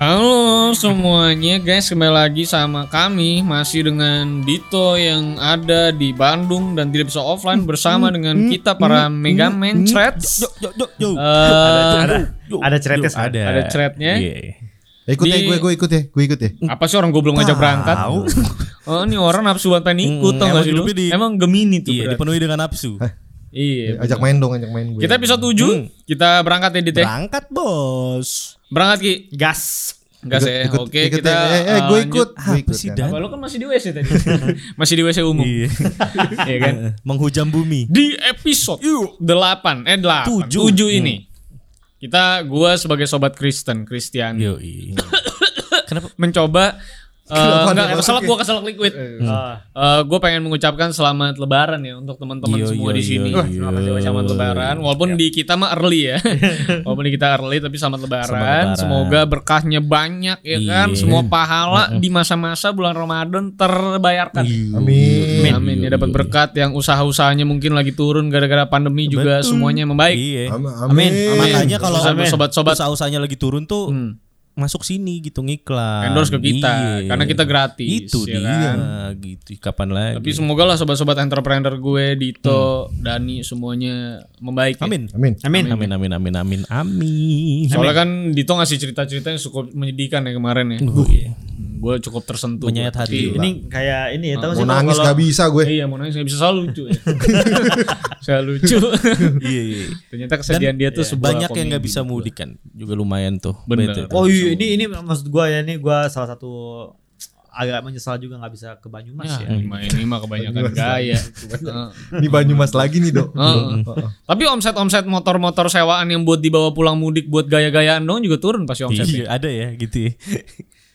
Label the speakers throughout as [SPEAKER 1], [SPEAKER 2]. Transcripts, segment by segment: [SPEAKER 1] Halo semuanya guys, kembali lagi sama kami masih dengan Dito yang ada di Bandung dan tidak bisa offline bersama dengan kita para Mega Man Threads.
[SPEAKER 2] Yo, yo, yo.
[SPEAKER 1] Eh,
[SPEAKER 3] ada ada ceretes
[SPEAKER 2] Ada. kan? Iya,
[SPEAKER 3] ada.
[SPEAKER 1] ada threadnya.
[SPEAKER 4] Ikut
[SPEAKER 1] Di-
[SPEAKER 4] ya, gue, gue ikut ya, gue ikut ya.
[SPEAKER 1] Apa sih orang goblok ngajak berangkat? Oh ini orang nafsu banget pengen ikut
[SPEAKER 2] Hmm,
[SPEAKER 1] tau gak
[SPEAKER 2] emang
[SPEAKER 1] sih lu?
[SPEAKER 2] hidupnya di-
[SPEAKER 1] Emang gemini tuh
[SPEAKER 2] Iya,
[SPEAKER 1] berarti.
[SPEAKER 2] dipenuhi dengan nafsu.
[SPEAKER 1] Iya.
[SPEAKER 4] Ajak main dong, ajak main gue.
[SPEAKER 1] Kita episode 7, kita berangkat ya Dito.
[SPEAKER 2] Berangkat, Bos.
[SPEAKER 1] Berangkat Ki.
[SPEAKER 3] gas
[SPEAKER 1] Gas ya.
[SPEAKER 4] Ikut-
[SPEAKER 1] Oke,
[SPEAKER 4] ikut
[SPEAKER 1] kita
[SPEAKER 4] ya. Eh, eh, gue
[SPEAKER 1] lanjut.
[SPEAKER 4] ikut. Gue
[SPEAKER 2] Apa
[SPEAKER 4] ikut
[SPEAKER 2] sih, Dan?
[SPEAKER 4] kan.
[SPEAKER 1] Wah, lu kan masih di WC tadi. masih di WC umum.
[SPEAKER 2] Iya. Eh,
[SPEAKER 1] Iya kan?
[SPEAKER 2] Menghujam bumi.
[SPEAKER 1] di episode 8 eh 8
[SPEAKER 2] Tujuh.
[SPEAKER 1] 7 ini kita gua sebagai sobat Kristen Kristiani
[SPEAKER 2] Yo, iya. Kenapa?
[SPEAKER 1] mencoba eh,
[SPEAKER 4] Kenapa
[SPEAKER 1] enggak
[SPEAKER 4] ada
[SPEAKER 1] keselak
[SPEAKER 4] masuk
[SPEAKER 1] gua keselak liquid. gue pengen mengucapkan selamat lebaran ya untuk teman-teman
[SPEAKER 2] Yo,
[SPEAKER 1] semua
[SPEAKER 2] yo,
[SPEAKER 1] di sini.
[SPEAKER 2] yo,
[SPEAKER 1] Wah, terima kasih banyak selamat
[SPEAKER 2] yo.
[SPEAKER 1] lebaran walaupun di kita mah early ya. walaupun di kita early tapi selamat lebaran.
[SPEAKER 2] lebaran.
[SPEAKER 1] Semoga berkahnya banyak ya
[SPEAKER 2] Iya.
[SPEAKER 1] kan. Semua pahala di masa-masa bulan Ramadan terbayarkan.
[SPEAKER 2] Iya.
[SPEAKER 4] Amin.
[SPEAKER 1] Amin. Amin. Ya dapat berkat yang usaha-usahanya mungkin lagi turun gara-gara pandemi juga semuanya membaik.
[SPEAKER 2] Iya.
[SPEAKER 4] Am-
[SPEAKER 3] Amin.
[SPEAKER 4] Amin.
[SPEAKER 2] Makanya kalau
[SPEAKER 1] Sama sobat-sobat. Hmm.
[SPEAKER 2] usaha-usahanya lagi turun tuh masuk sini gitu ngiklan.
[SPEAKER 1] Endorse ke kita
[SPEAKER 2] Iya.
[SPEAKER 1] karena kita gratis.
[SPEAKER 2] Itu
[SPEAKER 1] ya
[SPEAKER 2] dia
[SPEAKER 1] kan?
[SPEAKER 2] gitu. Kapan lagi?
[SPEAKER 1] Tapi semoga lah sobat-sobat entrepreneur gue, Dito, Dani semuanya membaik. ya.
[SPEAKER 2] Hmm. Amin.
[SPEAKER 4] Amin.
[SPEAKER 3] amin
[SPEAKER 2] Amin amin amin amin amin.
[SPEAKER 1] Soalnya kan Dito ngasih cerita-cerita yang cukup menyedihkan ya kemarin ya.
[SPEAKER 2] Oh, iya.
[SPEAKER 1] Hmm, Gue cukup tersentuh.
[SPEAKER 2] Menyayat
[SPEAKER 1] Gua.
[SPEAKER 2] hati.
[SPEAKER 3] ini kayak ini ya tahu
[SPEAKER 4] Mau
[SPEAKER 3] sih
[SPEAKER 4] nangis
[SPEAKER 3] kalau
[SPEAKER 4] gak bisa ya.
[SPEAKER 1] Iya,
[SPEAKER 4] gue.
[SPEAKER 1] Iya, mau nangis nggak bisa selalu lucu ya. Saya lucu.
[SPEAKER 2] Iya, iya.
[SPEAKER 1] Ternyata kesedihan dia tuh sebuah
[SPEAKER 2] Banyak yang nggak
[SPEAKER 1] komedi.
[SPEAKER 2] bisa mudik kan. Juga lumayan tuh.
[SPEAKER 1] Bener.
[SPEAKER 2] Betul.
[SPEAKER 3] oh iya ini ini maksud gua ya ini gua salah satu agak menyesal juga nggak bisa ke Banyumas
[SPEAKER 1] Ya,
[SPEAKER 3] ya.
[SPEAKER 1] ini mah kebanyakan gaya. Heeh.
[SPEAKER 4] Ini Banyumas lagi nih dok.
[SPEAKER 1] Heeh. Tapi omset-omset motor-motor sewaan yang buat dibawa pulang mudik buat gaya-gayaan dong juga turun pasti omsetnya.
[SPEAKER 2] Iya, ada ya gitu. ya.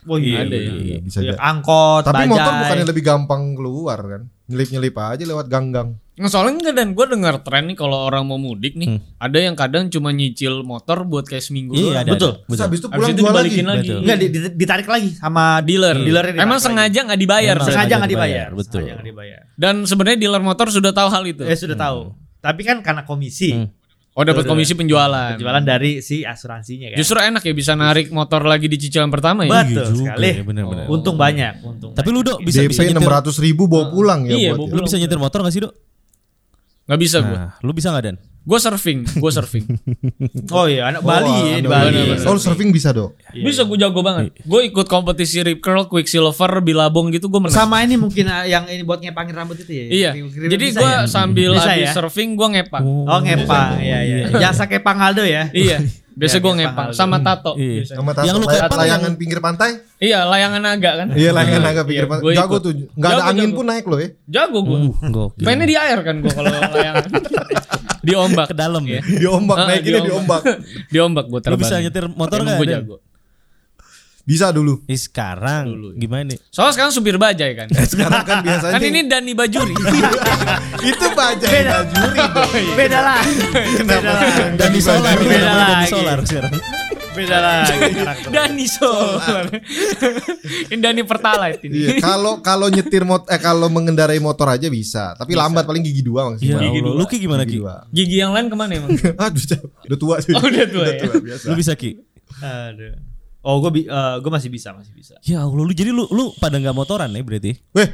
[SPEAKER 3] Oh iya,
[SPEAKER 1] Ada ya.
[SPEAKER 2] Iya.
[SPEAKER 4] Bisa
[SPEAKER 3] Banyak
[SPEAKER 4] jadi.
[SPEAKER 3] angkot,
[SPEAKER 4] Tapi
[SPEAKER 3] bajai.
[SPEAKER 4] motor bukannya lebih gampang keluar kan? Nyelip-nyelip aja lewat ganggang.
[SPEAKER 1] Nggak, Nah, soalnya enggak dan gue dengar tren nih kalau orang mau mudik nih, ada yang kadang cuma nyicil motor buat kayak seminggu
[SPEAKER 2] Hmm. Iya,
[SPEAKER 1] doang.
[SPEAKER 2] ada.
[SPEAKER 3] Betul.
[SPEAKER 4] Terus
[SPEAKER 2] Betul.
[SPEAKER 4] habis itu
[SPEAKER 1] Habis
[SPEAKER 4] pulang
[SPEAKER 1] itu
[SPEAKER 4] jual lagi.
[SPEAKER 1] dibalikin lagi.
[SPEAKER 2] Betul.
[SPEAKER 3] Enggak di- di- ditarik lagi sama dealer. Dealer ini
[SPEAKER 1] Iya. Emang
[SPEAKER 3] ditarik
[SPEAKER 1] sengaja nggak dibayar.
[SPEAKER 3] lagi.
[SPEAKER 2] Emang.
[SPEAKER 3] sengaja
[SPEAKER 2] Sengaja
[SPEAKER 3] nggak dibayar.
[SPEAKER 2] dibayar, betul.
[SPEAKER 3] Sengaja nggak dibayar.
[SPEAKER 1] Dan sebenarnya dealer motor sudah tahu hal itu.
[SPEAKER 3] Eh sudah tahu. Tapi kan karena komisi
[SPEAKER 2] Hmm.
[SPEAKER 1] Oh dapat
[SPEAKER 3] Sudah.
[SPEAKER 1] komisi penjualan.
[SPEAKER 3] penjualan dari si asuransinya kan.
[SPEAKER 1] Justru enak ya bisa narik motor lagi di cicilan pertama ya.
[SPEAKER 3] Betul
[SPEAKER 2] Iya juga
[SPEAKER 3] sekali.
[SPEAKER 2] ya, benar-benar.
[SPEAKER 1] Oh.
[SPEAKER 3] untung banyak, untung.
[SPEAKER 2] Tapi lu dok bisa bisa gitu.
[SPEAKER 4] DP enam
[SPEAKER 2] nyetir,
[SPEAKER 4] ratus ribu bawa pulang ya
[SPEAKER 1] Iya, bawa
[SPEAKER 4] buat. ya.
[SPEAKER 2] lu bisa nyetir motor gak sih dok?
[SPEAKER 1] Nggak bisa gue.
[SPEAKER 2] Nah, lu bisa gak dan?
[SPEAKER 1] Gue surfing, gue surfing.
[SPEAKER 3] banyak. oh iya, anak Bali
[SPEAKER 4] Oh,
[SPEAKER 3] ya, di
[SPEAKER 4] aduh.
[SPEAKER 3] Bali.
[SPEAKER 1] Benar-benar.
[SPEAKER 4] Oh, surfing bisa dok.
[SPEAKER 3] Iya,
[SPEAKER 1] bisa gue jago banget. Gue ikut kompetisi rip curl, quicksilver, bilabong gitu gue menang.
[SPEAKER 3] Sama ini mungkin ah, yang ini buat ngepangin rambut itu ya.
[SPEAKER 1] Iya.
[SPEAKER 3] Kira-kira
[SPEAKER 1] Jadi
[SPEAKER 3] bisa
[SPEAKER 1] gue
[SPEAKER 3] ya?
[SPEAKER 1] sambil
[SPEAKER 3] Bisa
[SPEAKER 1] habis
[SPEAKER 3] ya?
[SPEAKER 1] surfing gue ngepang.
[SPEAKER 3] Oh ngepang, iya iya. Jasa kepang Aldo ya.
[SPEAKER 1] Iya. Biasa
[SPEAKER 3] Ya,
[SPEAKER 1] gue
[SPEAKER 3] biasa
[SPEAKER 1] ngepang
[SPEAKER 3] hal
[SPEAKER 1] sama tato.
[SPEAKER 2] Iya.
[SPEAKER 1] biasanya.
[SPEAKER 4] Sama tas
[SPEAKER 2] Yang lu
[SPEAKER 4] lay-
[SPEAKER 2] kapan
[SPEAKER 4] layangan pinggir pantai.
[SPEAKER 1] Iya, layangan naga kan.
[SPEAKER 4] Iya layangan naga pinggir pantai.
[SPEAKER 1] gua
[SPEAKER 4] Jago
[SPEAKER 1] ikut.
[SPEAKER 4] tuh. Gak ada
[SPEAKER 1] Jago,
[SPEAKER 4] angin
[SPEAKER 1] jago.
[SPEAKER 4] pun naik loh ya.
[SPEAKER 1] Jago gue.
[SPEAKER 2] Uh, Gokil.
[SPEAKER 1] Mainnya di air kan gue kalau layangan. di ombak.
[SPEAKER 2] Ke dalam ya.
[SPEAKER 4] Diombak
[SPEAKER 1] Heeh,
[SPEAKER 4] naikinnya
[SPEAKER 1] Ah, diombak.
[SPEAKER 4] diombak.
[SPEAKER 1] di ombak gue terbang.
[SPEAKER 2] bisa nyetir motor
[SPEAKER 1] Emang
[SPEAKER 2] nggak,
[SPEAKER 1] Gue
[SPEAKER 2] Dan?
[SPEAKER 1] jago.
[SPEAKER 4] Bisa dulu.
[SPEAKER 2] Eh, sekarang gimana? nih?
[SPEAKER 1] Soalnya sekarang supir bajai kan.
[SPEAKER 4] Sekarang kan biasanya
[SPEAKER 1] kan ini Dani Bajuri.
[SPEAKER 4] itu baja juri dong.
[SPEAKER 3] Oh, iya. Beda lah. Beda lah.
[SPEAKER 2] Dan di solar,
[SPEAKER 3] Beda
[SPEAKER 2] beda
[SPEAKER 3] lagi.
[SPEAKER 2] lagi. solar sekarang.
[SPEAKER 3] Beda lah.
[SPEAKER 1] Dani Solar. ini Dani Pertalite ini.
[SPEAKER 4] Iya, kalau kalau nyetir mot eh kalau mengendarai motor aja bisa, tapi lambat paling gigi dua
[SPEAKER 2] Ya
[SPEAKER 4] maksimal.
[SPEAKER 1] Gigi
[SPEAKER 2] Allah,
[SPEAKER 1] dua.
[SPEAKER 2] lu ki gimana ki?
[SPEAKER 4] dua.
[SPEAKER 1] Gigi yang lain kemana emang?
[SPEAKER 4] Aduh, jauh. udah tua sih.
[SPEAKER 1] Oh, udah tua ya?
[SPEAKER 4] biasa.
[SPEAKER 2] Lu bisa ki?
[SPEAKER 3] Aduh. Oh gue gue masih bisa masih bisa.
[SPEAKER 2] Ya Allah, lu jadi lu lu pada nggak motoran ya berarti?
[SPEAKER 4] Weh,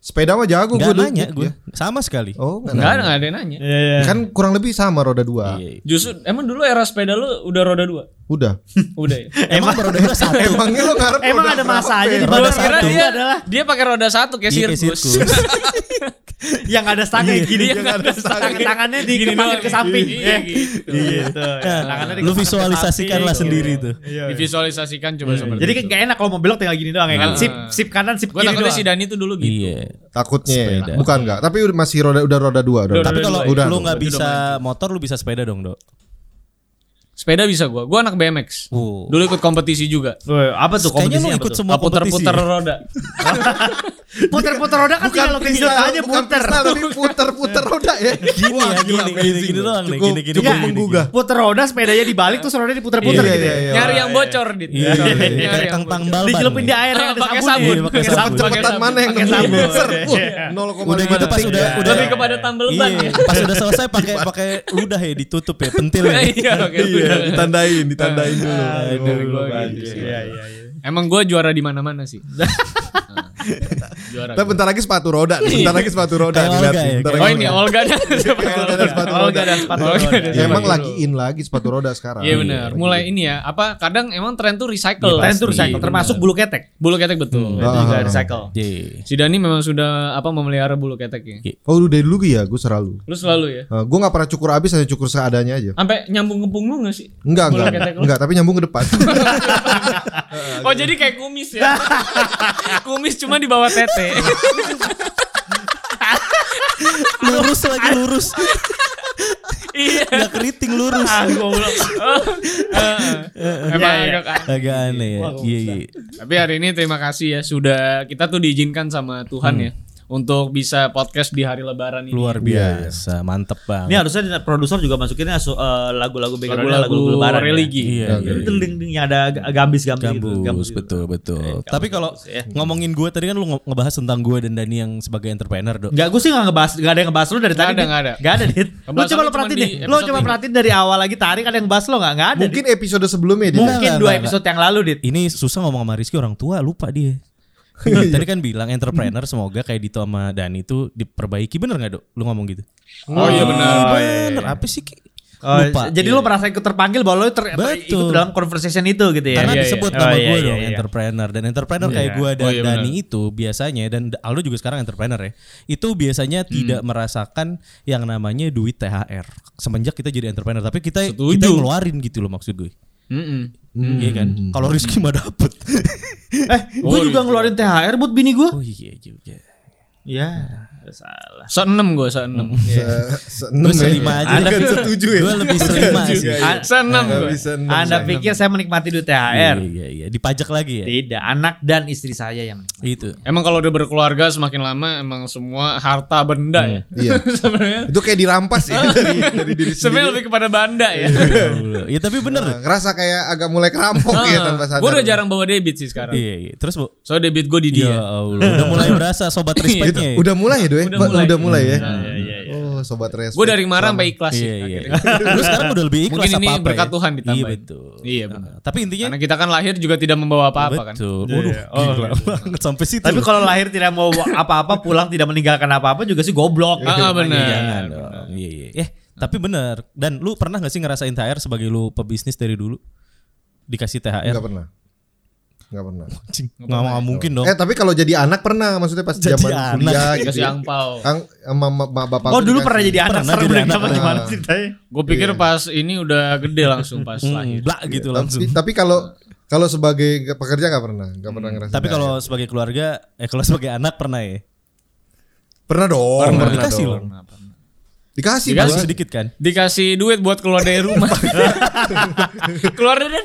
[SPEAKER 4] sepeda mah
[SPEAKER 2] Gak
[SPEAKER 4] jago gua dulu.
[SPEAKER 2] nanya gue,
[SPEAKER 4] Ya.
[SPEAKER 2] sama sekali.
[SPEAKER 4] Oh,
[SPEAKER 1] Enggak
[SPEAKER 4] enggak nanya.
[SPEAKER 1] ada, enggak ada yang nanya.
[SPEAKER 3] Iya iya.
[SPEAKER 4] Kan kurang lebih sama roda dua.
[SPEAKER 2] Iya.
[SPEAKER 1] Justru emang dulu era sepeda lu udah roda dua.
[SPEAKER 4] Udah.
[SPEAKER 1] Udah ya.
[SPEAKER 2] Emang baru udah satu.
[SPEAKER 4] Emangnya lu ngarep
[SPEAKER 3] Emang
[SPEAKER 4] roda
[SPEAKER 3] ada
[SPEAKER 4] berapa? ya?
[SPEAKER 3] masa aja
[SPEAKER 2] Roda
[SPEAKER 3] di roda
[SPEAKER 1] Gua kira
[SPEAKER 2] satu.
[SPEAKER 1] dia
[SPEAKER 3] adalah
[SPEAKER 1] dia pakai roda satu kayak
[SPEAKER 2] Iya, kayak
[SPEAKER 1] sirkus.
[SPEAKER 2] sirkus.
[SPEAKER 3] yang ada stangnya gini.
[SPEAKER 1] Iya, nggak ada stangnya.
[SPEAKER 3] Tangannya
[SPEAKER 1] Gini
[SPEAKER 3] dikepakin
[SPEAKER 1] doang.
[SPEAKER 3] ke samping.
[SPEAKER 1] Iya, gitu.
[SPEAKER 3] Gitu.
[SPEAKER 2] Nah, lu visualisasikanlah sendiri tuh.
[SPEAKER 1] Divisualisasikan coba seperti
[SPEAKER 3] Iya. Jadi kayak nggak enak kalau mau belok tinggal gini doang ya kan.
[SPEAKER 1] Nah.
[SPEAKER 3] Sip sip kanan sip
[SPEAKER 1] gue
[SPEAKER 3] kiri
[SPEAKER 1] takutnya
[SPEAKER 3] doang.
[SPEAKER 1] si Dani tuh dulu gitu.
[SPEAKER 2] Iya.
[SPEAKER 4] Takutnya. ya.
[SPEAKER 2] Sepeda.
[SPEAKER 4] Bukan enggak, tapi udah masih roda udah roda dua
[SPEAKER 1] Udah,
[SPEAKER 4] dong.
[SPEAKER 2] Tapi kalau
[SPEAKER 1] iya.
[SPEAKER 4] Udah,
[SPEAKER 2] lu
[SPEAKER 4] udah.
[SPEAKER 2] nggak
[SPEAKER 1] Udah
[SPEAKER 2] bisa motor, lu bisa sepeda dong dok.
[SPEAKER 1] Sepeda bisa gua. Gua anak BMX.
[SPEAKER 2] Oh.
[SPEAKER 1] Dulu ikut kompetisi juga. Ah,
[SPEAKER 3] Weh, apa tuh
[SPEAKER 2] Kayaknya lu
[SPEAKER 3] kompetisinya apa
[SPEAKER 2] ikut
[SPEAKER 3] tuh?
[SPEAKER 2] semua kompetisi.
[SPEAKER 1] Puter-puter roda.
[SPEAKER 3] Puter-puter roda kan tinggal lo kristal aja
[SPEAKER 4] bukan
[SPEAKER 3] puter.
[SPEAKER 4] kristal, tapi puter-puter roda ya.
[SPEAKER 2] Gini ya,
[SPEAKER 4] gila,
[SPEAKER 2] gini, gini,
[SPEAKER 4] amazing
[SPEAKER 2] gini
[SPEAKER 4] loh.
[SPEAKER 2] doang nih,
[SPEAKER 4] Cukup,
[SPEAKER 2] gini, gini,
[SPEAKER 4] cukup
[SPEAKER 2] gini, gini.
[SPEAKER 4] menggugah.
[SPEAKER 3] Puter roda sepedanya dibalik terus rodanya diputer-puter
[SPEAKER 4] Iya,
[SPEAKER 3] gitu ya.
[SPEAKER 4] iya,
[SPEAKER 1] Nyari yang bocor dit.
[SPEAKER 2] Iya,
[SPEAKER 1] Nyari
[SPEAKER 2] iya, iya.
[SPEAKER 1] yang
[SPEAKER 2] Kayak
[SPEAKER 1] bocor.
[SPEAKER 2] kentang balban.
[SPEAKER 3] Dicelupin di
[SPEAKER 2] nih.
[SPEAKER 3] air yang
[SPEAKER 1] Ah,
[SPEAKER 3] ada
[SPEAKER 1] pakai
[SPEAKER 3] sabun.
[SPEAKER 1] sabun.
[SPEAKER 2] Iya, pakai sabun.
[SPEAKER 4] Cepetan mana yang
[SPEAKER 1] Pakai
[SPEAKER 4] nemu
[SPEAKER 1] sabun. Iya.
[SPEAKER 4] Ser, wah, 0,5
[SPEAKER 2] Udah gitu pas
[SPEAKER 4] detik.
[SPEAKER 2] udah udah
[SPEAKER 1] Lebih kepada tumbleban
[SPEAKER 2] Iya,
[SPEAKER 1] ya.
[SPEAKER 2] pas udah selesai pakai pakai ludah ya ditutup ya, pentil ya.
[SPEAKER 1] Iya, oke.
[SPEAKER 4] Iya, ditandain, ditandain dulu.
[SPEAKER 1] Aduh, gua
[SPEAKER 4] bagus.
[SPEAKER 1] gitu.
[SPEAKER 3] Iya, iya, iya.
[SPEAKER 1] Emang gue juara di mana-mana sih. Nah, juara.
[SPEAKER 4] Tapi bentar lagi sepatu roda, nih, bentar lagi sepatu roda
[SPEAKER 2] Kayak
[SPEAKER 4] dilihat
[SPEAKER 2] Olga
[SPEAKER 4] nih,
[SPEAKER 2] ya,
[SPEAKER 4] bentar
[SPEAKER 1] Oh
[SPEAKER 2] kayak
[SPEAKER 4] lagi
[SPEAKER 1] ini
[SPEAKER 4] Olga.
[SPEAKER 1] Olga dan sepatu
[SPEAKER 4] Kayak Olga
[SPEAKER 1] roda.
[SPEAKER 4] dan sepatu
[SPEAKER 3] Olga
[SPEAKER 4] roda.
[SPEAKER 3] dan sepatu
[SPEAKER 1] Olga
[SPEAKER 3] roda.
[SPEAKER 1] dan
[SPEAKER 4] Ya, emang
[SPEAKER 1] Iya,
[SPEAKER 4] lagi in lagi sepatu roda sekarang.
[SPEAKER 1] Iya benar. Mulai ini ya, apa kadang emang tren tuh recycle.
[SPEAKER 3] Tren tuh
[SPEAKER 2] Pasti,
[SPEAKER 3] recycle termasuk bulu ketek.
[SPEAKER 1] Bulu ketek betul.
[SPEAKER 3] Itu juga
[SPEAKER 4] Ah.
[SPEAKER 3] Iya. recycle.
[SPEAKER 2] Iya.
[SPEAKER 1] Si Dani memang sudah apa memelihara bulu keteknya.
[SPEAKER 4] Oh udah dulu ya, gue selalu.
[SPEAKER 1] Lu selalu ya.
[SPEAKER 4] Eh, gue nggak pernah cukur abis, hanya cukur seadanya aja.
[SPEAKER 1] Sampai nyambung ke punggung gak sih?
[SPEAKER 4] Enggak,
[SPEAKER 1] Bulu
[SPEAKER 4] enggak,
[SPEAKER 1] ketek lu.
[SPEAKER 4] enggak. Tapi nyambung ke depan.
[SPEAKER 1] Oh jadi kayak kumis ya? kumis cuma di bawah tete.
[SPEAKER 2] Lurus lagi lurus.
[SPEAKER 1] iya.
[SPEAKER 2] Enggak keriting lurus.
[SPEAKER 3] Ah, goblok.
[SPEAKER 1] Emang
[SPEAKER 3] Iya, iya.
[SPEAKER 1] agak aneh.
[SPEAKER 2] Agak aneh ya. Iya, iya.
[SPEAKER 1] Tapi hari ini terima kasih ya sudah kita tuh diizinkan sama Tuhan ya untuk bisa podcast di hari Lebaran ini.
[SPEAKER 2] Luar biasa, mantep
[SPEAKER 3] Ini
[SPEAKER 2] banget.
[SPEAKER 3] harusnya produser juga masukinnya asu- eh, lagu-lagu bega
[SPEAKER 1] Lagu-lagu
[SPEAKER 3] gula, lagu-lagu lebaran. ya.
[SPEAKER 1] religi.
[SPEAKER 2] Iya, iya.
[SPEAKER 3] Itu ding ding yang ada ga- gambis-gambis gitu,
[SPEAKER 2] Gambus,
[SPEAKER 3] gitu.
[SPEAKER 2] betul betul. Tapi kalau ngomongin gue tadi kan lu nge- ngebahas tentang gue dan Dani yang sebagai entrepreneur, Dok.
[SPEAKER 3] Enggak, gue sih gak ngebahas, gak ada yang ngebahas lu dari
[SPEAKER 1] Nggak
[SPEAKER 3] tadi.
[SPEAKER 1] ada,
[SPEAKER 3] Dit.
[SPEAKER 1] nggak ada.
[SPEAKER 3] Nggak ada, Dit. Lu
[SPEAKER 1] Ngebahas
[SPEAKER 3] coba
[SPEAKER 1] lu
[SPEAKER 3] lu
[SPEAKER 1] cuma di
[SPEAKER 3] perhatiin deh. Lu
[SPEAKER 1] episode
[SPEAKER 3] coba
[SPEAKER 1] ini.
[SPEAKER 3] perhatiin dari awal lagi tarik ada yang ngebahas lu gak? Nggak ada, Dit.
[SPEAKER 4] Mungkin episode sebelumnya dia.
[SPEAKER 3] Mungkin
[SPEAKER 2] Nggak,
[SPEAKER 3] dua
[SPEAKER 2] nggak,
[SPEAKER 3] episode yang lalu, Dit.
[SPEAKER 2] Ini susah ngomong sama Rizky orang tua, lupa dia.
[SPEAKER 1] Iya.
[SPEAKER 2] Tadi kan bilang entrepreneur semoga kayak Dito sama Dani itu diperbaiki bener gak dok? Lu ngomong gitu?
[SPEAKER 1] Oh iya benar.
[SPEAKER 2] Ih, bener apa sih Ki?
[SPEAKER 3] Oh,
[SPEAKER 2] Lupa. Iya,
[SPEAKER 3] jadi lu merasa ikut terpanggil bahwa lu ter- ter-
[SPEAKER 2] Betul.
[SPEAKER 3] ikut dalam conversation itu gitu ya.
[SPEAKER 2] Karena
[SPEAKER 1] Iya,
[SPEAKER 2] disebut
[SPEAKER 3] iya.
[SPEAKER 2] nama
[SPEAKER 3] Oh,
[SPEAKER 2] gue
[SPEAKER 3] iya, iya,
[SPEAKER 2] dong
[SPEAKER 3] iya.
[SPEAKER 2] entrepreneur dan entrepreneur kayak
[SPEAKER 3] Iya.
[SPEAKER 2] gue dan
[SPEAKER 1] Oh, iya,
[SPEAKER 2] Dani itu biasanya dan Aldo juga sekarang entrepreneur ya. Itu
[SPEAKER 1] Hmm.
[SPEAKER 2] biasanya tidak merasakan yang namanya duit THR semenjak kita jadi entrepreneur. Tapi kita
[SPEAKER 1] Setuju. Hmm.
[SPEAKER 2] kita yang ngeluarin gitu loh maksud gue.
[SPEAKER 1] Mm-mm.
[SPEAKER 2] Iya kan? Kalau Rizky mah dapet.
[SPEAKER 3] Eh, gue juga ngeluarin THR buat bini gue.
[SPEAKER 2] oh iya juga. Iya.
[SPEAKER 3] Ya, salah.
[SPEAKER 1] Set enam gue set enam.
[SPEAKER 2] Gue selima aja.
[SPEAKER 4] ya? Bukan
[SPEAKER 2] deh.
[SPEAKER 4] setuju ya.
[SPEAKER 2] Gue lebih selima sih.
[SPEAKER 4] Iya, iya.
[SPEAKER 1] Ah, Set enam
[SPEAKER 4] Nggak
[SPEAKER 1] gue.
[SPEAKER 4] bisa enam,
[SPEAKER 3] Anda
[SPEAKER 4] sayang.
[SPEAKER 3] pikir saya menikmati duit
[SPEAKER 2] Iya
[SPEAKER 3] THR?
[SPEAKER 2] iya iya. Dipajak lagi ya. Gitu.
[SPEAKER 3] Tidak, anak dan istri saya yang
[SPEAKER 2] Itu.
[SPEAKER 1] Emang kalau udah berkeluarga semakin lama emang semua harta benda ya.
[SPEAKER 4] Iya.
[SPEAKER 1] Sebenarnya
[SPEAKER 4] Itu kayak dirampas ya dari, dari diri
[SPEAKER 1] sebenarnya
[SPEAKER 4] sendiri.
[SPEAKER 1] lebih kepada banda ya.
[SPEAKER 2] ya tapi bener.
[SPEAKER 4] Nah, Ngerasa kayak agak mulai kerampok ya tanpa sadar.
[SPEAKER 1] gue Ah. udah jarang bawa debit sih sekarang.
[SPEAKER 2] Iya iya. Terus bu.
[SPEAKER 1] So debit gue di
[SPEAKER 2] Ya
[SPEAKER 1] dia.
[SPEAKER 2] Allah. Udah mulai berasa sobat
[SPEAKER 4] Itu,
[SPEAKER 2] respectnya. ya.
[SPEAKER 4] Iya. udah mulai ya, Doy.
[SPEAKER 1] Udah
[SPEAKER 4] Udah,
[SPEAKER 1] mulai.
[SPEAKER 4] mulai ya.
[SPEAKER 3] Iya, iya, iya.
[SPEAKER 4] Oh, sobat respect.
[SPEAKER 1] Gue dari marah sampai ikhlas sih.
[SPEAKER 2] Iya iya.
[SPEAKER 1] akhirnya.
[SPEAKER 2] Lu sekarang udah lebih ikhlas
[SPEAKER 1] Mungkin ini
[SPEAKER 2] apa-apa
[SPEAKER 1] berkat
[SPEAKER 2] ya?
[SPEAKER 1] Tuhan ditambahin.
[SPEAKER 2] Iya betul.
[SPEAKER 1] Iya, benar.
[SPEAKER 2] Nah, tapi intinya
[SPEAKER 1] Karena kita kan lahir juga tidak membawa apa-apa kan.
[SPEAKER 4] Iya,
[SPEAKER 2] betul. Waduh,
[SPEAKER 4] Oh,
[SPEAKER 2] gila banget sampai situ.
[SPEAKER 3] Tapi
[SPEAKER 2] loh.
[SPEAKER 3] kalau lahir tidak mau apa-apa pulang tidak meninggalkan apa-apa juga sih goblok.
[SPEAKER 2] Iya.
[SPEAKER 1] Ah, ah, benar.
[SPEAKER 2] jangan dong. Iya iya. Eh, tapi bener. Dan lu pernah gak sih ngerasain THR sebagai lu pebisnis dari dulu? Dikasih THR?
[SPEAKER 4] Enggak pernah. Enggak pernah.
[SPEAKER 2] Anjing, Nggak nggak mungkin dong.
[SPEAKER 4] Eh, tapi kalau jadi anak pernah maksudnya pas
[SPEAKER 2] Jadi
[SPEAKER 4] zaman
[SPEAKER 2] anak.
[SPEAKER 4] kuliah gitu.
[SPEAKER 1] Dikasih
[SPEAKER 4] ya.
[SPEAKER 1] angpau.
[SPEAKER 4] Ang sama ma- ma- bapak
[SPEAKER 3] Oh
[SPEAKER 4] gua
[SPEAKER 3] dulu
[SPEAKER 4] dikasih.
[SPEAKER 3] pernah jadi anak
[SPEAKER 2] Pernah
[SPEAKER 3] serem
[SPEAKER 2] jadi
[SPEAKER 3] deh
[SPEAKER 2] anak.
[SPEAKER 3] apa gimana ceritanya?
[SPEAKER 1] Gue pikir pas ini udah gede langsung pas
[SPEAKER 2] Hmm,
[SPEAKER 1] lahir.
[SPEAKER 2] blak gitu langsung.
[SPEAKER 4] Tapi, tapi kalau kalau sebagai pekerja nggak pernah, nggak pernah gitu. ngerasain.
[SPEAKER 2] Tapi
[SPEAKER 4] THR.
[SPEAKER 2] kalau sebagai keluarga, eh kalau sebagai anak pernah ya.
[SPEAKER 4] pernah dong,
[SPEAKER 2] Pernah,
[SPEAKER 4] pernah
[SPEAKER 2] dikasih
[SPEAKER 4] dong.
[SPEAKER 2] loh.
[SPEAKER 4] Dikasih,
[SPEAKER 3] Iya
[SPEAKER 2] Dikasih
[SPEAKER 4] Bang.
[SPEAKER 2] sedikit kan.
[SPEAKER 1] Dikasih duit buat keluar dari rumah. keluar dari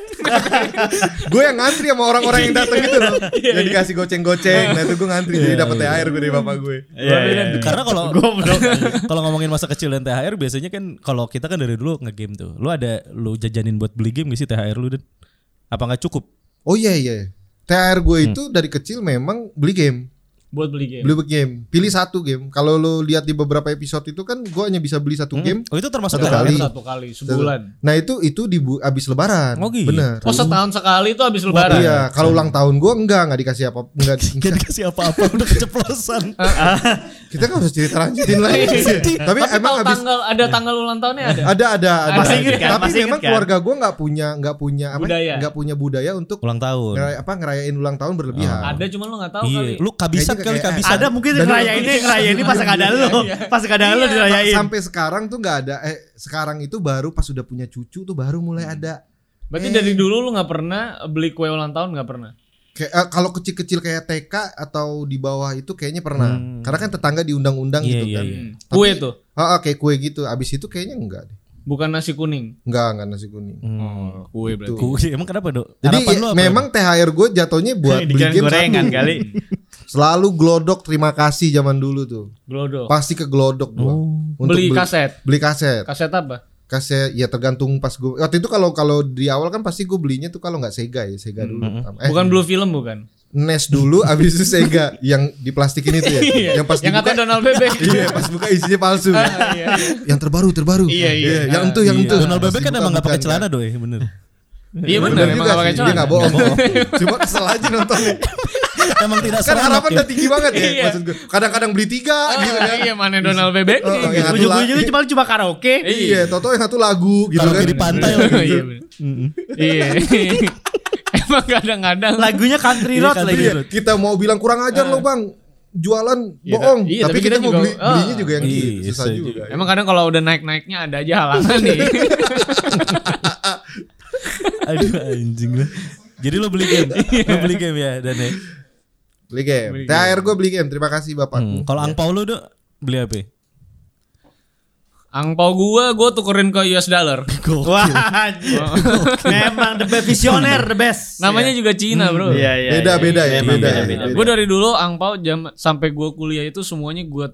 [SPEAKER 4] gue yang ngantri sama orang-orang yang datang gitu loh. yang dikasih goceng-goceng. Nah itu gue ngantri jadi dapet THR gue dari bapak gue.
[SPEAKER 3] Iya, iya, iya.
[SPEAKER 2] Karena kalau
[SPEAKER 3] Goblok.
[SPEAKER 2] kalau ngomongin masa kecil dan THR biasanya kan kalau kita kan dari dulu ngegame tuh. Lu ada lu jajanin buat beli game gak sih THR lu dan apa nggak cukup?
[SPEAKER 4] Oh iya iya. THR gue itu dari kecil memang beli game,
[SPEAKER 1] buat beli game.
[SPEAKER 4] beli game. Pilih satu game. Kalau lo lihat di beberapa episode itu kan gue hanya bisa beli satu game.
[SPEAKER 2] Oh itu termasuk
[SPEAKER 4] Satu
[SPEAKER 2] THR.
[SPEAKER 4] kali.
[SPEAKER 1] Satu kali sebulan.
[SPEAKER 4] Nah itu itu di bu- abis lebaran.
[SPEAKER 2] Oh, gitu.
[SPEAKER 4] Bener.
[SPEAKER 1] Oh setahun sekali itu habis
[SPEAKER 4] Wah,
[SPEAKER 1] lebaran.
[SPEAKER 4] Iya, kalau ulang tahun gue enggak nggak dikasih apa enggak.
[SPEAKER 2] Gak dikasih apa-apa udah keceplosan.
[SPEAKER 4] kita kan harus cerita lanjutin lagi. Tapi
[SPEAKER 1] Tapi
[SPEAKER 4] emang
[SPEAKER 1] tahu
[SPEAKER 4] abis
[SPEAKER 1] tanggal ada tanggal ulang tahunnya ada.
[SPEAKER 4] ada ada ada.
[SPEAKER 3] Masih inget kan?
[SPEAKER 4] Tapi
[SPEAKER 3] Masih inget
[SPEAKER 4] memang
[SPEAKER 3] kan?
[SPEAKER 4] keluarga gue nggak punya nggak punya apa?
[SPEAKER 1] Budaya.
[SPEAKER 4] Nggak punya budaya untuk
[SPEAKER 2] Ulang tahun.
[SPEAKER 4] ngeray- apa ngerayain ulang tahun berlebihan.
[SPEAKER 1] ada cuman lu nggak tahu
[SPEAKER 2] Iya,
[SPEAKER 1] kali.
[SPEAKER 2] lu kabisat
[SPEAKER 4] Kayaknya
[SPEAKER 2] kali
[SPEAKER 4] kayak- eh,
[SPEAKER 2] kabisat.
[SPEAKER 3] Ada mungkin
[SPEAKER 4] Dan-
[SPEAKER 3] ngerayainnya ngerayainnya pas gak ada
[SPEAKER 2] Iya.
[SPEAKER 3] lu. Pas gak ada lu dirayain.
[SPEAKER 4] Sampai sekarang tuh nggak ada. Eh sekarang itu baru pas udah punya cucu tuh baru mulai
[SPEAKER 2] Hmm.
[SPEAKER 4] ada.
[SPEAKER 1] Berarti dari dulu lu nggak pernah beli kue ulang tahun nggak pernah.
[SPEAKER 4] Kayak, eh, kalau kecil-kecil kayak TK atau di bawah itu kayaknya pernah. Karena kan tetangga diundang-undang
[SPEAKER 2] Hmm. Iya,
[SPEAKER 4] gitu
[SPEAKER 2] iya,
[SPEAKER 4] kan.
[SPEAKER 2] iya.
[SPEAKER 4] Tapi-
[SPEAKER 1] Kue tuh
[SPEAKER 4] Ah, ah, kayak kue gitu. Abis itu kayaknya enggak deh.
[SPEAKER 1] bukan nasi kuning.
[SPEAKER 4] Enggak, enggak nasi kuning.
[SPEAKER 1] Oh, kue berarti.
[SPEAKER 2] Ku- emang kenapa, Dok?
[SPEAKER 4] Jadi
[SPEAKER 2] Hmm. Harapan lu apa?
[SPEAKER 4] memang THR gue jatuhnya buat beli
[SPEAKER 3] Dikirain
[SPEAKER 4] game
[SPEAKER 2] kan?
[SPEAKER 3] gorengan
[SPEAKER 4] satu.
[SPEAKER 3] kali.
[SPEAKER 4] Selalu glodok terima kasih zaman dulu tuh.
[SPEAKER 1] Glodok.
[SPEAKER 4] Pasti ke glodok gua.
[SPEAKER 2] Oh.
[SPEAKER 4] Untuk
[SPEAKER 1] Beli kaset.
[SPEAKER 4] Beli kaset.
[SPEAKER 1] Kaset apa?
[SPEAKER 4] Kaset ya tergantung pas gua. Waktu itu kalau kalau di awal kan pasti gua belinya tuh kalau nggak Sega ya, Sega
[SPEAKER 2] Hmm,
[SPEAKER 4] dulu. Eh,
[SPEAKER 1] Bukan blue film bukan?
[SPEAKER 4] NES dulu abis itu Sega yang diplastikin itu ya. yang pas
[SPEAKER 1] Iya. Yang
[SPEAKER 4] dibuka
[SPEAKER 1] kata Donald Bebek.
[SPEAKER 4] Iya, pas buka isinya palsu.
[SPEAKER 1] Ah, iya, iya.
[SPEAKER 4] yang terbaru, terbaru.
[SPEAKER 1] Iya, iya.
[SPEAKER 4] Yang itu, yang itu.
[SPEAKER 2] Donald Bebek kan
[SPEAKER 4] Bukan,
[SPEAKER 2] emang gak pakai
[SPEAKER 4] bukan,
[SPEAKER 2] celana doi, bener.
[SPEAKER 1] Iya benar
[SPEAKER 4] Bener
[SPEAKER 1] emang
[SPEAKER 4] juga
[SPEAKER 1] gak pakai
[SPEAKER 4] sih,
[SPEAKER 1] celana.
[SPEAKER 4] Dia gak bohong. Cuma kesel aja nontonnya.
[SPEAKER 2] emang tidak
[SPEAKER 4] Kan
[SPEAKER 2] seranap
[SPEAKER 4] harapan
[SPEAKER 2] ya.
[SPEAKER 4] udah tinggi banget ya.
[SPEAKER 1] Iya.
[SPEAKER 4] Maksud gue. Kadang-kadang beli tiga
[SPEAKER 1] Ah,
[SPEAKER 4] gitu kan.
[SPEAKER 1] Iya mana Donald Bebek?
[SPEAKER 4] Oh, yang satu
[SPEAKER 3] Ujung-ujungnya
[SPEAKER 4] lagi.
[SPEAKER 3] cuma cuma karaoke.
[SPEAKER 4] Iya, Toto yang satu lagu gitu
[SPEAKER 2] Kalau
[SPEAKER 4] kan.
[SPEAKER 2] di pantai
[SPEAKER 1] Iya. Iya. bener. Iya. Emang kadang-kadang
[SPEAKER 3] Lagunya country
[SPEAKER 2] Iya,
[SPEAKER 3] road
[SPEAKER 2] country
[SPEAKER 3] lagi.
[SPEAKER 4] Iya, kita mau bilang kurang ajar lo bang. Jualan
[SPEAKER 1] Ah. Iya,
[SPEAKER 4] bohong.
[SPEAKER 1] iya,
[SPEAKER 4] tapi,
[SPEAKER 1] tapi
[SPEAKER 4] kita,
[SPEAKER 1] kita
[SPEAKER 4] mau
[SPEAKER 1] juga-
[SPEAKER 4] beli,
[SPEAKER 1] ah.
[SPEAKER 4] belinya juga yang
[SPEAKER 2] Iya,
[SPEAKER 4] gitu. Susah
[SPEAKER 2] susah
[SPEAKER 4] juga.
[SPEAKER 1] Emang kadang kalau udah naik-naiknya ada aja halangan nih.
[SPEAKER 2] Aduh anjing lah. Jadi lo beli game, lo beli game ya dan ya.
[SPEAKER 4] Beli game. THR gue beli game. Terima kasih bapak.
[SPEAKER 2] Hmm, Eh, Kalau angpau lo dok beli apa?
[SPEAKER 1] Angpau gua gua tukerin ke US dollar.
[SPEAKER 2] Go.
[SPEAKER 3] Wah, anjir. memang the best visioner, the best.
[SPEAKER 1] Namanya juga Cina, Bro.
[SPEAKER 3] Iya, iya. iya.
[SPEAKER 4] Beda-beda ya.
[SPEAKER 3] Memang
[SPEAKER 4] Beda.
[SPEAKER 3] beda-beda.
[SPEAKER 1] Gue dari dulu angpau jam sampai gua kuliah itu semuanya gua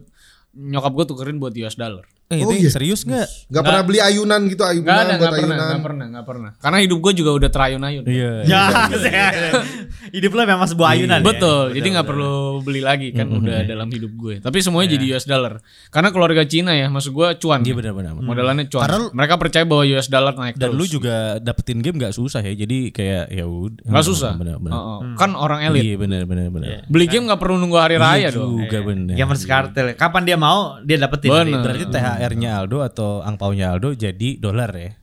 [SPEAKER 1] nyokap gue tukerin buat US dollar.
[SPEAKER 2] Eh,
[SPEAKER 4] Oh,
[SPEAKER 2] itu
[SPEAKER 4] iya.
[SPEAKER 2] serius nggak?
[SPEAKER 4] Gak pernah beli ayunan gitu. Ayunan
[SPEAKER 1] Gak ada,
[SPEAKER 4] buat
[SPEAKER 1] gak pernah,
[SPEAKER 4] ayunan.
[SPEAKER 1] gak pernah, gak pernah. Karena hidup gue juga udah terayun-ayun.
[SPEAKER 2] Iya.
[SPEAKER 3] Ya, saya- hidup lo memang sebuah ayunan. ya.
[SPEAKER 1] Betul, jadi nggak perlu beli lagi kan udah dalam hidup gue. Tapi semuanya jadi US dollar. Karena keluarga Cina ya, maksud gue cuan.
[SPEAKER 2] Iya benar-benar.
[SPEAKER 1] Modelannya cuan.
[SPEAKER 2] Karena-
[SPEAKER 1] Mereka percaya bahwa US dollar naik
[SPEAKER 2] Dan
[SPEAKER 1] terus.
[SPEAKER 2] lu juga dapetin game gak susah ya, jadi kayak ya udah.
[SPEAKER 1] Nggak susah.
[SPEAKER 2] Benar-benar.
[SPEAKER 1] Oh, oh. Kan orang elit.
[SPEAKER 2] Iya benar-benar benar. Iya
[SPEAKER 1] Beli game nggak perlu nunggu hari raya dong.
[SPEAKER 2] Juga
[SPEAKER 3] Iya.
[SPEAKER 2] benar.
[SPEAKER 3] Gamers kartel. Kapan dia mau, dia dapetin.
[SPEAKER 1] Bener.
[SPEAKER 3] hari itu.
[SPEAKER 2] Berarti THR-nya Aldo atau angpaunya Aldo jadi dolar ya?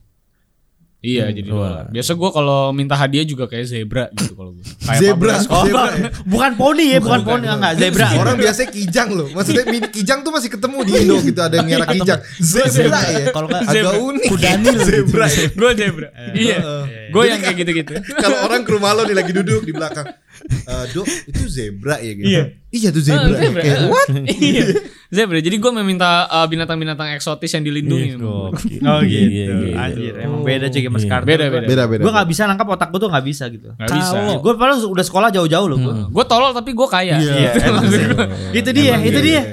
[SPEAKER 1] Iya, jadi dollar. Biasa gue kalau minta hadiah juga kayak zebra gitu kalau gue. Kayak
[SPEAKER 4] Zebra.
[SPEAKER 3] Oh,
[SPEAKER 4] Zebra.
[SPEAKER 3] bukan, bukan poni ya, bukan, poni enggak, zebra. gitu.
[SPEAKER 4] Orang biasanya kijang loh. Maksudnya mini kijang tuh masih ketemu di Indo gitu ada yang merah kijang. Zebra ya.
[SPEAKER 2] Kalau nggak-
[SPEAKER 4] agak
[SPEAKER 2] Zebra.
[SPEAKER 4] unik.
[SPEAKER 2] Kudanil gitu.
[SPEAKER 4] Zebra. ya.
[SPEAKER 1] Gue zebra. Iya. Gue yang kayak gitu-gitu.
[SPEAKER 4] Kalau orang ke rumah lo nih lagi duduk di belakang. Eh, Dok, itu zebra ya gitu. Iya tuh
[SPEAKER 1] Ah,
[SPEAKER 4] zebra.
[SPEAKER 1] zebra.
[SPEAKER 4] Kayak,
[SPEAKER 1] Ah.
[SPEAKER 4] what?
[SPEAKER 1] Iya. Zebra. Jadi gue meminta uh, binatang-binatang eksotis yang dilindungi.
[SPEAKER 2] Gokil.
[SPEAKER 3] Oh
[SPEAKER 2] Iya,
[SPEAKER 3] gitu.
[SPEAKER 2] iya, iya.
[SPEAKER 3] Anjir, emang beda juga gamers
[SPEAKER 2] Iya.
[SPEAKER 3] kartel.
[SPEAKER 1] Beda, beda.
[SPEAKER 4] Beda beda.
[SPEAKER 3] Gue nggak bisa nangkap otak gue tuh nggak bisa gitu.
[SPEAKER 1] Gak bisa.
[SPEAKER 2] Kalau-
[SPEAKER 3] Gue paling udah sekolah jauh-jauh loh gue.
[SPEAKER 1] Gue tolol tapi gue kaya. Gitu.
[SPEAKER 3] Iya, emang sih. itu dia, itu dia.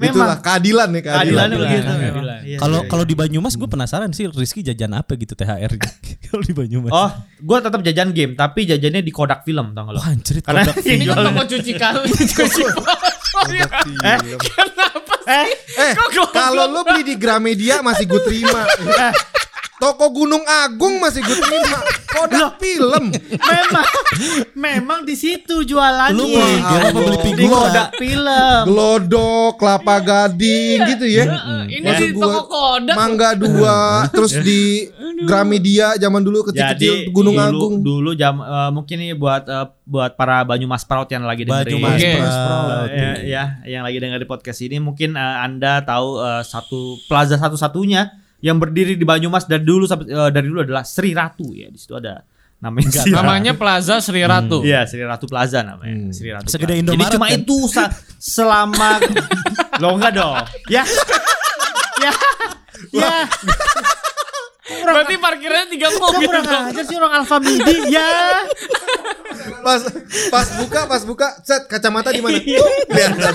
[SPEAKER 4] Itulah
[SPEAKER 3] Memang
[SPEAKER 4] keadilan nih keadilan.
[SPEAKER 3] keadilannya begitu. memang.
[SPEAKER 1] Keadilan.
[SPEAKER 3] Iya.
[SPEAKER 2] Kalau kalau di Banyumas gue penasaran sih Rizky jajan apa gitu THR kalau di Banyumas.
[SPEAKER 3] Oh, gue tetap jajan game, tapi jajannya di Kodak Film, tau gak lo?
[SPEAKER 2] Wah, anjir
[SPEAKER 3] Karena
[SPEAKER 2] produk
[SPEAKER 1] Ini
[SPEAKER 3] ini kan
[SPEAKER 1] kan toko cuci kali, cuci kotor ya.
[SPEAKER 4] Iya.
[SPEAKER 1] Kenapa?
[SPEAKER 3] eh,
[SPEAKER 4] Eh, kalau lo beli di Gramedia masih gue terima.
[SPEAKER 3] eh,
[SPEAKER 4] Toko Gunung Agung masih gue terima. Kodak film.
[SPEAKER 3] memang, memang di situ jualannya.
[SPEAKER 2] Lu beli game apa beli
[SPEAKER 3] di
[SPEAKER 2] figura?
[SPEAKER 3] Kodak Film.
[SPEAKER 4] Glodok, kelapa gading gitu ya.
[SPEAKER 1] Ini
[SPEAKER 4] Maksud
[SPEAKER 1] di
[SPEAKER 4] gua,
[SPEAKER 1] toko kodak.
[SPEAKER 4] Mangga dua, terus di Gramedia zaman dulu kecil-kecil Gunung
[SPEAKER 3] dulu,
[SPEAKER 4] Agung.
[SPEAKER 3] dulu jam eh, mungkin ini buat eh, buat para Banyumas Proud yang lagi dengerin.
[SPEAKER 2] Banyumas
[SPEAKER 1] Oke.
[SPEAKER 2] Proud.
[SPEAKER 3] Eh, ya, ya, yang lagi dengerin podcast ini mungkin eh, Anda tahu eh, satu plaza satu-satunya yang berdiri di Banyumas dari dulu sampai eh, dari dulu adalah Sri Ratu ya. Di situ ada namanya Sri Ratu.
[SPEAKER 1] Namanya Plaza Sri Ratu.
[SPEAKER 3] Iya, Sri Ratu Plaza namanya. Sri Ratu.
[SPEAKER 2] Segede
[SPEAKER 3] Plaza.
[SPEAKER 2] Indomaret,
[SPEAKER 3] Jadi cuma
[SPEAKER 2] kan?
[SPEAKER 3] itu sa- selama lo enggak dong. Ya. ya. Ya.
[SPEAKER 1] Berarti parkirnya tiga
[SPEAKER 3] Kok
[SPEAKER 1] mobil.
[SPEAKER 3] kurang ajar sih orang Alfamidi ya.
[SPEAKER 4] Pas pas buka, pas buka, set kacamata di mana? Tuh, kelihatan.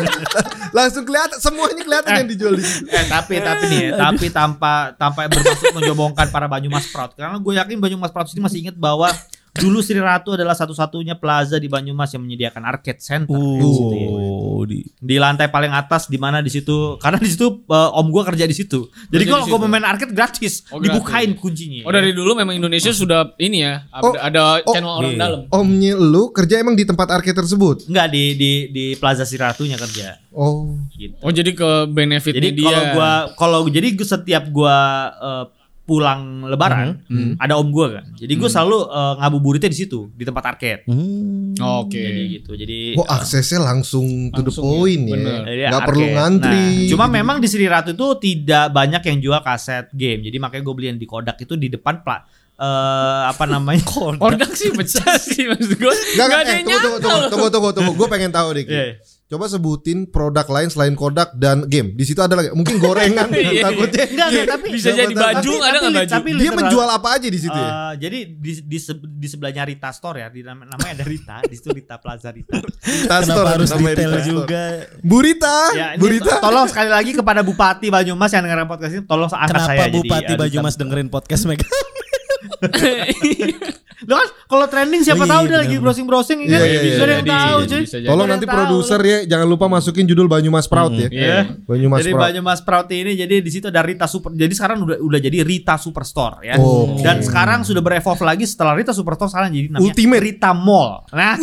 [SPEAKER 4] Langsung kelihatan semuanya kelihatan yang dijual di situ.
[SPEAKER 3] Eh, tapi tapi nih, ya, tapi tanpa tanpa bermaksud menjobongkan para Banyumas Proud. Karena gue yakin Banyumas Proud ini masih ingat bahwa dulu Sri Ratu adalah satu-satunya plaza di Banyumas yang menyediakan arcade center di situ ya.
[SPEAKER 2] Oh, di
[SPEAKER 3] Di lantai paling atas di mana di situ karena di situ eh, om gue kerja di situ. Jadi
[SPEAKER 1] Kerja
[SPEAKER 3] kalau
[SPEAKER 1] di
[SPEAKER 3] gue
[SPEAKER 1] situ.
[SPEAKER 3] mau main arcade gratis,
[SPEAKER 1] Oh, gratis.
[SPEAKER 3] dibukain kuncinya.
[SPEAKER 1] Oh dari dulu memang Indonesia sudah ini ya ada,
[SPEAKER 4] Oh,
[SPEAKER 1] ada
[SPEAKER 4] oh,
[SPEAKER 1] channel orang
[SPEAKER 2] iya.
[SPEAKER 1] dalam.
[SPEAKER 4] Omnya lu kerja emang di tempat arcade tersebut.
[SPEAKER 3] Enggak di di di Plaza Siratunya kerja.
[SPEAKER 4] Oh.
[SPEAKER 3] Gitu.
[SPEAKER 1] Oh jadi ke benefitnya
[SPEAKER 3] Jadi
[SPEAKER 1] dia.
[SPEAKER 3] kalau gua kalau jadi gua setiap gua eh, pulang lebaran
[SPEAKER 1] Mhm.
[SPEAKER 3] ada om gua kan. Jadi gua selalu eh, ngabuburitnya di situ di tempat arcade.
[SPEAKER 1] Mhm.
[SPEAKER 2] Hmm.
[SPEAKER 1] Oke.
[SPEAKER 3] Jadi gitu. Jadi
[SPEAKER 4] Wah aksesnya langsung, to the
[SPEAKER 1] Langsung ya,
[SPEAKER 4] point ya.
[SPEAKER 1] bener.
[SPEAKER 3] jadi
[SPEAKER 4] Nggak
[SPEAKER 3] arcade.
[SPEAKER 4] perlu ngantri.
[SPEAKER 3] iya. Nah, cuma memang di Sri Ratu itu tidak banyak yang jual kaset game. Jadi makanya gue beli yang di Kodak itu di depan pla eh, apa namanya? Kodak.
[SPEAKER 1] Ordak sih pecah sih maksud gue.
[SPEAKER 4] Nggak,
[SPEAKER 1] Gak
[SPEAKER 4] nggak,
[SPEAKER 1] ada
[SPEAKER 4] eh,
[SPEAKER 1] yang
[SPEAKER 4] tunggu, tunggu,
[SPEAKER 1] nyangka
[SPEAKER 4] tunggu,
[SPEAKER 1] loh.
[SPEAKER 4] tunggu, tunggu, tunggu. Gue pengen tahu deh. Ki.
[SPEAKER 3] Iya.
[SPEAKER 4] Coba sebutin produk lain selain Kodak dan game. Di situ ada lagi. Mungkin gorengan kan, takutnya.
[SPEAKER 3] Enggak, enggak, tapi
[SPEAKER 1] Iya, Bisa jadi
[SPEAKER 4] Tapi-
[SPEAKER 1] baju ada nggak baju?
[SPEAKER 4] Iya, Dia
[SPEAKER 3] literal-
[SPEAKER 4] menjual apa aja di situ ya?
[SPEAKER 3] Eh, jadi di, di, se- di sebelahnya Rita Store ya, di nam- namanya ada Rita, di situ Rita Plaza Rita.
[SPEAKER 2] Kenapa harus
[SPEAKER 4] namanya
[SPEAKER 2] detail
[SPEAKER 4] Tastor.
[SPEAKER 2] juga?
[SPEAKER 4] Burita,
[SPEAKER 3] Ya, ini
[SPEAKER 4] Burita.
[SPEAKER 3] to- tolong sekali lagi kepada Bupati Banyumas yang dengar podcast ini, tolong angkat
[SPEAKER 2] Kenapa
[SPEAKER 3] saya jadi,
[SPEAKER 2] Bupati
[SPEAKER 3] eh,
[SPEAKER 2] Banyumas
[SPEAKER 3] Duta.
[SPEAKER 2] dengerin podcast Mega?
[SPEAKER 3] Loh kan kalau trending siapa
[SPEAKER 2] Oh, iya,
[SPEAKER 3] tahu dia
[SPEAKER 2] benar,
[SPEAKER 3] lagi
[SPEAKER 2] benar.
[SPEAKER 3] browsing-browsing ini
[SPEAKER 4] Iya,
[SPEAKER 3] kan
[SPEAKER 4] iya, iya,
[SPEAKER 3] nggak ada yang
[SPEAKER 1] jadi,
[SPEAKER 3] tahu
[SPEAKER 1] jadi,
[SPEAKER 3] cuy.
[SPEAKER 1] bisa jadi.
[SPEAKER 4] Tolong
[SPEAKER 3] Jangan
[SPEAKER 4] nanti
[SPEAKER 3] tahu.
[SPEAKER 4] produser ya jangan lupa masukin judul Banyumas Proud
[SPEAKER 2] Hmm,
[SPEAKER 4] ya.
[SPEAKER 1] Iya.
[SPEAKER 4] Banyumas
[SPEAKER 3] Jadi
[SPEAKER 4] Proud.
[SPEAKER 3] Banyumas Proud ini jadi di situ ada Rita Super. Jadi sekarang udah udah jadi Rita Superstore ya.
[SPEAKER 4] Oke.
[SPEAKER 3] Dan sekarang sudah berevolve lagi setelah Rita Superstore sekarang jadi namanya
[SPEAKER 4] Ultimate.
[SPEAKER 3] Rita Mall. Nah,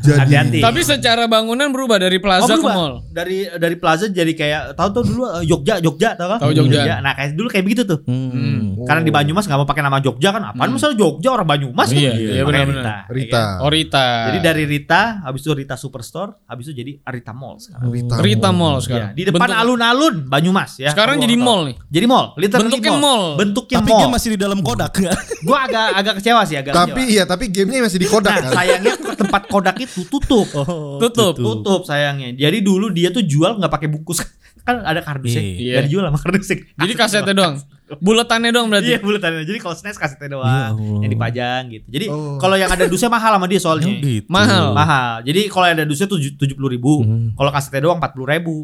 [SPEAKER 4] Jadi-
[SPEAKER 3] hati-hati.
[SPEAKER 1] Tapi secara bangunan berubah dari
[SPEAKER 3] Oh,
[SPEAKER 1] plaza ke
[SPEAKER 3] berubah.
[SPEAKER 1] mall.
[SPEAKER 3] Dari dari plaza jadi kayak tahu tuh dulu eh, Jogja, Jogja tahu kan?
[SPEAKER 1] Tahu Jogja.
[SPEAKER 3] Nah, kayak dulu kayak begitu tuh.
[SPEAKER 2] Hmm.
[SPEAKER 3] Karena di Banyumas nggak mau pakai nama Jogja kan? Apaan misalnya Jogja orang Banyumas?
[SPEAKER 1] Hmm. Iya,
[SPEAKER 3] kan?
[SPEAKER 1] iya,
[SPEAKER 3] Makanya
[SPEAKER 1] benar-benar.
[SPEAKER 3] Rita. kan?
[SPEAKER 4] Rita.
[SPEAKER 1] Orita.
[SPEAKER 3] Nah. Jadi dari Rita, habis itu Rita Superstore, habis itu jadi Rita Mall sekarang.
[SPEAKER 4] Rita.
[SPEAKER 1] Rita Mall
[SPEAKER 3] Ya,
[SPEAKER 1] sekarang.
[SPEAKER 3] di depan
[SPEAKER 1] Bentuk-
[SPEAKER 3] alun-alun Banyumas ya.
[SPEAKER 1] Sekarang
[SPEAKER 3] Kalau
[SPEAKER 1] jadi
[SPEAKER 3] orang
[SPEAKER 1] mall
[SPEAKER 3] tahu.
[SPEAKER 1] nih.
[SPEAKER 3] Jadi mall, literally
[SPEAKER 1] Bentuknya mall.
[SPEAKER 3] Bentuknya
[SPEAKER 2] Tapi
[SPEAKER 3] mall.
[SPEAKER 2] dia masih di dalam Kodak ya? nggak?
[SPEAKER 3] Gua agak agak kecewa sih agak
[SPEAKER 4] Tapi
[SPEAKER 3] kecewa.
[SPEAKER 4] iya, tapi gamenya masih di Kodak
[SPEAKER 3] Nah,
[SPEAKER 4] kan.
[SPEAKER 3] sayangnya tempat Kodak itu tutup.
[SPEAKER 2] Oh,
[SPEAKER 1] Tutup.
[SPEAKER 3] Tutup sayangnya. Jadi dulu dia tuh jual nggak pakai bungkus. Kan ada kardusnya.
[SPEAKER 2] Iya.
[SPEAKER 3] Nggak dijual sama kardusnya.
[SPEAKER 1] Jadi kasetnya doang. Buletannya doang berarti.
[SPEAKER 3] Iya buletannya. Jadi kalau SNES kasetnya doang
[SPEAKER 2] Ya Allah.
[SPEAKER 3] yang dipajang gitu. Jadi
[SPEAKER 4] Oh.
[SPEAKER 3] kalau yang ada dusnya mahal sama dia soalnya.
[SPEAKER 2] Oh, gitu.
[SPEAKER 1] Mahal.
[SPEAKER 3] Mahal. Jadi kalau yang ada dusnya tujuh puluh ribu,
[SPEAKER 2] Hmm.
[SPEAKER 3] kalau kasetnya doang empat puluh ribu.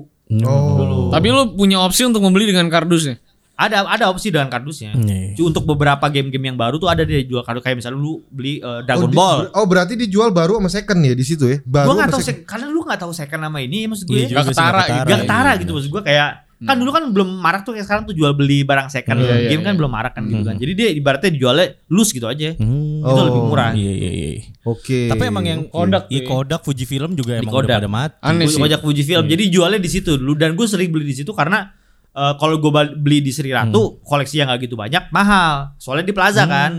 [SPEAKER 4] Oh.
[SPEAKER 1] Tapi lu punya opsi untuk membeli dengan ya? kardusnya.
[SPEAKER 3] Ada ada opsi dengan kardusnya.
[SPEAKER 2] Iya.
[SPEAKER 3] Cu- Untuk beberapa game-game yang baru tuh ada dia jual kardus kayak misalnya lu beli eh, Dragon
[SPEAKER 4] oh, di-
[SPEAKER 3] Ball.
[SPEAKER 4] oh, berarti dijual baru sama second ya di situ ya? Baru
[SPEAKER 3] Gua nggak
[SPEAKER 4] sama
[SPEAKER 3] tahu
[SPEAKER 4] second.
[SPEAKER 3] sek- karena lu nggak tahu second nama ini maksud
[SPEAKER 2] Iya
[SPEAKER 3] gue.
[SPEAKER 2] juga sih,
[SPEAKER 1] ketara
[SPEAKER 2] nggak
[SPEAKER 1] gitu.
[SPEAKER 3] Gak ketara
[SPEAKER 2] iya.
[SPEAKER 3] gitu maksud gue kayak kan dulu kan belum marak tuh kayak sekarang tuh jual beli barang second
[SPEAKER 1] Iya, iya,
[SPEAKER 3] game kan
[SPEAKER 1] iya.
[SPEAKER 3] belum marak kan gitu kan. Jadi dia ibaratnya dijualnya loose gitu aja.
[SPEAKER 2] Hmm.
[SPEAKER 3] Itu
[SPEAKER 4] Oh.
[SPEAKER 3] lebih murah.
[SPEAKER 2] Iya iya iya.
[SPEAKER 4] Oke.
[SPEAKER 2] Tapi emang yang
[SPEAKER 1] Kodak
[SPEAKER 2] Iya,
[SPEAKER 1] tuh ya.
[SPEAKER 2] Kodak Fuji Film juga emang
[SPEAKER 3] Kodak.
[SPEAKER 2] udah pada mati.
[SPEAKER 1] Aneh sih.
[SPEAKER 3] Gue ajak Fuji Film. Jadi jualnya di situ dulu dan gue sering beli di situ karena eh, kalau gue bal- beli di Sri Ratu koleksi yang gak gitu banyak mahal. Soalnya di Plaza kan.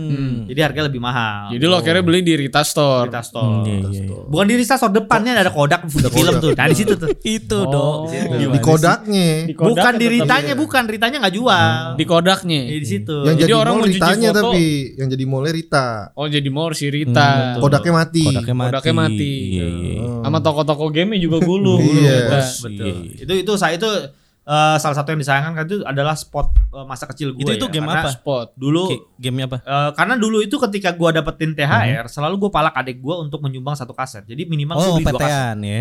[SPEAKER 3] Jadi harganya lebih mahal.
[SPEAKER 1] Jadi lo akhirnya beli di Rita Store.
[SPEAKER 3] Rita Store.
[SPEAKER 2] Iya, iya, iya.
[SPEAKER 3] Bukan di Rita Store depannya ada Kodak Fuji Film tuh. Nah, di situ tuh.
[SPEAKER 1] Oh.
[SPEAKER 2] Itu dong.
[SPEAKER 1] Di situ.
[SPEAKER 2] Gimana
[SPEAKER 4] di Kodaknya.
[SPEAKER 3] Bukan di Ritanya, bukan Ritanya nggak jual.
[SPEAKER 1] Hmm. Di Kodaknya.
[SPEAKER 3] Iya, Di situ.
[SPEAKER 4] Yang jadi,
[SPEAKER 1] Jadi orang
[SPEAKER 4] mall
[SPEAKER 1] mau jijik
[SPEAKER 4] Ritanya
[SPEAKER 1] foto.
[SPEAKER 4] tapi yang jadi mallnya Rita.
[SPEAKER 1] Oh jadi mall si Rita.
[SPEAKER 2] Hmm, betul.
[SPEAKER 4] Kodaknya mati.
[SPEAKER 2] sih? Kodaknya mati.
[SPEAKER 1] Kodaknya mati.
[SPEAKER 2] Iya iya. iya.
[SPEAKER 3] Oh.
[SPEAKER 1] Sama toko-toko game juga gulung.
[SPEAKER 4] Iya.
[SPEAKER 1] Nah,
[SPEAKER 2] Iya,
[SPEAKER 3] Betul.
[SPEAKER 2] iya.
[SPEAKER 3] Itu itu saya itu eh, salah satu yang disayangkan kan itu adalah spot eh, masa kecil gue.
[SPEAKER 2] Itu- itu
[SPEAKER 3] ya.
[SPEAKER 2] game
[SPEAKER 3] Karena
[SPEAKER 2] apa?
[SPEAKER 1] Spot.
[SPEAKER 3] Dulu
[SPEAKER 2] Ki- Gamenya apa?
[SPEAKER 3] eh, karena dulu itu ketika gue dapetin THR, selalu gue palak adik gue untuk menyumbang satu kaset. Jadi minimal gue
[SPEAKER 2] Hmm. Oh,
[SPEAKER 3] beli dua kaset.
[SPEAKER 2] PTN ya.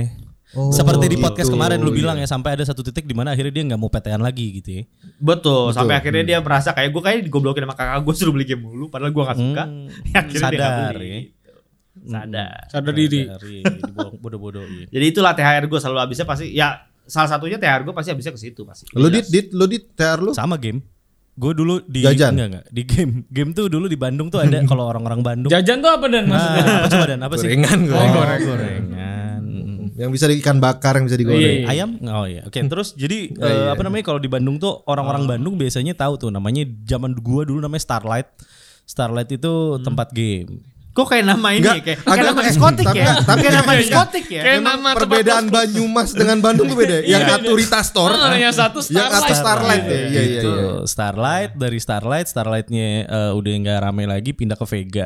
[SPEAKER 4] Oh,
[SPEAKER 2] Seperti di
[SPEAKER 4] gitu.
[SPEAKER 2] podcast kemarin lu
[SPEAKER 4] Iya.
[SPEAKER 2] bilang ya sampai ada satu titik di mana akhirnya dia nggak mau PTN lagi gitu ya.
[SPEAKER 3] Betul,
[SPEAKER 4] Betul.
[SPEAKER 3] sampai
[SPEAKER 2] Hmm.
[SPEAKER 3] akhirnya dia merasa kayak gue kayak digoblokin sama kakak gue suruh beli game mulu padahal gue gak suka.
[SPEAKER 2] Hmm.
[SPEAKER 3] akhirnya dia nggak
[SPEAKER 2] Sadar
[SPEAKER 3] beli. Gitu.
[SPEAKER 2] ya. Hmm.
[SPEAKER 3] Sadar.
[SPEAKER 1] Sadar diri.
[SPEAKER 2] Sadar, iya, iya. Dibodoh- Bodoh-bodohin.
[SPEAKER 3] Jadi itulah THR gue selalu habisnya pasti ya salah satunya THR gue pasti habisnya ke situ pasti.
[SPEAKER 4] Lu dit
[SPEAKER 3] Jelas.
[SPEAKER 4] dit lu dit TR lu.
[SPEAKER 2] Sama game. Gue dulu di
[SPEAKER 4] Jajan.
[SPEAKER 2] enggak, enggak. di game. Game tuh dulu di Bandung tuh ada kalau orang-orang
[SPEAKER 3] iya.
[SPEAKER 2] Bandung.
[SPEAKER 1] Jajan tuh apa dan maksudnya?
[SPEAKER 2] Nah, apa coba dan apa sih?
[SPEAKER 4] Gorengan,
[SPEAKER 2] Oh,
[SPEAKER 4] gorengan.
[SPEAKER 2] gorengan.
[SPEAKER 4] Mm, Yang bisa di ikan bakar yang bisa digoreng.
[SPEAKER 1] Iya.
[SPEAKER 2] Ayam? Oh iya. Oke,
[SPEAKER 4] Hmm.
[SPEAKER 2] terus jadi
[SPEAKER 4] Oh,
[SPEAKER 2] eh,
[SPEAKER 4] iya.
[SPEAKER 2] apa namanya kalau di Bandung tuh orang-orang
[SPEAKER 4] Ah.
[SPEAKER 2] Bandung biasanya tahu tuh namanya zaman gua dulu namanya Starlight. Starlight itu tempat game.
[SPEAKER 3] Kok kayak nama ini
[SPEAKER 4] Nggak,
[SPEAKER 3] ya? kayak,
[SPEAKER 4] ada-
[SPEAKER 3] kayak nama diskotik
[SPEAKER 4] tapi-
[SPEAKER 3] ya?
[SPEAKER 4] tapi-
[SPEAKER 3] kayak nama diskotik ya?
[SPEAKER 1] Kayak
[SPEAKER 4] Emang
[SPEAKER 1] nama tempat
[SPEAKER 4] perbedaan Banyumas dengan Bandung tuh beda. ya. Yang
[SPEAKER 1] Iya,
[SPEAKER 4] satu Rita Store,
[SPEAKER 1] Oh, yang satu
[SPEAKER 4] yang satu
[SPEAKER 1] Starlight.
[SPEAKER 4] Starlight. ya. Iya iya
[SPEAKER 2] Gitu.
[SPEAKER 4] iya.
[SPEAKER 2] Starlight dari Starlight, Starlightnya eh, udah nggak rame lagi pindah ke Vega.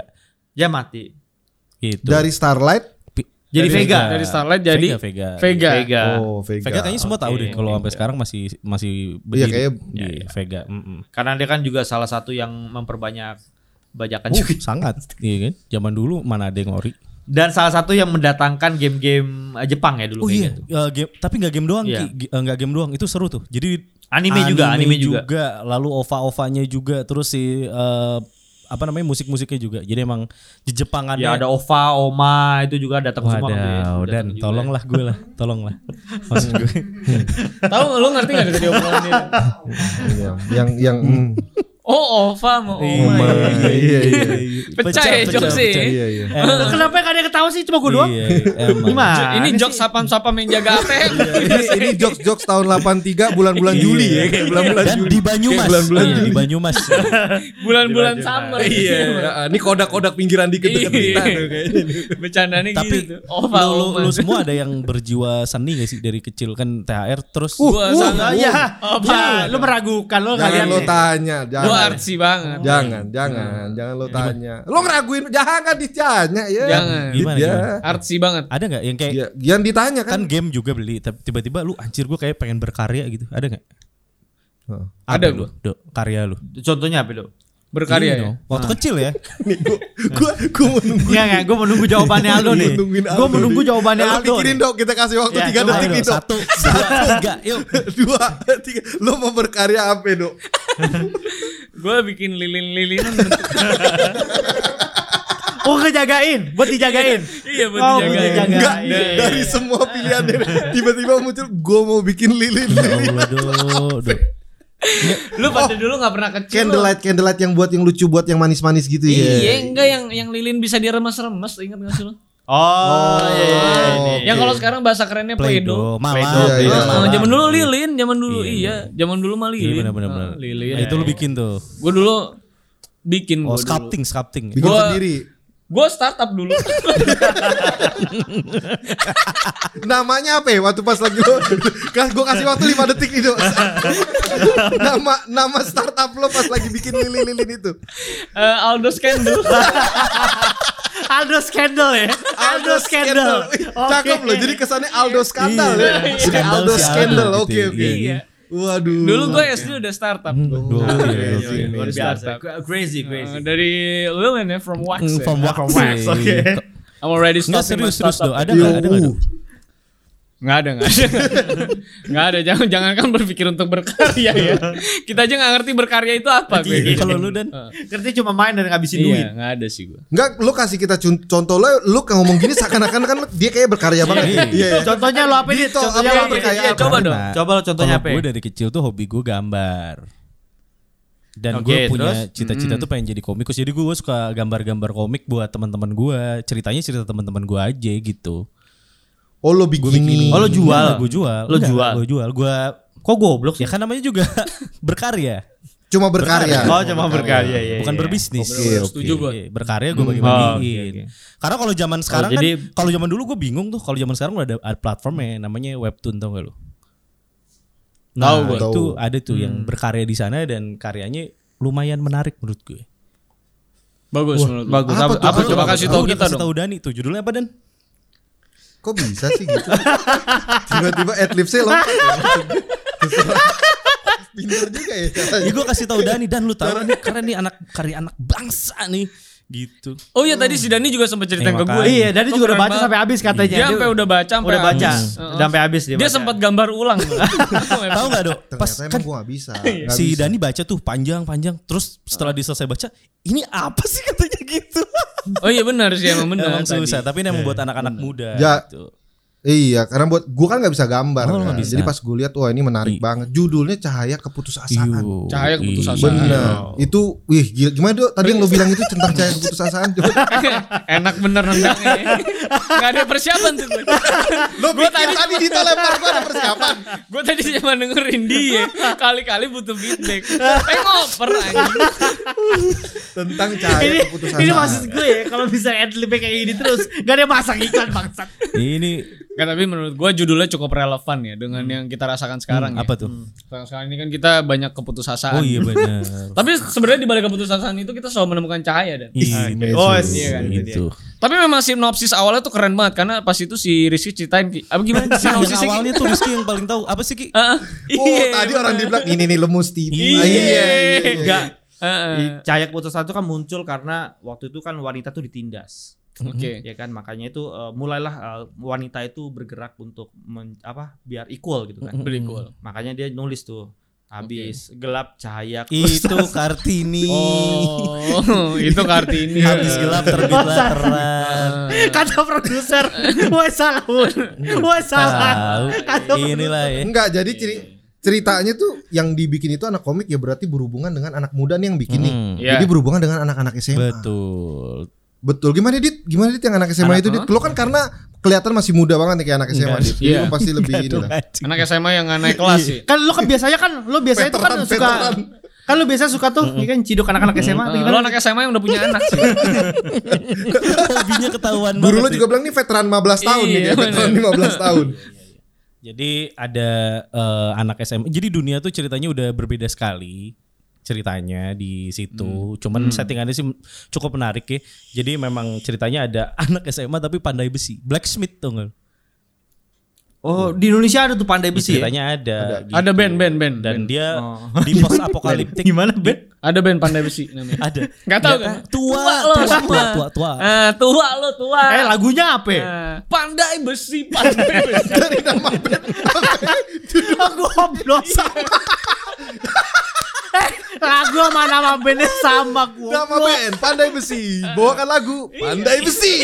[SPEAKER 3] Ya mati.
[SPEAKER 2] Gitu.
[SPEAKER 4] Dari Starlight
[SPEAKER 2] Pi-
[SPEAKER 3] Jadi
[SPEAKER 1] Dari-
[SPEAKER 3] Vega.
[SPEAKER 1] Dari Starlight jadi
[SPEAKER 2] Vega, Vega.
[SPEAKER 1] Vega.
[SPEAKER 3] Vega.
[SPEAKER 4] Oh, Vega.
[SPEAKER 2] Vega kayaknya semua tahu
[SPEAKER 3] Oke,
[SPEAKER 2] deh kalau sampai sekarang masih masih
[SPEAKER 4] Iya,
[SPEAKER 2] berdiri.
[SPEAKER 4] kayaknya-
[SPEAKER 2] Iya, iya, Vega. mm-mm.
[SPEAKER 3] Karena dia kan juga salah satu yang memperbanyak bajakan
[SPEAKER 2] Oh,
[SPEAKER 3] juga.
[SPEAKER 2] sangat, iya kan? Zaman dulu mana ada yang ori?
[SPEAKER 3] Dan salah satu yang mendatangkan game-game eh, Jepang ya dulu
[SPEAKER 2] Oh iya,
[SPEAKER 3] kayaknya tuh.
[SPEAKER 2] Eh, game, tapi nggak game doang,
[SPEAKER 3] Iya.
[SPEAKER 2] Ki. G- eh, nggak game doang. Itu seru tuh. Jadi
[SPEAKER 3] Anime juga, anime juga.
[SPEAKER 2] lalu ova-ovanya juga, terus si eh, apa namanya musik-musiknya juga. Jadi emang di Jepangannya
[SPEAKER 3] Ya ada OVA, OMA itu juga datang semua kan dia.
[SPEAKER 2] Wadaw,
[SPEAKER 3] Datang
[SPEAKER 2] dan
[SPEAKER 3] juga.
[SPEAKER 2] tolonglah gue lah, tolonglah. Maksud gue.
[SPEAKER 1] Tahu lu ngerti enggak dari obrolan ini?
[SPEAKER 4] Iya. yang yang mm.
[SPEAKER 1] Oh, Ova mau Oma.
[SPEAKER 4] Iya, iya, iya.
[SPEAKER 1] Pecah ya, jokes sih.
[SPEAKER 4] Iya iya.
[SPEAKER 3] Loh, Kenapa yang ada yang ketawa sih cuma gue doang?
[SPEAKER 2] Iya, emang.
[SPEAKER 3] Gimana?
[SPEAKER 1] Ini
[SPEAKER 3] sih?
[SPEAKER 1] jok sapam-sapam yang jaga ATM.
[SPEAKER 4] ini, ini jokes-jokes tahun 83 bulan-bulan
[SPEAKER 1] Iya.
[SPEAKER 4] Juli ya kayak bulan-bulan
[SPEAKER 2] Dan
[SPEAKER 4] Juli.
[SPEAKER 2] di Banyumas.
[SPEAKER 4] Kayak bulan-bulan
[SPEAKER 2] Iya, di
[SPEAKER 4] Juli.
[SPEAKER 2] Banyumas.
[SPEAKER 1] Bulan-bulan summer.
[SPEAKER 4] Iya, ini kodak-kodak pinggiran dikit
[SPEAKER 1] Iya.
[SPEAKER 4] dekat kita tuh kayaknya.
[SPEAKER 1] Bercandanya
[SPEAKER 2] Tapi
[SPEAKER 1] gitu.
[SPEAKER 2] lu, lu, lu semua ada yang berjiwa seni gak sih dari kecil kan THR terus
[SPEAKER 1] Gua
[SPEAKER 3] Uh,
[SPEAKER 1] sangat
[SPEAKER 3] ya,
[SPEAKER 1] Apa?
[SPEAKER 3] ya, lu meragukan lo
[SPEAKER 4] Jangan
[SPEAKER 3] kalian.
[SPEAKER 4] lo
[SPEAKER 3] nih.
[SPEAKER 4] tanya, jangan.
[SPEAKER 1] Gua artsy banget.
[SPEAKER 4] Jangan, jangan, jangan lo tanya. Lo ngeraguin, jangan ditanya ya.
[SPEAKER 1] Jangan.
[SPEAKER 2] Gimana,
[SPEAKER 4] Dia-
[SPEAKER 2] gimana?
[SPEAKER 1] Artsy banget.
[SPEAKER 2] Ada nggak yang kayak
[SPEAKER 4] Ya, yang ditanya
[SPEAKER 2] kan
[SPEAKER 4] kan.
[SPEAKER 2] game juga beli tapi tiba-tiba lu anjir gue kayak pengen berkarya gitu. Ada nggak?
[SPEAKER 4] Heeh.
[SPEAKER 1] Ada
[SPEAKER 2] lu,
[SPEAKER 1] gua.
[SPEAKER 2] Dok, karya lu.
[SPEAKER 3] Contohnya apa lo?
[SPEAKER 1] Berkarya
[SPEAKER 2] Iya
[SPEAKER 1] ya.
[SPEAKER 2] dong. Waktu kecil ya.
[SPEAKER 4] Nih gua gua gua mau nunggu-
[SPEAKER 3] Iya nggak? Gue menunggu jawabannya Aldo nih.
[SPEAKER 4] nungguin Aldo
[SPEAKER 3] Gue menunggu
[SPEAKER 4] nih.
[SPEAKER 3] jawabannya
[SPEAKER 4] Lo
[SPEAKER 3] Aldo.
[SPEAKER 4] Pikirin
[SPEAKER 3] nih.
[SPEAKER 4] dok, kita kasih waktu
[SPEAKER 3] Ya,
[SPEAKER 4] tiga
[SPEAKER 3] coba
[SPEAKER 4] detik
[SPEAKER 2] Ayo,
[SPEAKER 4] nih dok.
[SPEAKER 2] satu, dua, tiga, yuk.
[SPEAKER 4] Dua, tiga. Lo mau berkarya apa dok?
[SPEAKER 1] Gue bikin lilin-lilinan bentuk-
[SPEAKER 3] Oh ngejagain, buat dijagain.
[SPEAKER 1] Iya buat
[SPEAKER 3] Oh, buat
[SPEAKER 1] dijagain.
[SPEAKER 3] dijagain.
[SPEAKER 4] Enggak,
[SPEAKER 3] iya, iya.
[SPEAKER 4] dari semua pilihan ini, tiba-tiba muncul gue mau bikin lilin.
[SPEAKER 2] Ya Allah, Dok, Dok.
[SPEAKER 1] Lu pada dulu gak pernah kecil.
[SPEAKER 4] Candlelight, candlelight yang buat yang lucu, buat yang manis-manis gitu
[SPEAKER 1] lu.
[SPEAKER 4] ya.
[SPEAKER 1] Iya, enggak yang yang lilin bisa diremes-remes, ingat gak sih lu?
[SPEAKER 3] Oh, iya, iya, iya.
[SPEAKER 1] Yang kalau sekarang bahasa kerennya Play-Doh.
[SPEAKER 2] Play-Doh, mama.
[SPEAKER 3] Play-Doh,
[SPEAKER 4] Iya, iya.
[SPEAKER 1] Heeh,
[SPEAKER 2] mama.
[SPEAKER 1] zaman dulu lilin, zaman dulu iya, zaman dulu mah
[SPEAKER 2] Iya,
[SPEAKER 1] lilin.
[SPEAKER 2] benar benar benar.
[SPEAKER 1] Heeh, lilin.
[SPEAKER 2] Nah, itu lu bikin tuh.
[SPEAKER 1] Gue dulu bikin
[SPEAKER 2] Oh,
[SPEAKER 1] gue dulu.
[SPEAKER 2] sculpting, sculpting.
[SPEAKER 4] Bikin
[SPEAKER 1] Gua-
[SPEAKER 4] sendiri.
[SPEAKER 1] Gue startup dulu.
[SPEAKER 4] Namanya apa ya? Waktu pas lagi lo, gue kasih waktu 5 detik itu. nama nama startup lo pas lagi bikin lilin-lilin itu.
[SPEAKER 1] Eh, Aldo Scandal.
[SPEAKER 3] Aldo Scandal ya. Aldo Scandal.
[SPEAKER 4] Wih,
[SPEAKER 3] Oke.
[SPEAKER 4] Cakep loh. Jadi kesannya Aldo skandal ya.
[SPEAKER 2] Iya.
[SPEAKER 4] Jadi
[SPEAKER 2] Skandal si Aldo
[SPEAKER 4] Aldo skandal.
[SPEAKER 2] gitu.
[SPEAKER 4] Oke oke.
[SPEAKER 1] Iya.
[SPEAKER 4] Waduh.
[SPEAKER 1] dulu gue
[SPEAKER 3] Hmm,
[SPEAKER 1] SD udah startup.
[SPEAKER 2] Gokil,
[SPEAKER 4] Iya,
[SPEAKER 2] gokil.
[SPEAKER 4] iya,
[SPEAKER 3] luar biasa. Crazy,
[SPEAKER 1] Eh,
[SPEAKER 3] crazy.
[SPEAKER 1] dari Lilin ya, from Wax.
[SPEAKER 2] Hmm,
[SPEAKER 1] ya.
[SPEAKER 2] From wax.
[SPEAKER 3] oke.
[SPEAKER 1] I'm already
[SPEAKER 2] Enggak
[SPEAKER 1] starting
[SPEAKER 2] serius serius Dok. Ada
[SPEAKER 4] Yo.
[SPEAKER 2] enggak? Ada enggak? Dok?
[SPEAKER 1] Nggak ada, nggak ada. nggak ada, jangan jangan kan berpikir untuk berkarya ya. Kita aja nggak ngerti berkarya itu apa. gue
[SPEAKER 2] Iya,
[SPEAKER 1] kira.
[SPEAKER 2] Kalau lu dan
[SPEAKER 1] Heeh.
[SPEAKER 3] Ngerti cuma main dan ngabisin duit.
[SPEAKER 1] Iya, nggak ada sih gue.
[SPEAKER 4] Enggak, lu kasih kita cun- contoh lo, lu kan ngomong gini seakan-akan kan dia kayak berkarya banget.
[SPEAKER 2] Iya.
[SPEAKER 4] Iya.
[SPEAKER 3] Contohnya lo apa nih?
[SPEAKER 4] Dito, apa
[SPEAKER 3] Contohnya lo
[SPEAKER 4] yang
[SPEAKER 3] apa?
[SPEAKER 4] percaya?
[SPEAKER 1] Iya, coba dong.
[SPEAKER 2] Karena
[SPEAKER 3] Coba lo contohnya apa? ya?
[SPEAKER 2] Gue dari kecil tuh hobi gue gambar. Dan
[SPEAKER 3] Oke,
[SPEAKER 2] gue punya
[SPEAKER 3] terus? Hmm.
[SPEAKER 2] cita-cita tuh pengen jadi komikus. Jadi gue suka gambar-gambar komik buat teman-teman gue. Ceritanya cerita teman-teman gue aja gitu.
[SPEAKER 4] Oh lo
[SPEAKER 2] Gue
[SPEAKER 4] bikini.
[SPEAKER 3] Oh, lo jual?
[SPEAKER 2] Gue jual.
[SPEAKER 3] Lo jual?
[SPEAKER 2] Gue jual. Gue
[SPEAKER 3] Kok goblok
[SPEAKER 2] ya
[SPEAKER 3] sih?
[SPEAKER 2] kan namanya juga berkarya,
[SPEAKER 4] Cuma berkarya.
[SPEAKER 3] Oh, cuma berkarya ya.
[SPEAKER 2] Iya. bukan berbisnis.
[SPEAKER 4] Oke, oke.
[SPEAKER 1] Setuju gue.
[SPEAKER 2] Iya, Berkarya
[SPEAKER 1] Hmm.
[SPEAKER 2] gue bagi-bagiin.
[SPEAKER 3] Oh, oke, oke.
[SPEAKER 2] Karena kalau zaman sekarang
[SPEAKER 3] Oh, jadi-
[SPEAKER 2] kan, kalau zaman dulu gue bingung tuh. Kalau zaman sekarang udah ada, ada platformnya namanya webtoon tau gak lu?
[SPEAKER 1] Tahu
[SPEAKER 2] Nah,
[SPEAKER 1] gua.
[SPEAKER 2] itu ada tuh yang berkarya di sana dan karyanya lumayan menarik menurut gue.
[SPEAKER 1] Bagus menurut gue.
[SPEAKER 3] Bagus.
[SPEAKER 4] Apa
[SPEAKER 3] Apa,
[SPEAKER 4] tuh?
[SPEAKER 1] Apa
[SPEAKER 4] Apa
[SPEAKER 1] coba kasih tahu
[SPEAKER 2] Lu udah
[SPEAKER 1] kita
[SPEAKER 2] kasih
[SPEAKER 1] dong.
[SPEAKER 2] tahu Dani tuh judulnya apa Dan?
[SPEAKER 4] Kok bisa sih gitu? Tiba-tiba adlibsnya lo. Pintar juga ya.
[SPEAKER 2] Ya gue kasih tahu Dani dan lu tahu nih keren nih anak karya anak bangsa nih gitu.
[SPEAKER 1] Oh iya tadi si Dani juga sempat cerita
[SPEAKER 2] Eh,
[SPEAKER 1] ke gue.
[SPEAKER 2] makanya.
[SPEAKER 3] Iya, Dani
[SPEAKER 1] Lo Oh,
[SPEAKER 3] juga udah
[SPEAKER 1] keren
[SPEAKER 3] baca
[SPEAKER 1] banget.
[SPEAKER 3] sampai habis katanya.
[SPEAKER 1] Dia sampai Hmm. udah baca, sampai
[SPEAKER 3] udah baca,
[SPEAKER 1] habis.
[SPEAKER 3] udah
[SPEAKER 1] Heeh.
[SPEAKER 3] sampai habis
[SPEAKER 2] Iya,
[SPEAKER 3] dia.
[SPEAKER 1] Dia
[SPEAKER 3] baca.
[SPEAKER 1] sempat gambar ulang.
[SPEAKER 2] Tahu nggak dok?
[SPEAKER 4] Ternyata
[SPEAKER 2] Pas
[SPEAKER 4] emang
[SPEAKER 2] kan
[SPEAKER 4] gue gak bisa. Nggak
[SPEAKER 2] si
[SPEAKER 4] bisa.
[SPEAKER 2] Dani baca tuh panjang-panjang terus setelah diselesai baca ini apa sih katanya gitu.
[SPEAKER 1] Oh iya benar sih emang benar.
[SPEAKER 2] Emang
[SPEAKER 1] tadi. Eh,
[SPEAKER 2] susah Eh, tapi ini emang buat anak-anak muda
[SPEAKER 4] Ya.
[SPEAKER 2] gitu.
[SPEAKER 4] Iya, karena buat gue kan nggak bisa gambar.
[SPEAKER 2] Oh, lo
[SPEAKER 4] kan.
[SPEAKER 2] nggak bisa.
[SPEAKER 4] Jadi pas gue lihat, wah ini
[SPEAKER 2] Iya.
[SPEAKER 4] menarik banget. Judulnya Cahaya Keputusasaan.
[SPEAKER 2] Iyo,
[SPEAKER 1] Cahaya
[SPEAKER 2] iya.
[SPEAKER 1] keputusasaan.
[SPEAKER 4] Bener. Itu, wih, gila. gimana dok? Tadi yang lo bilang itu tentang Cahaya Keputusasaan. Coba
[SPEAKER 1] Enak bener nendangnya. ya. Gak ada persiapan tuh.
[SPEAKER 4] Lo
[SPEAKER 1] Gua
[SPEAKER 4] pikir
[SPEAKER 1] tadi-
[SPEAKER 4] tadi Dito lempar gue ada persiapan
[SPEAKER 1] Gue tadi cuma dengerin dia. Kali-kali butuh feedback. Eh ngoper anjing.
[SPEAKER 4] Tentang cahaya
[SPEAKER 3] ini,
[SPEAKER 4] keputusan
[SPEAKER 3] ini maksud gue ya, kalau bisa adlibnya kayak gini terus, gak ada masang iklan bangsat.
[SPEAKER 2] Ini
[SPEAKER 1] Nggak, tapi menurut gue judulnya cukup relevan ya dengan yang kita rasakan sekarang ya.
[SPEAKER 2] Hmm. apa tuh?
[SPEAKER 1] Sekarang, sekarang ini kan kita banyak keputusasaan.
[SPEAKER 2] Oh iya benar.
[SPEAKER 1] Tapi sebenarnya di balik keputusasaan itu kita selalu menemukan cahaya dan.
[SPEAKER 2] Itu,
[SPEAKER 3] Oh,
[SPEAKER 1] iya kan, itu
[SPEAKER 2] itu.
[SPEAKER 1] Tapi memang sinopsis awalnya tuh keren banget karena pas itu si Rizky ceritain Ki. apa gimana
[SPEAKER 2] Yang
[SPEAKER 1] sinopsisnya? Ki?
[SPEAKER 2] awalnya tuh Rizky yang paling tahu apa sih Ki?
[SPEAKER 1] Heeh.
[SPEAKER 4] Oh
[SPEAKER 2] Iya.
[SPEAKER 4] tadi orang dibilang ini nih lemus tipe
[SPEAKER 1] Iya.
[SPEAKER 3] Enggak.
[SPEAKER 1] Heeh.
[SPEAKER 3] Cahaya keputusan itu kan muncul karena waktu itu kan wanita tuh ditindas.
[SPEAKER 1] Oke.
[SPEAKER 3] Ya kan makanya itu eh, mulailah eh, wanita itu bergerak untuk men- apa biar equal gitu kan.
[SPEAKER 1] Berikut.
[SPEAKER 3] Makanya dia nulis tuh habis gelap cahaya
[SPEAKER 2] Itu Kartini.
[SPEAKER 1] Oh, itu Kartini.
[SPEAKER 2] Habis gelap terbitlah terang.
[SPEAKER 3] kata produser wah salah wah
[SPEAKER 2] Tahu.
[SPEAKER 3] salah kata
[SPEAKER 2] Inilah ya.
[SPEAKER 4] Enggak jadi ciri ceritanya tuh yang dibikin itu anak komik ya berarti berhubungan dengan anak muda nih yang bikin nih
[SPEAKER 2] Hmm,
[SPEAKER 1] Iya.
[SPEAKER 4] Jadi berhubungan dengan anak-anak SMA.
[SPEAKER 2] Betul.
[SPEAKER 4] Betul. Gimana Dit? Gimana Dit yang anak SMA itu Dit? Lo kan karena kelihatan masih muda banget nih kayak anak SMA Dit. Jadi
[SPEAKER 1] Iya.
[SPEAKER 4] lo pasti lebih ini lah.
[SPEAKER 1] Anak SMA yang nggak naik kelas sih.
[SPEAKER 3] kan lu kan biasanya kan lu biasanya tuh kan
[SPEAKER 4] Veteran,
[SPEAKER 3] suka
[SPEAKER 4] veteran.
[SPEAKER 3] kan lu biasanya suka tuh ya kan ciduk anak-anak SMA atau
[SPEAKER 1] Eh,
[SPEAKER 3] gimana
[SPEAKER 1] Lo anak SMA yang udah punya anak sih.
[SPEAKER 2] Hobinya ketahuan
[SPEAKER 4] Guru lo
[SPEAKER 2] banget
[SPEAKER 4] juga bilang nih veteran 15 tahun nih
[SPEAKER 1] Iya,
[SPEAKER 4] kayak veteran 15 tahun.
[SPEAKER 2] Jadi ada eh, anak SMA. Jadi dunia tuh ceritanya udah berbeda sekali. ceritanya di situ. Cuman settingannya sih cukup menarik ya. Jadi memang ceritanya ada anak SMA tapi pandai besi, blacksmith tuh nggak?
[SPEAKER 3] Oh, di Indonesia ada tuh pandai besi ya?
[SPEAKER 2] Ceritanya ada. gitu.
[SPEAKER 1] Ada band, band, band. band.
[SPEAKER 2] Dan dia di post apokaliptik.
[SPEAKER 3] Gimana, Ben?
[SPEAKER 1] ada band pandai besi namanya.
[SPEAKER 2] Ada.
[SPEAKER 1] Gak tahu kan?
[SPEAKER 2] Tua,
[SPEAKER 1] lo
[SPEAKER 2] tua,
[SPEAKER 1] sama.
[SPEAKER 2] tua, tua, tua.
[SPEAKER 1] Ah, tua lo tua.
[SPEAKER 3] Eh, lagunya apa ya?
[SPEAKER 1] Ah, pandai besi, pandai besi.
[SPEAKER 4] Dari nama band
[SPEAKER 3] Goblok sama. lagu sama nama bandnya sama gue.
[SPEAKER 4] Nama band Pandai Besi Bawakan lagu
[SPEAKER 1] Iya.
[SPEAKER 4] Pandai Besi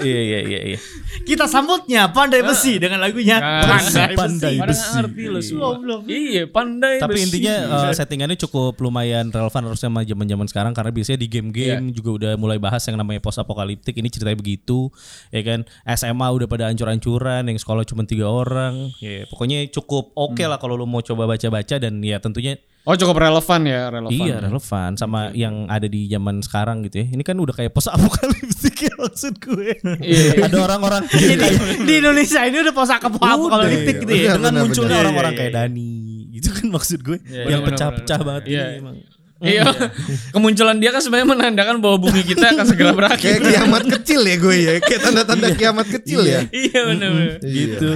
[SPEAKER 2] Iya, iya, iya, iya.
[SPEAKER 3] Kita sambutnya pandai
[SPEAKER 2] Ah.
[SPEAKER 3] besi dengan lagunya
[SPEAKER 1] Pandai
[SPEAKER 2] Pandai
[SPEAKER 1] besi.
[SPEAKER 2] besi.
[SPEAKER 1] Padahal nggak ngerti lo semua.
[SPEAKER 3] Goblok.
[SPEAKER 1] Iya, pandai
[SPEAKER 2] Tapi
[SPEAKER 1] besi. Iya.
[SPEAKER 2] intinya eh, settingannya cukup lumayan relevan harusnya sama zaman-zaman sekarang karena biasanya di game-game
[SPEAKER 1] Iya.
[SPEAKER 2] juga udah mulai bahas yang namanya post apokaliptik ini ceritanya begitu ya kan SMA udah pada ancur-ancuran yang sekolah cuma tiga orang ya pokoknya cukup oke
[SPEAKER 1] Hmm.
[SPEAKER 2] lah kalau lu mau coba baca-baca dan ya tentunya
[SPEAKER 1] Oh, cukup relevan ya, relevan. Iya.
[SPEAKER 2] iya relevan sama yang ada di zaman sekarang gitu ya ini kan udah kayak post apokaliptik ya maksud gue
[SPEAKER 1] Iya.
[SPEAKER 2] ada orang-orang
[SPEAKER 3] Jadi di Indonesia ini udah posa kepala kalau
[SPEAKER 2] politik
[SPEAKER 3] gitu
[SPEAKER 4] Iya,
[SPEAKER 3] ya.
[SPEAKER 2] dengan
[SPEAKER 4] benar,
[SPEAKER 2] munculnya
[SPEAKER 4] benar. Iya,
[SPEAKER 2] orang-orang
[SPEAKER 1] iya.
[SPEAKER 2] kayak Dani gitu kan maksud gue yang
[SPEAKER 1] benar,
[SPEAKER 2] pecah-pecah
[SPEAKER 1] benar,
[SPEAKER 2] banget
[SPEAKER 1] Iya.
[SPEAKER 2] ini emang
[SPEAKER 1] Iya. Kemunculan dia kan sebenarnya menandakan bahwa bumi kita akan segera berakhir.
[SPEAKER 4] Kayak kiamat kecil ya gue ya Kayak tanda-tanda kiamat kecil ya Iya.
[SPEAKER 1] Iya benar. benar.
[SPEAKER 2] gitu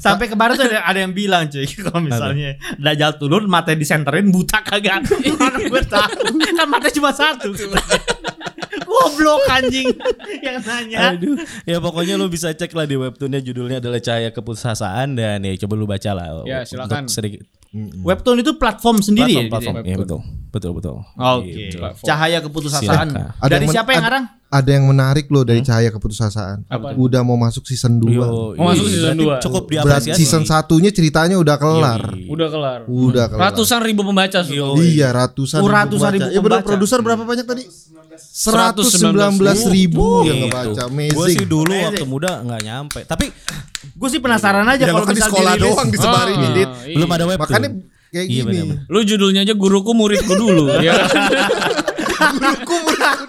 [SPEAKER 3] Sampai kemarin tuh ada, ada yang bilang cuy kalau misalnya Dajjal turun mata disenterin buta kagak. Mana gue tahu. Kan mata cuma satu. Goblok anjing yang nanya.
[SPEAKER 2] Aduh, ya pokoknya lu bisa cek lah di webtoonnya judulnya adalah Cahaya Keputusasaan dan ya coba lu baca lah.
[SPEAKER 1] Ya,
[SPEAKER 2] Untuk
[SPEAKER 1] silakan.
[SPEAKER 2] sedikit
[SPEAKER 3] Webtoon itu platform
[SPEAKER 2] platform,
[SPEAKER 3] sendiri ya?
[SPEAKER 2] platform.
[SPEAKER 1] jadi
[SPEAKER 2] Ya,
[SPEAKER 1] webtoon.
[SPEAKER 2] betul, betul, betul.
[SPEAKER 3] Oke.
[SPEAKER 2] Gitu.
[SPEAKER 3] Cahaya keputusasaan.
[SPEAKER 2] Silakan.
[SPEAKER 4] Iya, Ada
[SPEAKER 3] Dari
[SPEAKER 4] yang men-
[SPEAKER 3] siapa yang
[SPEAKER 4] ad-
[SPEAKER 3] ngarang?
[SPEAKER 4] Ada yang menarik loh dari cahaya keputusasaan
[SPEAKER 1] Apa?
[SPEAKER 4] Udah mau masuk season 2
[SPEAKER 2] Yo,
[SPEAKER 1] Oh, masuk
[SPEAKER 2] iya,
[SPEAKER 1] season
[SPEAKER 2] berarti
[SPEAKER 1] dua.
[SPEAKER 2] Cukup
[SPEAKER 4] Berarti
[SPEAKER 2] diapresiasi. Iya.
[SPEAKER 4] season satunya ceritanya udah kelar
[SPEAKER 2] Gitu.
[SPEAKER 1] Udah kelar.
[SPEAKER 4] Udah kelar
[SPEAKER 1] Iya, Ratusan ribu pembaca sudah.
[SPEAKER 4] Iya ratusan
[SPEAKER 3] Oh, ratusan
[SPEAKER 4] pembaca.
[SPEAKER 3] ribu
[SPEAKER 4] Ya benar
[SPEAKER 3] pembaca.
[SPEAKER 4] produser berapa banyak tadi?
[SPEAKER 1] 119.000.
[SPEAKER 4] 119 ribu yang ngebaca
[SPEAKER 2] Gue Iya. sih
[SPEAKER 4] Amazing
[SPEAKER 2] dulu waktu muda nggak nyampe, tapi
[SPEAKER 1] Oh,
[SPEAKER 3] Gue sih penasaran aja
[SPEAKER 4] Ya
[SPEAKER 3] Iya, kalau
[SPEAKER 4] kan di
[SPEAKER 3] misal
[SPEAKER 4] sekolah
[SPEAKER 3] dirilis-
[SPEAKER 4] doang disebarin
[SPEAKER 3] Ah.
[SPEAKER 4] ini Dit.
[SPEAKER 1] iya.
[SPEAKER 2] belum ada webtoon.
[SPEAKER 4] Makanya kayak
[SPEAKER 2] Iya,
[SPEAKER 4] gini
[SPEAKER 2] benar-benar.
[SPEAKER 1] Lu judulnya aja guruku muridku dulu. ya kan?
[SPEAKER 4] Guruku muridku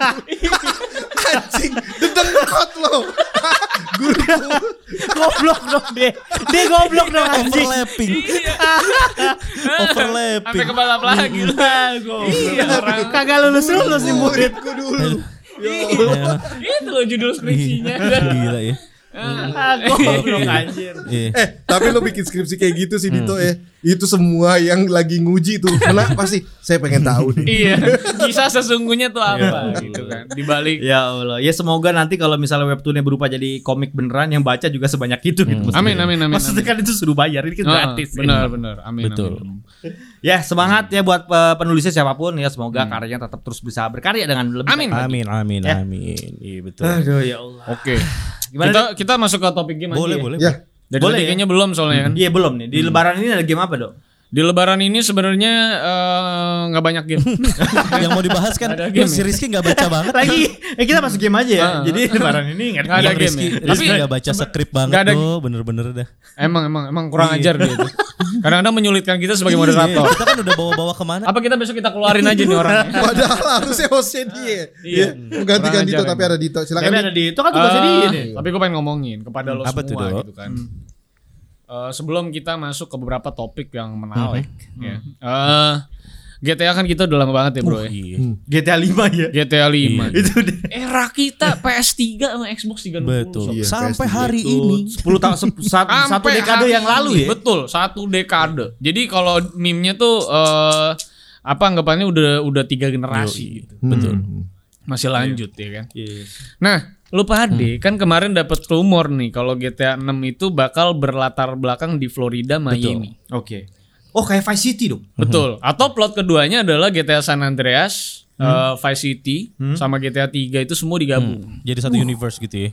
[SPEAKER 4] Anjing Dedengkot lo Guruku
[SPEAKER 3] goblok dong dia. Dia goblok dong anjing.
[SPEAKER 2] overlapping,
[SPEAKER 1] Iya. Sampai
[SPEAKER 2] overlapping.
[SPEAKER 1] kebalap lagi lu. Iya, orang.
[SPEAKER 3] Kagak lulus-lulus nih murid.
[SPEAKER 4] Muridku dulu
[SPEAKER 1] Iya. Itu loh judul skripsinya. kan?
[SPEAKER 2] Gila ya.
[SPEAKER 3] Ah, goblok anjir.
[SPEAKER 2] Iya.
[SPEAKER 4] Eh tapi lo bikin skripsi kayak gitu sih Dito eh Itu semua yang lagi nguji tuh Kena pasti Saya pengen tahu nih
[SPEAKER 1] Iya. Kisah sesungguhnya tuh apa gitu kan. Di balik
[SPEAKER 3] Ya Allah, ya semoga nanti kalau misalnya webtoonnya berupa jadi komik beneran yang baca juga sebanyak itu gitu. maksudnya.
[SPEAKER 1] Hmm. Amin, amin, amin,
[SPEAKER 3] Maksudnya
[SPEAKER 1] amin.
[SPEAKER 3] kan itu suruh bayar, ini kan
[SPEAKER 1] Ah,
[SPEAKER 3] gratis.
[SPEAKER 1] benar benar amin
[SPEAKER 2] Betul.
[SPEAKER 1] amin.
[SPEAKER 3] Ya semangat ya buat eh, penulisnya siapapun ya semoga karyanya tetap terus bisa berkarya dengan lebih.
[SPEAKER 1] Hmm. Amin.
[SPEAKER 3] baik.
[SPEAKER 2] Amin, amin,
[SPEAKER 3] Eh.
[SPEAKER 2] amin. Iya betul.
[SPEAKER 4] Eh.
[SPEAKER 3] Aduh ya Allah.
[SPEAKER 1] oke
[SPEAKER 3] Gimana,
[SPEAKER 1] kita kita masuk ke topik game aja
[SPEAKER 2] Boleh,
[SPEAKER 1] ya.
[SPEAKER 2] boleh.
[SPEAKER 4] Ya
[SPEAKER 1] Dari
[SPEAKER 3] Boleh
[SPEAKER 1] tadi
[SPEAKER 3] ya?
[SPEAKER 1] kayaknya belum soalnya kan
[SPEAKER 3] Iya belum nih di Lebaran ini ada game apa dok?
[SPEAKER 1] di lebaran ini sebenarnya eh, nggak banyak game
[SPEAKER 2] yang mau dibahas kan
[SPEAKER 1] Ada game
[SPEAKER 2] lu
[SPEAKER 1] ya?
[SPEAKER 2] si Rizky nggak baca banget
[SPEAKER 3] Lagi, eh, kita masuk game aja ya.
[SPEAKER 1] Ah.
[SPEAKER 3] Jadi Lebaran ini nggak
[SPEAKER 1] Nggak ada
[SPEAKER 2] Yang
[SPEAKER 1] game
[SPEAKER 2] Rizky,
[SPEAKER 1] ya?
[SPEAKER 2] Rizky
[SPEAKER 1] Tapi-
[SPEAKER 2] nggak baca skrip banget
[SPEAKER 1] nggak ada-
[SPEAKER 2] tuh bener-bener dah
[SPEAKER 1] emang emang emang kurang ajar dia itu kadang-kadang menyulitkan kita sebagai
[SPEAKER 2] Iya,
[SPEAKER 1] moderator
[SPEAKER 2] kita kan udah bawa-bawa kemana
[SPEAKER 1] apa kita besok kita keluarin aja nih orangnya
[SPEAKER 4] Padahal harusnya hostnya dia Iya
[SPEAKER 1] Kurang
[SPEAKER 4] Menggantikan
[SPEAKER 1] ajar
[SPEAKER 4] Dito tapi ada Dito
[SPEAKER 3] Tapi
[SPEAKER 4] Silakan
[SPEAKER 3] ada di itu kan tugasnya dia
[SPEAKER 1] Eh,
[SPEAKER 3] nih.
[SPEAKER 1] tapi gue pengen ngomongin kepada lo
[SPEAKER 2] Apa tuh,
[SPEAKER 1] semua
[SPEAKER 2] Dok?
[SPEAKER 1] gitu kan Eh, sebelum kita masuk ke beberapa topik yang menarik ya. Eh, GTA kan kita udah lama banget ya bro ya
[SPEAKER 2] Iya.
[SPEAKER 3] GTA 5 ya.
[SPEAKER 1] GTA 5
[SPEAKER 3] Itu deh.
[SPEAKER 1] era kita PS3 sama Xbox 360
[SPEAKER 2] betul
[SPEAKER 1] sob.
[SPEAKER 4] Iya,
[SPEAKER 2] sampai
[SPEAKER 4] pasti
[SPEAKER 2] hari
[SPEAKER 3] Itu
[SPEAKER 2] ini
[SPEAKER 3] 10 tahun se- sat-
[SPEAKER 1] Sampai
[SPEAKER 3] satu dekade
[SPEAKER 1] hari
[SPEAKER 3] yang lalu
[SPEAKER 1] ini.
[SPEAKER 3] ya.
[SPEAKER 1] Betul, satu dekade. Jadi kalau meme-nya tuh eh, apa anggapannya udah udah tiga generasi gitu.
[SPEAKER 4] Betul
[SPEAKER 1] Masih lanjut ya kan.
[SPEAKER 3] Iya.
[SPEAKER 1] Nah, lu Pade kan kemarin dapat rumor nih kalau GTA 6 itu bakal berlatar belakang di Florida, Miami.
[SPEAKER 3] Oke. Oh kayak Vice City dong.
[SPEAKER 1] Betul. Atau plot keduanya adalah GTA San Andreas, eh, Vice City sama GTA 3 itu semua digabung.
[SPEAKER 2] jadi satu universe gitu ya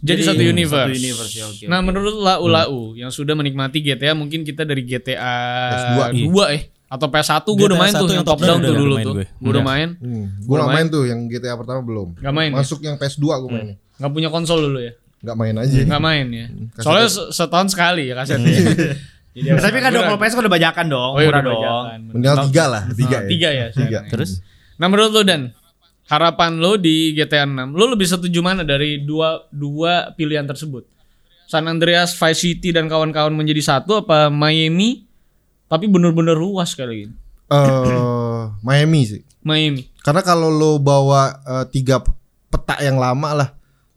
[SPEAKER 1] Jadi, satu universe.
[SPEAKER 3] Satu universe ya oke.
[SPEAKER 1] Nah, menurut Lau Lau yang sudah menikmati GTA, mungkin kita dari GTA 2, eh atau PS1 gue udah
[SPEAKER 2] GTA
[SPEAKER 1] main tuh
[SPEAKER 2] satu
[SPEAKER 1] yang
[SPEAKER 2] yang
[SPEAKER 1] top
[SPEAKER 2] top
[SPEAKER 1] down
[SPEAKER 2] down
[SPEAKER 1] tuh
[SPEAKER 2] udah
[SPEAKER 1] dulu
[SPEAKER 2] main
[SPEAKER 1] tuh.
[SPEAKER 2] gue.
[SPEAKER 1] Gue udah main.
[SPEAKER 4] Gue gak Hmm. main tuh yang GTA pertama belum
[SPEAKER 1] Gak main ya?
[SPEAKER 4] Masuk yang PS2 gue main
[SPEAKER 1] Gak punya konsol dulu ya.
[SPEAKER 4] Gak main aja
[SPEAKER 1] Gak main ya. Soalnya se- setahun sekali ya kasetnya. Jadi harus
[SPEAKER 3] Tapi kan dong kalau
[SPEAKER 1] murah.
[SPEAKER 3] PS kan udah bajakan dong,
[SPEAKER 1] Oh, iya,
[SPEAKER 3] murah
[SPEAKER 1] udah
[SPEAKER 3] dong.
[SPEAKER 1] bajakan.
[SPEAKER 4] Minimal tiga lah Tiga
[SPEAKER 1] Tiga
[SPEAKER 4] ya
[SPEAKER 1] ya.
[SPEAKER 4] Tiga.
[SPEAKER 1] sekarang ya.
[SPEAKER 2] terus
[SPEAKER 1] Nah, menurut lu Dan, harapan lu di GTA 6, lu lebih setuju mana dari dua dua pilihan tersebut? San Andreas, Vice City dan kawan-kawan menjadi satu apa Miami? Tapi bener-bener luas kali ini.
[SPEAKER 4] eh Miami sih.
[SPEAKER 1] Miami.
[SPEAKER 4] Karena kalau lo bawa eh, tiga peta yang lama lah,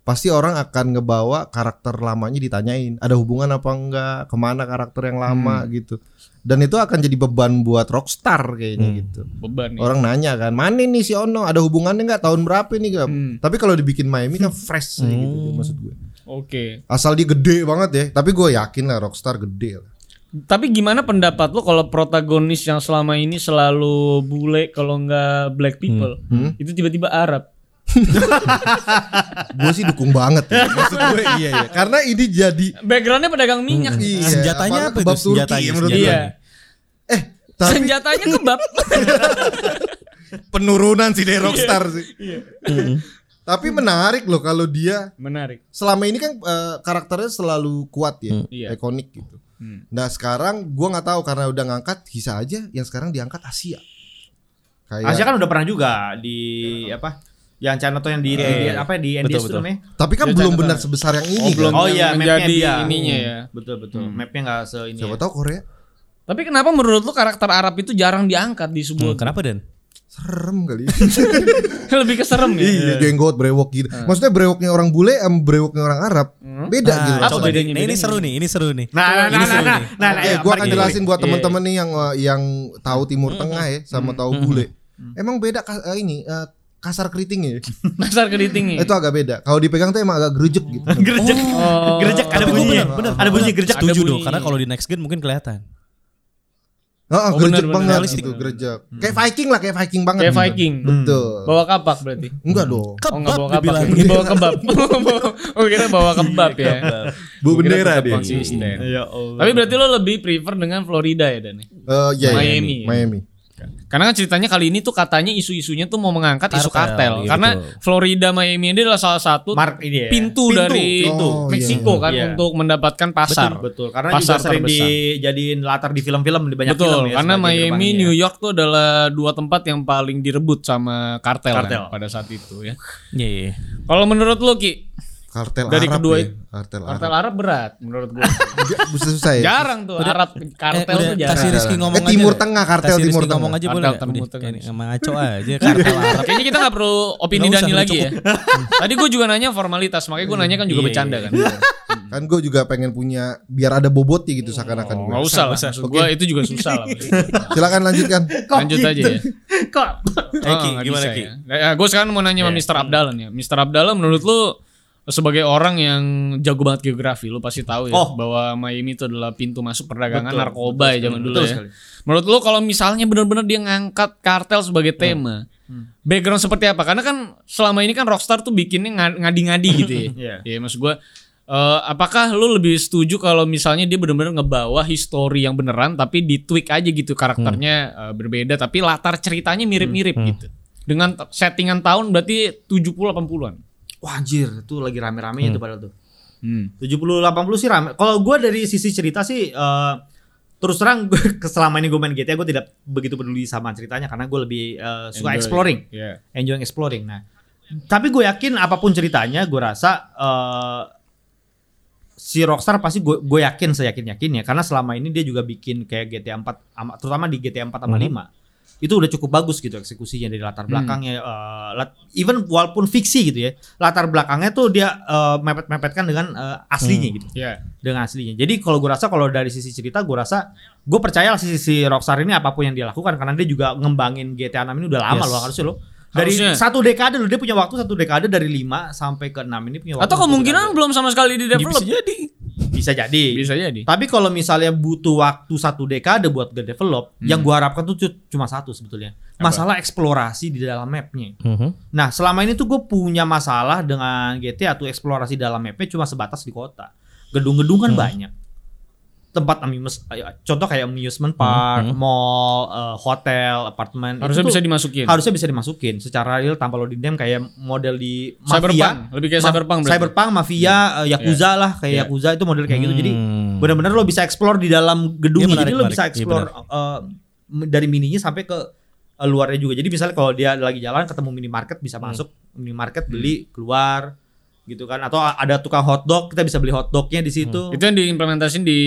[SPEAKER 4] pasti orang akan ngebawa karakter lamanya ditanyain, ada hubungan apa enggak, kemana karakter yang
[SPEAKER 1] Hmm.
[SPEAKER 4] lama gitu. Dan itu akan jadi beban buat rockstar kayaknya
[SPEAKER 1] Hmm.
[SPEAKER 4] gitu.
[SPEAKER 1] Beban nih.
[SPEAKER 4] Orang nanya kan, mana nih si Ono, ada hubungannya nggak, tahun berapa nih? Gak?
[SPEAKER 1] Hmm.
[SPEAKER 4] Tapi kalau dibikin Miami kan fresh aja gitu maksud gue.
[SPEAKER 1] Oke.
[SPEAKER 4] Asal dia gede banget ya, tapi gue yakin lah rockstar gede lah.
[SPEAKER 1] Tapi gimana pendapat lo kalau protagonis yang selama ini selalu bule kalau nggak black people itu tiba-tiba Arab?
[SPEAKER 4] gue sih dukung banget ya. maksud gue iya ya karena ini jadi
[SPEAKER 1] Backgroundnya pedagang minyak.
[SPEAKER 4] iya,
[SPEAKER 2] senjatanya apa itu?
[SPEAKER 4] apalagi kebab Turki, ya
[SPEAKER 2] Senjatanya,
[SPEAKER 4] menurut gue.
[SPEAKER 1] Iya.
[SPEAKER 2] senjatanya.
[SPEAKER 4] eh tapi
[SPEAKER 1] Senjatanya kebab.
[SPEAKER 4] penurunan sih dari rockstar
[SPEAKER 1] Iya.
[SPEAKER 4] sih
[SPEAKER 2] Hmm.
[SPEAKER 4] tapi menarik loh kalau dia
[SPEAKER 1] Menarik.
[SPEAKER 4] selama ini kan eh, karakternya selalu kuat ya
[SPEAKER 2] Hmm.
[SPEAKER 1] Iya. Hmm.
[SPEAKER 4] ikonik gitu nah sekarang gue nggak tahu karena udah ngangkat Hisa aja yang sekarang diangkat Asia kayak
[SPEAKER 3] Asia kan udah pernah juga di apa? Yang channel tuh yang di, di- apa ya, di NDS
[SPEAKER 2] Betul,
[SPEAKER 3] tuh
[SPEAKER 2] betul.
[SPEAKER 3] namanya?
[SPEAKER 4] tapi kan
[SPEAKER 1] Dia
[SPEAKER 4] belum
[SPEAKER 1] Jakarta.
[SPEAKER 4] benar sebesar yang ini
[SPEAKER 1] Oh, belum.
[SPEAKER 4] kan?
[SPEAKER 3] Oh iya,
[SPEAKER 1] Yang
[SPEAKER 3] mapnya
[SPEAKER 1] menjadi
[SPEAKER 3] dia.
[SPEAKER 1] ininya ya.
[SPEAKER 3] Betul betul. Mapnya nggak se ini.
[SPEAKER 4] siapa
[SPEAKER 1] Iya.
[SPEAKER 3] Ya.
[SPEAKER 4] tahu Korea
[SPEAKER 1] Tapi kenapa menurut lo karakter Arab itu jarang diangkat di
[SPEAKER 2] Hmm,
[SPEAKER 1] sebuah
[SPEAKER 2] Kenapa Dan?
[SPEAKER 4] serem kali ya.
[SPEAKER 1] lebih keserem ya?
[SPEAKER 4] Iya jenggot brewok gitu.
[SPEAKER 1] Nah.
[SPEAKER 4] Maksudnya brewoknya orang bule sama brewoknya orang Arab
[SPEAKER 1] Hmm.
[SPEAKER 4] beda gitu.
[SPEAKER 2] Nah,
[SPEAKER 1] Apa
[SPEAKER 2] coba
[SPEAKER 1] bedanya,
[SPEAKER 2] nih, ini
[SPEAKER 1] bedanya?
[SPEAKER 2] seru nih, ini seru nih.
[SPEAKER 3] Nah, nah, nah, nah, nah, nah, nah,
[SPEAKER 4] Oke,
[SPEAKER 3] ayo,
[SPEAKER 4] eh, gua akan
[SPEAKER 3] mari kita-
[SPEAKER 4] jelasin buat
[SPEAKER 1] Iya, Hmm.
[SPEAKER 4] temen-temen nih yang eh, yang tahu Timur Tengah ya sama tahu bule. Emang beda kas- eh, ini eh, kasar keritingnya. ya.
[SPEAKER 1] Kasar keritingnya.
[SPEAKER 4] Itu agak beda. Kalau dipegang tuh emang agak gerejek gitu.
[SPEAKER 3] Gerejek.
[SPEAKER 1] Oh.
[SPEAKER 3] Gerejek ada
[SPEAKER 2] Tapi gua
[SPEAKER 3] bunyinya.
[SPEAKER 2] bener, bener,
[SPEAKER 3] Ada bunyi
[SPEAKER 2] bener.
[SPEAKER 3] gerejek.
[SPEAKER 2] Setuju
[SPEAKER 1] Ada
[SPEAKER 2] dong,
[SPEAKER 1] bunyi.
[SPEAKER 2] karena kalau di next gen mungkin kelihatan.
[SPEAKER 4] Heeh,
[SPEAKER 1] Oh,
[SPEAKER 4] gerejek
[SPEAKER 1] benar, benar.
[SPEAKER 4] banget
[SPEAKER 2] Realistik.
[SPEAKER 4] gitu, gerejek. Kayak Viking lah, kayak Viking banget.
[SPEAKER 1] Kayak
[SPEAKER 4] gitu.
[SPEAKER 1] Viking.
[SPEAKER 4] Betul.
[SPEAKER 1] Bawa kapak berarti.
[SPEAKER 4] Enggak dong.
[SPEAKER 1] Oh nggak
[SPEAKER 2] Kebab
[SPEAKER 1] bawa kapak,
[SPEAKER 2] dibilang.
[SPEAKER 1] ya? bawa kebab. oh kita bawa kebab ya.
[SPEAKER 3] Iya,
[SPEAKER 4] Bu
[SPEAKER 1] Gua kira
[SPEAKER 4] bendera
[SPEAKER 1] tetap
[SPEAKER 4] dia.
[SPEAKER 1] Konsisten.
[SPEAKER 3] Ya Allah.
[SPEAKER 1] Tapi berarti lo lebih prefer dengan Florida ya Dan? ya?
[SPEAKER 4] Eh, iya, iya.
[SPEAKER 1] Miami.
[SPEAKER 4] Miami.
[SPEAKER 1] Karena kan ceritanya kali ini tuh katanya isu-isunya tuh mau mengangkat isu
[SPEAKER 2] Kartel,
[SPEAKER 1] kartel.
[SPEAKER 2] iya,
[SPEAKER 1] Karena
[SPEAKER 2] betul.
[SPEAKER 1] Florida Miami ini adalah salah satu
[SPEAKER 3] Mark ini ya.
[SPEAKER 1] pintu,
[SPEAKER 3] Pintu.
[SPEAKER 1] dari
[SPEAKER 4] Pintu. Oh,
[SPEAKER 1] Meksiko
[SPEAKER 4] iya.
[SPEAKER 1] kan
[SPEAKER 3] Iya.
[SPEAKER 1] untuk mendapatkan pasar.
[SPEAKER 3] Betul, karena
[SPEAKER 1] Pasar
[SPEAKER 3] juga sering
[SPEAKER 1] terbesar.
[SPEAKER 3] dijadiin latar di film-film di banyak
[SPEAKER 1] Betul,
[SPEAKER 3] film ya.
[SPEAKER 1] karena
[SPEAKER 3] sebagai
[SPEAKER 1] Miami,
[SPEAKER 3] gerbangnya.
[SPEAKER 1] New York tuh adalah dua tempat yang paling direbut sama kartel, kan
[SPEAKER 3] Kartel.
[SPEAKER 1] pada saat itu ya.
[SPEAKER 2] Iya, iya.
[SPEAKER 1] Kalau menurut lo Ki,
[SPEAKER 4] Kartel
[SPEAKER 1] Dari
[SPEAKER 4] Arab.
[SPEAKER 1] kedua
[SPEAKER 4] ya.
[SPEAKER 1] itu.
[SPEAKER 4] Kartel Arab.
[SPEAKER 1] kartel Arab berat menurut gua.
[SPEAKER 4] Enggak, susah ya.
[SPEAKER 1] jarang tuh Arab
[SPEAKER 2] Eh,
[SPEAKER 1] kartel
[SPEAKER 2] udah,
[SPEAKER 1] tuh
[SPEAKER 2] kasih
[SPEAKER 1] jarang.
[SPEAKER 2] Rizky
[SPEAKER 4] Eh,
[SPEAKER 2] ngomong aja.
[SPEAKER 4] Timur Tengah, kartel
[SPEAKER 2] Kasih
[SPEAKER 4] Timur
[SPEAKER 2] Rizky ngomong
[SPEAKER 4] Tengah.
[SPEAKER 2] aja boleh
[SPEAKER 1] Kartel Timur Tengah.
[SPEAKER 2] nggak? Emang ngaco aja, kartel Arab.
[SPEAKER 1] Kayaknya kita nggak perlu opini
[SPEAKER 2] Nggak usah,
[SPEAKER 1] Dani
[SPEAKER 2] udah
[SPEAKER 1] lagi ya. Tadi gue juga nanya formalitas, makanya gue nanya kan juga
[SPEAKER 2] Iya,
[SPEAKER 1] bercanda kan.
[SPEAKER 4] Kan gue juga pengen punya biar ada bobotnya gitu seakan-akan
[SPEAKER 1] Oh,
[SPEAKER 4] gue.
[SPEAKER 1] nggak usah lah, maksud gue itu juga susah lah.
[SPEAKER 4] Silakan lanjutkan.
[SPEAKER 1] Lanjut aja ya.
[SPEAKER 3] Kok
[SPEAKER 2] gitu? Eh, Ki,
[SPEAKER 1] Oh, nggak
[SPEAKER 2] gimana
[SPEAKER 1] bisa
[SPEAKER 2] Ki? Iya.
[SPEAKER 1] ya. Nah, Ya. gue sekarang mau nanya sama Mr. Abdalan ya. Mr. Abdalan menurut lu sebagai orang yang jago banget geografi, lu pasti tahu ya
[SPEAKER 3] Oh.
[SPEAKER 1] bahwa Miami itu adalah pintu masuk perdagangan
[SPEAKER 3] Betul,
[SPEAKER 1] narkoba ya zaman dulu
[SPEAKER 3] Betul
[SPEAKER 1] ya.
[SPEAKER 3] sekali.
[SPEAKER 1] Menurut lu kalau misalnya benar-benar dia ngangkat kartel sebagai tema, background seperti apa? Karena kan selama ini kan rockstar tuh bikinnya nga- ngadi-ngadi gitu ya. Ya
[SPEAKER 3] Iya.
[SPEAKER 1] maksud gue eh, apakah lu lebih setuju kalau misalnya dia benar-benar ngebawa histori yang beneran tapi di tweak aja gitu karakternya eh, berbeda tapi latar ceritanya mirip-mirip gitu. Dengan t- settingan tahun berarti 70 80-an.
[SPEAKER 3] Wah anjir, itu lagi rame-rame itu padahal tuh.
[SPEAKER 1] Hmm.
[SPEAKER 3] 70 80 sih rame. Kalau gua dari sisi cerita sih eh, terus terang gua, selama ini gue main GTA gue tidak begitu peduli sama ceritanya karena gue lebih eh, suka
[SPEAKER 1] Enjoy.
[SPEAKER 3] exploring.
[SPEAKER 1] Iya.
[SPEAKER 3] enjoying exploring. Nah, tapi gue yakin apapun ceritanya, gue rasa eh, si Rockstar pasti gue gue yakin saya yakin yakinnya karena selama ini dia juga bikin kayak GTA 4 ama- terutama di GTA 4 sama 5 itu udah cukup bagus gitu eksekusinya dari latar belakangnya eh, lat- even walaupun fiksi gitu ya latar belakangnya tuh dia eh, mepet-mepetkan dengan eh, aslinya gitu
[SPEAKER 1] Iya.
[SPEAKER 3] dengan aslinya. Jadi kalau gue rasa kalau dari sisi cerita gue rasa gue percaya lah sisi si Rockstar ini apapun yang dia lakukan karena dia juga ngembangin GTA 6 ini udah lama
[SPEAKER 2] Yes.
[SPEAKER 3] loh harusnya loh. Dari
[SPEAKER 1] Harusnya.
[SPEAKER 3] satu dekade loh dia punya waktu satu dekade dari 5 sampai ke 6 ini punya waktu.
[SPEAKER 1] Atau
[SPEAKER 3] untuk
[SPEAKER 1] kemungkinan belum sama sekali di develop.
[SPEAKER 2] Bisa jadi.
[SPEAKER 3] berkarya. bisa jadi.
[SPEAKER 1] Bisa jadi.
[SPEAKER 3] Tapi kalau misalnya butuh waktu satu dekade buat ke develop,
[SPEAKER 1] Hmm.
[SPEAKER 3] yang gue harapkan tuh cu- cuma satu sebetulnya. Masalah eksplorasi di dalam mapnya. Nah selama ini tuh gue punya masalah dengan GTA tuh eksplorasi dalam mapnya cuma sebatas di kota. Gedung-gedung
[SPEAKER 1] Hmm.
[SPEAKER 3] kan banyak. Tempat amuse, ayo, contoh kayak amusement park, mall, eh, hotel, apartemen.
[SPEAKER 1] Hmm. Harusnya
[SPEAKER 3] itu tuh
[SPEAKER 1] bisa dimasukin.
[SPEAKER 3] Harusnya bisa dimasukin secara real tanpa loading dam kayak model di mafia.
[SPEAKER 1] Cyberpunk, lebih kayak
[SPEAKER 3] Ma-
[SPEAKER 1] cyberpunk berarti. Hmm.
[SPEAKER 3] Cyberpunk, mafia, eh, yakuza lah kayak
[SPEAKER 1] Iya.
[SPEAKER 3] yakuza itu model kayak gitu. Jadi
[SPEAKER 2] Hmm.
[SPEAKER 3] benar-benar lo bisa explore di dalam
[SPEAKER 2] Iya,
[SPEAKER 3] gedung.
[SPEAKER 2] menarik,
[SPEAKER 3] Jadi lo
[SPEAKER 2] menarik.
[SPEAKER 3] bisa
[SPEAKER 2] Iya,
[SPEAKER 3] explore eh, m- dari mininya sampai ke eh,
[SPEAKER 1] Hmm.
[SPEAKER 3] luarnya juga. Jadi misalnya kalau dia lagi jalan ketemu minimarket bisa masuk minimarket beli keluar gitu kan atau ada tukang hotdog kita bisa beli hotdognya di situ
[SPEAKER 1] Hmm. Itu yang diimplementasiin di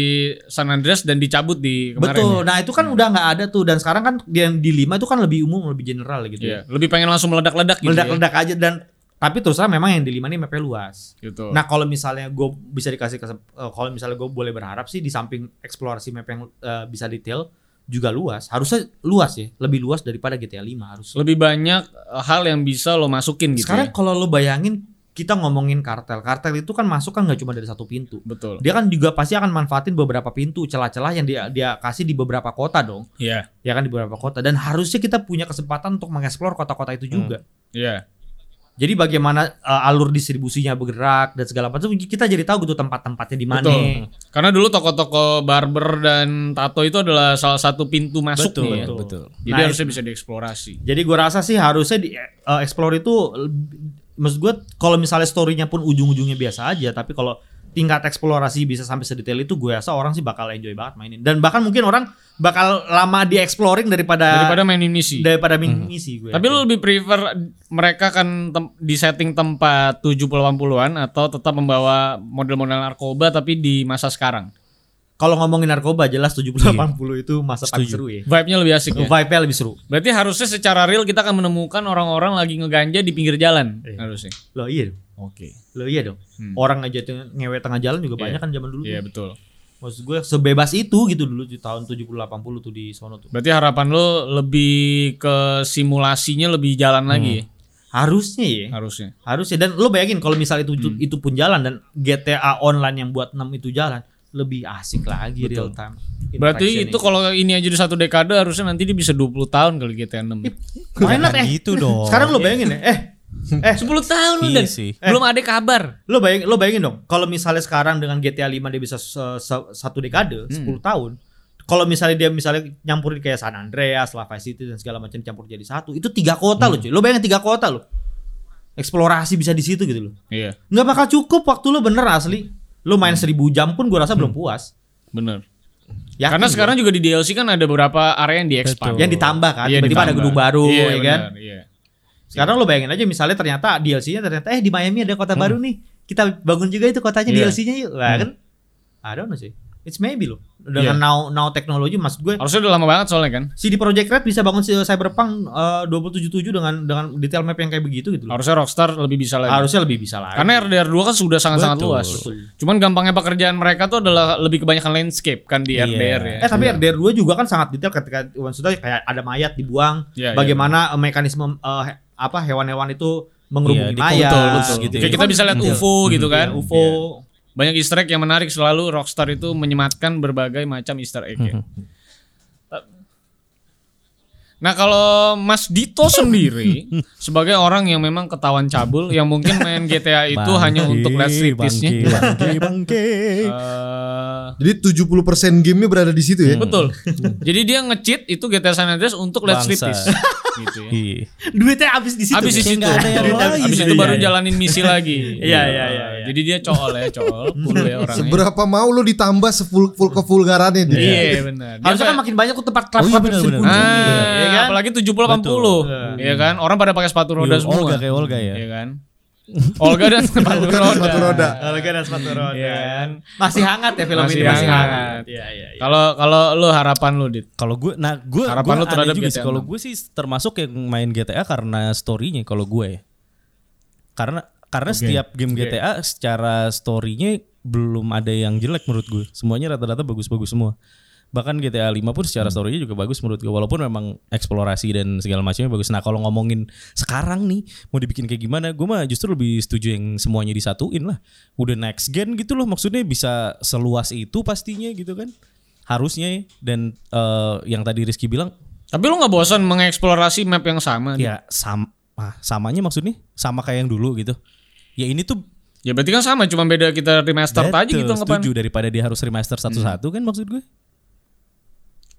[SPEAKER 1] San Andreas dan dicabut di kemarin.
[SPEAKER 3] betul
[SPEAKER 1] ya.
[SPEAKER 3] nah itu kan udah nggak ada tuh dan sekarang kan yang di lima itu kan lebih umum lebih general gitu
[SPEAKER 1] Iya,
[SPEAKER 3] ya
[SPEAKER 1] lebih pengen langsung meledak-ledak gitu. ya.
[SPEAKER 3] meledak-ledak aja dan tapi terus terang memang yang di lima ini mapnya luas
[SPEAKER 1] Gitu.
[SPEAKER 3] Nah kalau misalnya gue bisa dikasih kesem- eh, kalau misalnya gue boleh berharap sih di samping eksplorasi map yang eh, bisa detail juga luas, harusnya luas ya, lebih luas daripada GTA 5 harus.
[SPEAKER 1] lebih banyak eh, hal yang bisa lo masukin gitu.
[SPEAKER 3] Sekarang
[SPEAKER 1] ya.
[SPEAKER 3] kalau lo bayangin kita ngomongin kartel, kartel itu kan masuk kan nggak cuma dari satu pintu.
[SPEAKER 1] betul.
[SPEAKER 3] Dia kan juga pasti akan manfaatin beberapa pintu, celah-celah yang dia dia kasih di beberapa kota dong,
[SPEAKER 1] Iya.
[SPEAKER 3] ya kan di beberapa kota. Dan harusnya kita punya kesempatan untuk mengeksplor kota-kota itu juga.
[SPEAKER 1] Iya.
[SPEAKER 3] Jadi bagaimana eh, alur distribusinya bergerak dan segala macam kita jadi tahu gitu tempat-tempatnya di mana.
[SPEAKER 1] Betul. Karena dulu toko-toko barber dan tato itu adalah salah satu pintu masuk
[SPEAKER 2] Betul,
[SPEAKER 1] nih ya.
[SPEAKER 2] betul.
[SPEAKER 1] Jadi
[SPEAKER 3] Nah,
[SPEAKER 1] harusnya bisa dieksplorasi.
[SPEAKER 3] Jadi gue rasa sih harusnya di eh, explore itu lebih- maksud gue kalau misalnya story-nya pun ujung-ujungnya biasa aja tapi kalau tingkat eksplorasi bisa sampai sedetail itu gue rasa orang sih bakal enjoy banget mainin dan bahkan mungkin orang bakal lama di exploring daripada
[SPEAKER 1] Daripada main misi. Mhm.
[SPEAKER 3] daripada min- misi gue.
[SPEAKER 1] Tapi lo lebih prefer mereka kan tem- di setting tempat 70-80-an atau tetap membawa model-model narkoba tapi di masa sekarang.
[SPEAKER 3] kalau ngomongin narkoba jelas 70 80 itu masa paling seru ya.
[SPEAKER 1] Vibe-nya lebih asik ya.
[SPEAKER 3] Vibe-nya lebih seru.
[SPEAKER 1] Berarti harusnya secara real kita akan menemukan orang-orang lagi ngeganja di pinggir jalan harusnya.
[SPEAKER 3] Loh iya dong.
[SPEAKER 1] Oke.
[SPEAKER 3] Loh iya dong. Orang aja tuh ngewe tengah jalan juga banyak kan zaman dulu.
[SPEAKER 1] Hmm. Iya
[SPEAKER 3] tuh.
[SPEAKER 1] betul.
[SPEAKER 3] Maksud gue sebebas itu gitu dulu di tahun 70 80 tuh di sono tuh.
[SPEAKER 1] Berarti harapan lo lebih ke simulasinya lebih jalan lagi
[SPEAKER 3] Hmm.
[SPEAKER 1] ya,
[SPEAKER 3] Harusnya ya.
[SPEAKER 1] harusnya.
[SPEAKER 3] Harusnya dan lo bayangin kalau misalnya itu
[SPEAKER 1] Hmm.
[SPEAKER 3] itu pun jalan dan GTA online yang buat 6 itu jalan lebih asik lagi real time.
[SPEAKER 1] Berarti itu kalau ini aja di satu dekade harusnya nanti dia bisa 20 tahun kali GTA 6.
[SPEAKER 3] main lah eh.
[SPEAKER 2] gitu dong.
[SPEAKER 3] Sekarang
[SPEAKER 1] Iya.
[SPEAKER 3] lo bayangin ya, eh eh
[SPEAKER 1] 10 tahun
[SPEAKER 2] Iya
[SPEAKER 1] udah.
[SPEAKER 2] sih.
[SPEAKER 1] Belum ada kabar.
[SPEAKER 3] lo bayangin lo bayangin dong kalau misalnya sekarang dengan GTA 5 dia bisa se- se- satu dekade
[SPEAKER 1] Hmm.
[SPEAKER 3] 10 tahun. Kalau misalnya dia misalnya nyampurin kayak San Andreas, La Vice City dan segala macam campur jadi satu, itu tiga kota lo
[SPEAKER 1] Hmm.
[SPEAKER 3] cuy. Lo bayangin tiga kota lo. Eksplorasi bisa di situ gitu loh.
[SPEAKER 1] Iya,
[SPEAKER 3] Nggak bakal cukup waktu lo bener asli. Lo main
[SPEAKER 1] Hmm.
[SPEAKER 3] 1000 jam pun gua rasa belum puas.
[SPEAKER 1] bener.
[SPEAKER 3] Yakin
[SPEAKER 1] Hmm. Karena
[SPEAKER 3] gua.
[SPEAKER 1] sekarang juga di DLC kan ada beberapa area yang di-expand.
[SPEAKER 2] Betul.
[SPEAKER 3] yang ditambah kan
[SPEAKER 1] Iya,
[SPEAKER 3] tiba-tiba ada
[SPEAKER 1] ditambah.
[SPEAKER 3] gedung baru
[SPEAKER 1] Iya,
[SPEAKER 3] ya kan
[SPEAKER 1] benar, iya.
[SPEAKER 3] sekarang lo bayangin aja misalnya ternyata DLC-nya ternyata eh di Miami ada kota baru nih kita bangun juga itu kotanya
[SPEAKER 1] Hmm. Iya.
[SPEAKER 3] DLC-nya yuk lah kan I don't know sih it's maybe loh dengan
[SPEAKER 1] Iya.
[SPEAKER 3] now now teknologi maksud gue
[SPEAKER 1] Harusnya udah lama banget soalnya kan.
[SPEAKER 3] CD Projekt Red bisa bangun si Cyberpunk eh, 277 dengan dengan detail map yang kayak begitu gitu loh.
[SPEAKER 1] Harusnya Rockstar lebih bisa lagi.
[SPEAKER 3] harusnya lebih bisa lah
[SPEAKER 1] Karena RDR2 kan sudah sangat-sangat
[SPEAKER 2] Betul.
[SPEAKER 1] luas.
[SPEAKER 3] Betul.
[SPEAKER 1] Cuman gampangnya pekerjaan mereka tuh adalah lebih kebanyakan landscape kan di
[SPEAKER 2] Iya.
[SPEAKER 1] RDR ya.
[SPEAKER 3] Eh tapi RDR 2 juga kan sangat detail ketika maksudnya kayak ada mayat dibuang,
[SPEAKER 1] Iya, iya,
[SPEAKER 3] bagaimana eh, mekanisme eh, he- apa hewan-hewan itu mengerubungi
[SPEAKER 2] Iya,
[SPEAKER 3] mayat.
[SPEAKER 2] betul, betul, gitu
[SPEAKER 1] Kayak
[SPEAKER 2] ya.
[SPEAKER 1] kita bisa lihat UFO gitu kan.
[SPEAKER 3] UFO.
[SPEAKER 1] Banyak easter egg yang menarik selalu Rockstar itu menyematkan berbagai macam easter egg ya. Nah kalau Mas Dito sendiri sebagai orang yang memang ketahuan cabul yang mungkin main GTA itu hanya untuk lihat striptisnya.
[SPEAKER 2] Bangke, bangke.
[SPEAKER 1] Eh,
[SPEAKER 4] Jadi 70% gamenya berada di situ ya.
[SPEAKER 2] Hmm.
[SPEAKER 1] Betul. Jadi dia nge-cheat itu GTA San Andreas untuk lihat
[SPEAKER 2] Bangsa.
[SPEAKER 1] striptis. gitu ya.
[SPEAKER 2] Iya.
[SPEAKER 3] Duitnya habis di situ.
[SPEAKER 1] Abis di situ,
[SPEAKER 2] Gitu Kayak nggak ada yang lain.
[SPEAKER 1] abis itu
[SPEAKER 2] Iya,
[SPEAKER 1] baru
[SPEAKER 2] iya.
[SPEAKER 1] jalanin misi lagi.
[SPEAKER 3] Iya, iya, iya, iya.
[SPEAKER 1] Jadi dia cool ya, cool, cool ya orangnya.
[SPEAKER 4] Seberapa mau lo ditambah seful full kevulgarannya dia.
[SPEAKER 1] Iya benar. Dia
[SPEAKER 3] Harusnya kan
[SPEAKER 1] kayak-
[SPEAKER 3] makin banyak tuh tempat klub
[SPEAKER 2] Oh, iya,
[SPEAKER 3] klub
[SPEAKER 2] benar, benar.
[SPEAKER 1] Ah,
[SPEAKER 3] Iya kan?
[SPEAKER 1] apalagi 70 80. Iya kan? Orang pada pakai sepatu roda
[SPEAKER 2] Yo,
[SPEAKER 1] semua.
[SPEAKER 2] Iya, Olga kayak Olga ya.
[SPEAKER 1] Iya kan? Olga dan sepatu
[SPEAKER 4] Bukan
[SPEAKER 1] roda.
[SPEAKER 4] Kan sepatu roda.
[SPEAKER 3] Kalau kan ada sepatu roda.
[SPEAKER 1] Iya kan?
[SPEAKER 3] Masih hangat ya film
[SPEAKER 1] Masih
[SPEAKER 3] ini masih
[SPEAKER 1] hangat.
[SPEAKER 3] hangat. Iya iya iya.
[SPEAKER 1] Kalau kalau lu harapan lu Dit.
[SPEAKER 2] Kalau gue, nah gue,
[SPEAKER 1] Harapan lu
[SPEAKER 2] gue
[SPEAKER 1] terhadap
[SPEAKER 2] juga
[SPEAKER 1] GTA
[SPEAKER 2] sih. Kalau
[SPEAKER 1] enam.
[SPEAKER 2] gue sih termasuk yang main GTA karena storynya. Kalau ya. gue, karena karena setiap game GTA secara storynya belum ada yang jelek menurut gue. Semuanya rata-rata bagus-bagus semua. Bahkan GTA 5 pun secara storynya juga bagus menurut gue. Walaupun memang eksplorasi dan segala macamnya bagus. Nah kalau ngomongin sekarang nih mau dibikin kayak gimana, gue mah justru lebih setuju yang semuanya disatuin lah. Udah next gen gitu loh. Maksudnya bisa seluas itu pastinya gitu kan. Harusnya ya. Dan eh, yang tadi Rizky bilang
[SPEAKER 1] Tapi lu nggak bosan mengeksplorasi map yang sama? Dit?
[SPEAKER 2] ya sama samanya maksudnya sama kayak yang dulu gitu. Ya ini tuh
[SPEAKER 1] Ya berarti kan sama, cuma beda kita remaster aja
[SPEAKER 2] Betul,
[SPEAKER 1] gitu ngapain?
[SPEAKER 2] setuju daripada dia harus remaster satu-satu
[SPEAKER 3] Hmm.
[SPEAKER 2] kan maksud gue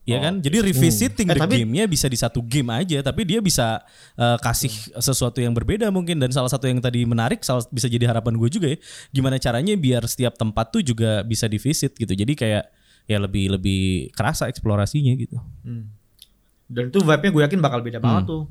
[SPEAKER 2] Iya kan, jadi revisiting
[SPEAKER 3] Oh. Eh,
[SPEAKER 2] the
[SPEAKER 3] tapi-
[SPEAKER 2] game-nya bisa di satu game aja, tapi dia bisa eh, kasih
[SPEAKER 3] Hmm.
[SPEAKER 2] sesuatu yang berbeda mungkin dan salah satu yang tadi menarik, salah bisa jadi harapan gue juga ya, gimana caranya biar setiap tempat tuh juga bisa divisit gitu, jadi kayak ya lebih lebih kerasa eksplorasinya gitu.
[SPEAKER 3] Hmm. Dan itu vibe-nya gue yakin bakal beda banget tuh.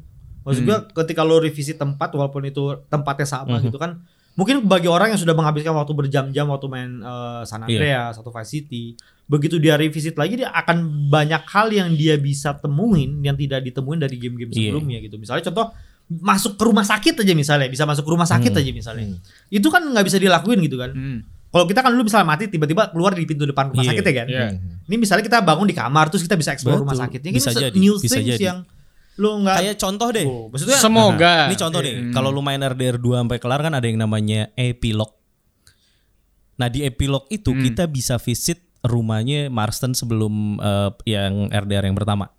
[SPEAKER 3] Maksud gue ketika lo revisi tempat walaupun itu tempatnya sama gitu kan Mungkin bagi orang yang sudah menghabiskan waktu berjam-jam waktu main eh, San Andreas atau Vice City, begitu dia revisit lagi dia akan banyak hal yang dia bisa temuin yang tidak ditemuin dari game-game
[SPEAKER 2] Iya.
[SPEAKER 3] sebelumnya gitu. Misalnya contoh masuk ke rumah sakit aja misalnya, bisa masuk ke rumah sakit aja misalnya. Itu kan nggak bisa dilakuin gitu kan.
[SPEAKER 1] Hmm.
[SPEAKER 3] Kalau kita kan dulu misalnya mati tiba-tiba keluar di pintu depan
[SPEAKER 2] Iya,
[SPEAKER 3] rumah sakit ya kan.
[SPEAKER 1] iya.
[SPEAKER 3] Ini misalnya kita bangun di kamar terus kita bisa explore
[SPEAKER 2] Betul.
[SPEAKER 3] rumah sakitnya. Ini
[SPEAKER 2] Bisa
[SPEAKER 3] se-
[SPEAKER 2] jadi,
[SPEAKER 3] new
[SPEAKER 2] bisa
[SPEAKER 3] things
[SPEAKER 2] jadi.
[SPEAKER 3] yang lu nggak
[SPEAKER 2] Kayak eh, contoh deh.
[SPEAKER 3] Oh, maksudnya
[SPEAKER 1] Semoga.
[SPEAKER 2] Ini contoh nih, kalau lu main RDR 2 sampai kelar kan ada yang namanya epilog. Nah, di epilog itu kita bisa visit rumahnya Marston sebelum eh, yang RDR yang pertama.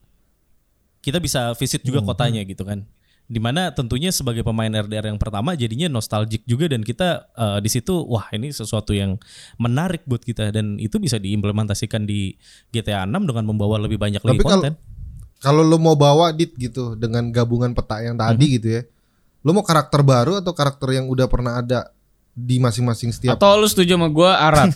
[SPEAKER 2] Kita bisa visit juga kotanya gitu kan. Dimana tentunya sebagai pemain RDR yang pertama jadinya nostalgic juga dan kita eh, di situ wah ini sesuatu yang menarik buat kita dan itu bisa diimplementasikan di GTA 6 dengan membawa lebih banyak lagi
[SPEAKER 4] Tapi kalau
[SPEAKER 2] konten.
[SPEAKER 4] kalau lu mau bawa dit gitu dengan gabungan peta yang tadi
[SPEAKER 2] Hmm.
[SPEAKER 4] gitu ya. Lu mau karakter baru atau karakter yang udah pernah ada di masing-masing setiap
[SPEAKER 1] Atau lu setuju sama gua Arab?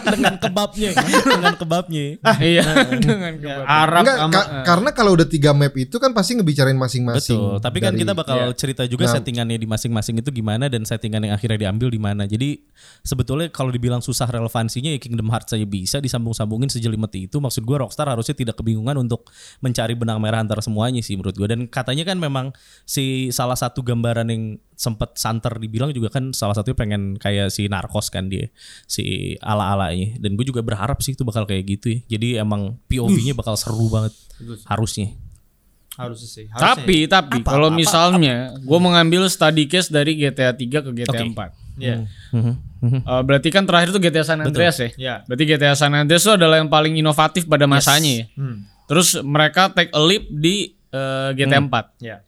[SPEAKER 2] dengan kebabnya, dengan kebabnya.
[SPEAKER 1] iya, dengan kebab.
[SPEAKER 3] Arab
[SPEAKER 4] Enggak,
[SPEAKER 3] sama-
[SPEAKER 4] ka- karena kalau udah tiga map itu kan pasti ngebicarain masing-masing.
[SPEAKER 2] eh. Betul. Tapi kan
[SPEAKER 4] dari-
[SPEAKER 2] kita bakal
[SPEAKER 1] Iya.
[SPEAKER 2] cerita juga
[SPEAKER 4] Nah.
[SPEAKER 2] settingannya di masing-masing itu gimana dan settingan yang akhirnya diambil di mana. Jadi sebetulnya kalau dibilang susah relevansinya ya Kingdom Hearts saya bisa disambung-sambungin sejelimet itu. Maksud gua Rockstar harusnya tidak kebingungan untuk mencari benang merah antara semuanya sih menurut gua. Dan katanya kan memang si salah satu gambaran yang sempet santer dibilang juga kan salah satunya pengen kayak si narkos kan dia si ala-alanya. Dan gue juga berharap sih itu bakal kayak gitu ya. Jadi emang POV-nya bakal seru banget harusnya.
[SPEAKER 3] harusnya sih. harusnya.
[SPEAKER 1] Tapi
[SPEAKER 2] ya.
[SPEAKER 1] tapi kalau misalnya gua mengambil study case dari GTA 3 ke GTA
[SPEAKER 2] Oke.
[SPEAKER 1] 4.
[SPEAKER 3] ya.
[SPEAKER 2] Mhm, mhm.
[SPEAKER 1] Eh, berarti kan terakhir tuh GTA San Andreas ya?
[SPEAKER 3] Iya.
[SPEAKER 1] Berarti GTA San Andreas tuh adalah yang paling inovatif pada masanya ya.
[SPEAKER 3] Hmm.
[SPEAKER 1] Terus mereka take a leap di eh, GTA
[SPEAKER 2] Hmm.
[SPEAKER 1] 4.
[SPEAKER 3] Ya.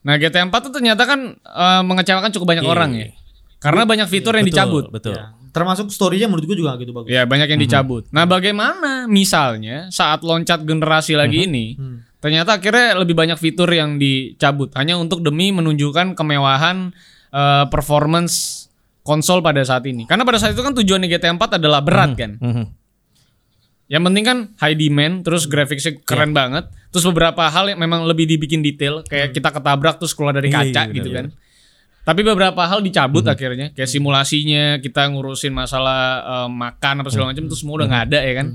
[SPEAKER 1] Nah, GTA 4 tuh ternyata kan eh, mengecewakan cukup banyak
[SPEAKER 2] Iya.
[SPEAKER 1] orang ya. Karena banyak fitur yang
[SPEAKER 2] Betul,
[SPEAKER 1] dicabut.
[SPEAKER 2] Betul.
[SPEAKER 3] Ya. Termasuk story-nya menurut gue juga nggak gitu
[SPEAKER 2] Iya,
[SPEAKER 3] bagus.
[SPEAKER 1] Ya, banyak
[SPEAKER 2] Mhm.
[SPEAKER 1] yang dicabut. Nah, bagaimana misalnya saat loncat generasi lagi
[SPEAKER 2] Mhm.
[SPEAKER 1] ini,
[SPEAKER 3] Hmm.
[SPEAKER 1] ternyata akhirnya lebih banyak fitur yang dicabut hanya untuk demi menunjukkan kemewahan eh, performance konsol pada saat ini. Karena pada saat itu kan tujuan GTA 4 adalah berat kan.
[SPEAKER 2] Mhm.
[SPEAKER 1] Yang penting kan high demand, terus
[SPEAKER 2] Iya.
[SPEAKER 1] grafiknya keren banget, terus beberapa hal yang memang lebih dibikin detail, kayak kita ketabrak terus keluar dari
[SPEAKER 2] Hmm. Iya,
[SPEAKER 1] kaca
[SPEAKER 2] iya, benar,
[SPEAKER 1] gitu kan. Tapi beberapa hal dicabut
[SPEAKER 2] Mhm.
[SPEAKER 1] akhirnya, kayak simulasinya, kita ngurusin masalah eh, makan apa
[SPEAKER 2] Mhm.
[SPEAKER 1] segala macam, itu semua udah nggak ada ya kan.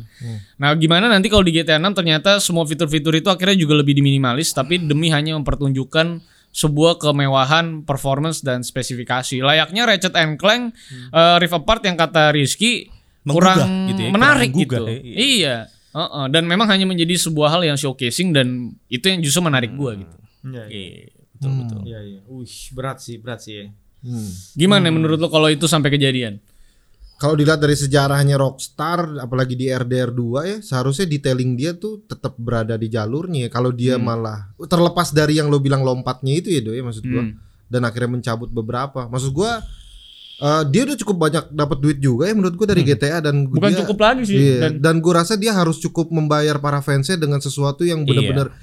[SPEAKER 1] Nah, gimana nanti kalau di GTA 6 ternyata semua fitur-fitur itu akhirnya juga lebih diminimalis, tapi demi hanya mempertunjukkan sebuah kemewahan performance dan spesifikasi layaknya Ratchet and Clank eh, Rift Apart yang kata Rizky
[SPEAKER 2] Mhm. Menggugah
[SPEAKER 1] kurang
[SPEAKER 2] gitu ya, kurang
[SPEAKER 1] menarik
[SPEAKER 2] menggugah
[SPEAKER 1] gitu.
[SPEAKER 2] ya, iya.
[SPEAKER 1] Iya. Heeh, dan memang hanya menjadi sebuah hal yang showcasing dan itu yang justru menarik
[SPEAKER 2] Hmm.
[SPEAKER 1] gua gitu.
[SPEAKER 3] Iya, iya.
[SPEAKER 2] Iya, betul betul.
[SPEAKER 3] Iya, iya. Wih, berat sih, berat sih. ya.
[SPEAKER 4] Hmm.
[SPEAKER 1] Gimana menurut lo kalau itu sampai kejadian?
[SPEAKER 4] Kalau dilihat dari sejarahnya Rockstar, apalagi di RDR 2 ya, seharusnya detailing dia tuh tetap berada di jalurnya. ya. Kalau dia
[SPEAKER 1] Hmm.
[SPEAKER 4] malah terlepas dari yang lo bilang lompatnya itu ya, Doy, maksud gua.
[SPEAKER 1] Hmm.
[SPEAKER 4] Dan akhirnya mencabut beberapa. Maksud gua eh, dia udah cukup banyak dapat duit juga ya menurut gua dari GTA dan
[SPEAKER 1] Hmm. Bukan
[SPEAKER 4] dia-
[SPEAKER 1] cukup lagi sih
[SPEAKER 4] Iya,
[SPEAKER 1] dan
[SPEAKER 4] dan, gua rasa dia harus cukup membayar para fansnya dengan sesuatu yang benar-benar
[SPEAKER 2] Iya.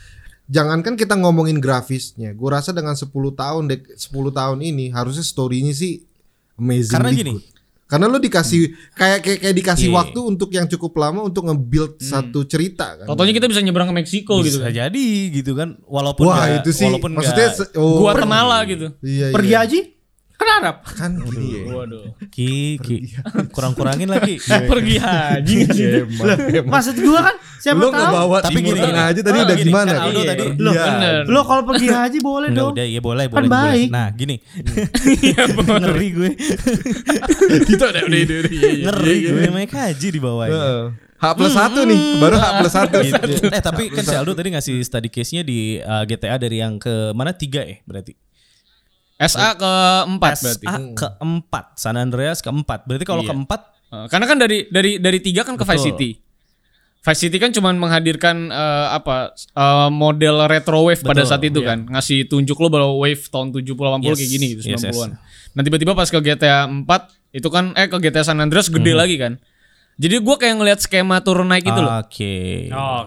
[SPEAKER 4] jangankan kita ngomongin grafisnya. Gua rasa dengan 10 tahun dek- 10 tahun ini harusnya story-nya sih amazing.
[SPEAKER 2] Karena gini. Hmm.
[SPEAKER 4] Karena lo dikasih kayak kayak, kayak dikasih
[SPEAKER 2] Iya. Hmm.
[SPEAKER 4] waktu untuk yang cukup lama untuk nge-build satu
[SPEAKER 2] Oh,
[SPEAKER 4] cerita kan.
[SPEAKER 1] Totonya kita bisa nyebrang ke Meksiko gitu
[SPEAKER 2] Bisa
[SPEAKER 1] kan.
[SPEAKER 2] jadi gitu kan walaupun
[SPEAKER 4] Wah,
[SPEAKER 2] nggak-
[SPEAKER 4] itu sih.
[SPEAKER 2] walaupun
[SPEAKER 4] maksudnya
[SPEAKER 2] nggak-
[SPEAKER 4] se- oh,
[SPEAKER 1] Guatemala gitu.
[SPEAKER 4] Iya,
[SPEAKER 3] Pergi
[SPEAKER 4] iya.
[SPEAKER 3] aja kan Arab.
[SPEAKER 4] kan gini ya.
[SPEAKER 2] Iya,
[SPEAKER 1] Waduh.
[SPEAKER 2] Ki, Ki, kurang-kurangin lagi.
[SPEAKER 4] Iya,
[SPEAKER 1] Pergi haji.
[SPEAKER 3] Maksud gua kan siapa
[SPEAKER 4] Lo
[SPEAKER 3] tahu.
[SPEAKER 4] ngebawa
[SPEAKER 2] iya. Tapi
[SPEAKER 4] timur
[SPEAKER 2] gini,
[SPEAKER 4] tengah aja tadi
[SPEAKER 2] oh,
[SPEAKER 4] udah
[SPEAKER 2] gini,
[SPEAKER 4] gimana?
[SPEAKER 2] kan
[SPEAKER 4] kan?
[SPEAKER 2] Aldo tadi-
[SPEAKER 4] Iya.
[SPEAKER 1] Bener.
[SPEAKER 3] Lo kalau pergi haji boleh
[SPEAKER 2] Enggak
[SPEAKER 3] dong.
[SPEAKER 2] udah ya boleh
[SPEAKER 3] Kan
[SPEAKER 2] boleh, boleh.
[SPEAKER 3] baik.
[SPEAKER 2] Nah, gini.
[SPEAKER 1] Iya,
[SPEAKER 2] ngeri gue.
[SPEAKER 4] Iya,
[SPEAKER 1] Kita udah udah udah, udah, iya, iya.
[SPEAKER 2] Ngeri gue naik haji di bawahnya.
[SPEAKER 4] Heeh. H plus satu nih, baru H plus satu.
[SPEAKER 2] Hmm. Gitu. Eh tapi kan si Aldo tadi ngasih study case-nya di uh, GTA dari yang ke mana tiga ya berarti.
[SPEAKER 1] SA ke 4 berarti.
[SPEAKER 2] SA
[SPEAKER 4] Hmm.
[SPEAKER 2] keempat, San Andreas keempat. Berarti kalau
[SPEAKER 1] Iya.
[SPEAKER 2] keempat
[SPEAKER 1] Eh, Karena kan dari dari dari tiga kan ke Vice
[SPEAKER 2] Betul.
[SPEAKER 1] City. Vice City kan cuman menghadirkan eh, apa eh, model retro wave pada
[SPEAKER 2] Betul,
[SPEAKER 1] saat itu kan. Ngasih tunjuk lo bahwa wave tahun 70 80 kayak
[SPEAKER 2] Yes,
[SPEAKER 1] gini gitu
[SPEAKER 2] yes,
[SPEAKER 1] 90-an. Nah, tiba-tiba pas ke GTA 4 itu kan eh ke GTA San Andreas
[SPEAKER 2] Mhm.
[SPEAKER 1] gede lagi kan. Jadi gua kayak ngelihat skema turun naik
[SPEAKER 2] Ah.
[SPEAKER 1] itu loh.
[SPEAKER 2] Oke.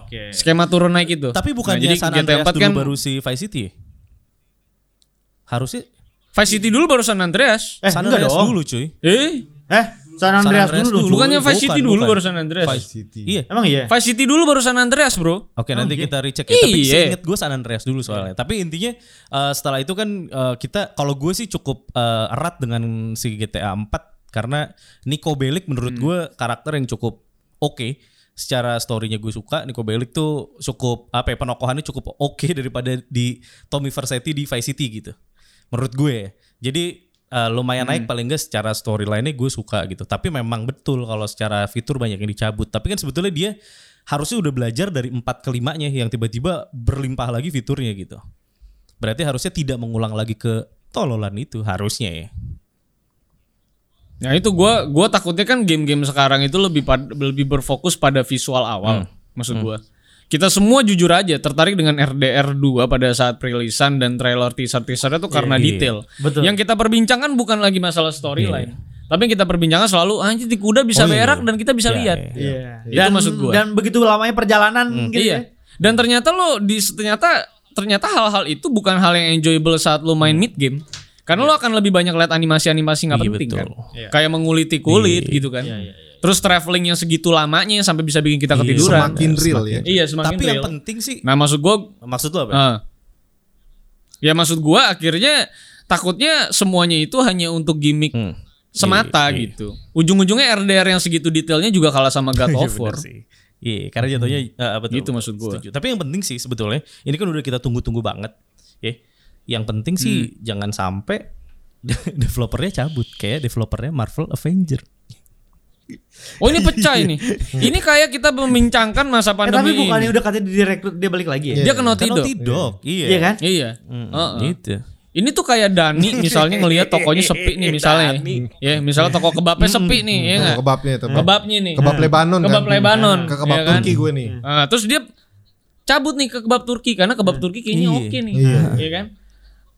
[SPEAKER 3] Oke.
[SPEAKER 1] Skema turun naik itu.
[SPEAKER 2] gitu
[SPEAKER 1] Nah,
[SPEAKER 2] Tapi bukannya
[SPEAKER 1] jadi
[SPEAKER 2] San
[SPEAKER 1] GTA
[SPEAKER 2] Andreas
[SPEAKER 1] 4
[SPEAKER 2] dulu
[SPEAKER 1] kan
[SPEAKER 2] baru si Vice City ya? Harusnya
[SPEAKER 1] Vice City dulu baru San Andreas.
[SPEAKER 3] Eh,
[SPEAKER 2] San
[SPEAKER 3] enggak
[SPEAKER 2] Andreas
[SPEAKER 3] dong.
[SPEAKER 2] dulu cuy.
[SPEAKER 1] Eh,
[SPEAKER 3] Eh, San Andreas
[SPEAKER 2] Andreas
[SPEAKER 3] dulu dong.
[SPEAKER 2] dulu.
[SPEAKER 3] Cuk.
[SPEAKER 1] Bukannya Vice
[SPEAKER 2] Bukan,
[SPEAKER 1] City dulu
[SPEAKER 2] bukan.
[SPEAKER 1] baru San Andreas.
[SPEAKER 2] Vice
[SPEAKER 4] City.
[SPEAKER 2] Iya.
[SPEAKER 3] Emang iya?
[SPEAKER 1] Vice City dulu baru San Andreas, Bro.
[SPEAKER 2] Oke nanti kita recheck ya.
[SPEAKER 1] Iya.
[SPEAKER 2] Tapi seinget gue San Andreas dulu soalnya. Tapi intinya eh, setelah itu kan eh, kita kalau gue sih cukup eh, erat dengan si GTA 4 karena Nico Bellic menurut gue karakter yang cukup oke. Secara story-nya gue suka Nico Bellic tuh cukup apa ya penokohannya cukup oke daripada di Tommy Versetti di Vice City gitu. Menurut gue. ya. Jadi eh, lumayan naik paling enggak secara storyline-nya gue suka gitu. Tapi memang betul kalau secara fitur banyak yang dicabut. Tapi kan sebetulnya dia harusnya udah belajar dari empat kelimanya yang tiba-tiba berlimpah lagi fiturnya gitu. Berarti harusnya tidak mengulang lagi ke tololan itu harusnya ya.
[SPEAKER 1] Nah itu gua gua takutnya kan game-game sekarang itu lebih pad- lebih berfokus pada visual
[SPEAKER 2] Hmm.
[SPEAKER 1] awal, maksud gua. Kita semua jujur aja tertarik dengan RDR 2 pada saat perilisan dan trailer teaser-teasernya tuh karena
[SPEAKER 2] Iya.
[SPEAKER 1] detail. Yang kita perbincangkan bukan lagi masalah storyline. Tapi yang kita perbincangkan selalu anjir di kuda bisa
[SPEAKER 2] iya. Oh, iya.
[SPEAKER 1] berak dan kita bisa
[SPEAKER 2] Iya,
[SPEAKER 1] lihat.
[SPEAKER 2] iya.
[SPEAKER 3] Iya.
[SPEAKER 1] Itu maksud gua.
[SPEAKER 3] Dan begitu lamanya perjalanan
[SPEAKER 2] Hmm.
[SPEAKER 3] gitu
[SPEAKER 1] Iya.
[SPEAKER 3] ya.
[SPEAKER 1] Dan ternyata lo di ternyata ternyata hal-hal itu bukan hal yang enjoyable saat lo main mid game. Karena lo akan lebih banyak lihat animasi-animasi nggak
[SPEAKER 2] Hmm. Iya,
[SPEAKER 1] penting
[SPEAKER 2] betul. Iya,
[SPEAKER 1] kan. Kayak menguliti kulit gitu kan.
[SPEAKER 3] iya,
[SPEAKER 1] Terus traveling yang segitu lamanya sampai bisa bikin
[SPEAKER 2] Iya,
[SPEAKER 1] kita ketiduran.
[SPEAKER 4] Semakin real ya.
[SPEAKER 1] Iya, semakin
[SPEAKER 2] Tapi yang
[SPEAKER 1] real.
[SPEAKER 2] penting sih
[SPEAKER 1] Nah, maksud gua
[SPEAKER 2] maksud lo apa? ya?
[SPEAKER 1] Ah. Ya maksud gua akhirnya takutnya semuanya itu hanya untuk gimmick
[SPEAKER 2] Hmm.
[SPEAKER 1] semata gitu. Ujung-ujungnya RDR yang segitu detailnya juga kalah sama God of
[SPEAKER 2] Iya, bener
[SPEAKER 1] War.
[SPEAKER 2] sih. Iya, karena jatuhnya eh, betul,
[SPEAKER 1] Gitu
[SPEAKER 2] betul,
[SPEAKER 1] maksud gua.
[SPEAKER 2] setuju. Tapi yang penting sih sebetulnya ini kan udah kita tunggu-tunggu banget, ya. Yang penting sih jangan sampai developernya cabut kayak developernya Marvel Avenger.
[SPEAKER 1] Oh ini pecah ini.
[SPEAKER 2] Iya.
[SPEAKER 1] ini kayak kita membincangkan masa
[SPEAKER 3] Eh, tapi
[SPEAKER 1] pandemi
[SPEAKER 3] bukannya
[SPEAKER 1] ini.
[SPEAKER 3] udah katanya direkrut dia balik lagi ya?
[SPEAKER 1] Dia kena
[SPEAKER 2] Kan
[SPEAKER 1] tidur.
[SPEAKER 2] Naughty Dog, Iya.
[SPEAKER 3] Iya kan?
[SPEAKER 1] Oh, Iya.
[SPEAKER 2] Mm,
[SPEAKER 1] Heeh.
[SPEAKER 2] Gitu.
[SPEAKER 1] Ini tuh kayak Dani misalnya ngelihat
[SPEAKER 2] Iya,
[SPEAKER 1] tokonya sepi nih misalnya. Ya, misalnya toko kebabnya sepi nih, ya
[SPEAKER 4] Sama
[SPEAKER 1] nggak?
[SPEAKER 4] Kebabnya itu. Bang.
[SPEAKER 1] Kebabnya nih.
[SPEAKER 4] Kebab Lebanon kan.
[SPEAKER 1] Kebab Lebanon,
[SPEAKER 4] Ke kebab
[SPEAKER 1] iya kan?
[SPEAKER 4] Turki gue nih.
[SPEAKER 2] Hmm.
[SPEAKER 1] Ah, terus dia cabut nih ke kebab Turki karena kebab Turki kayaknya
[SPEAKER 2] Iya.
[SPEAKER 1] oke nih. Iya. kan?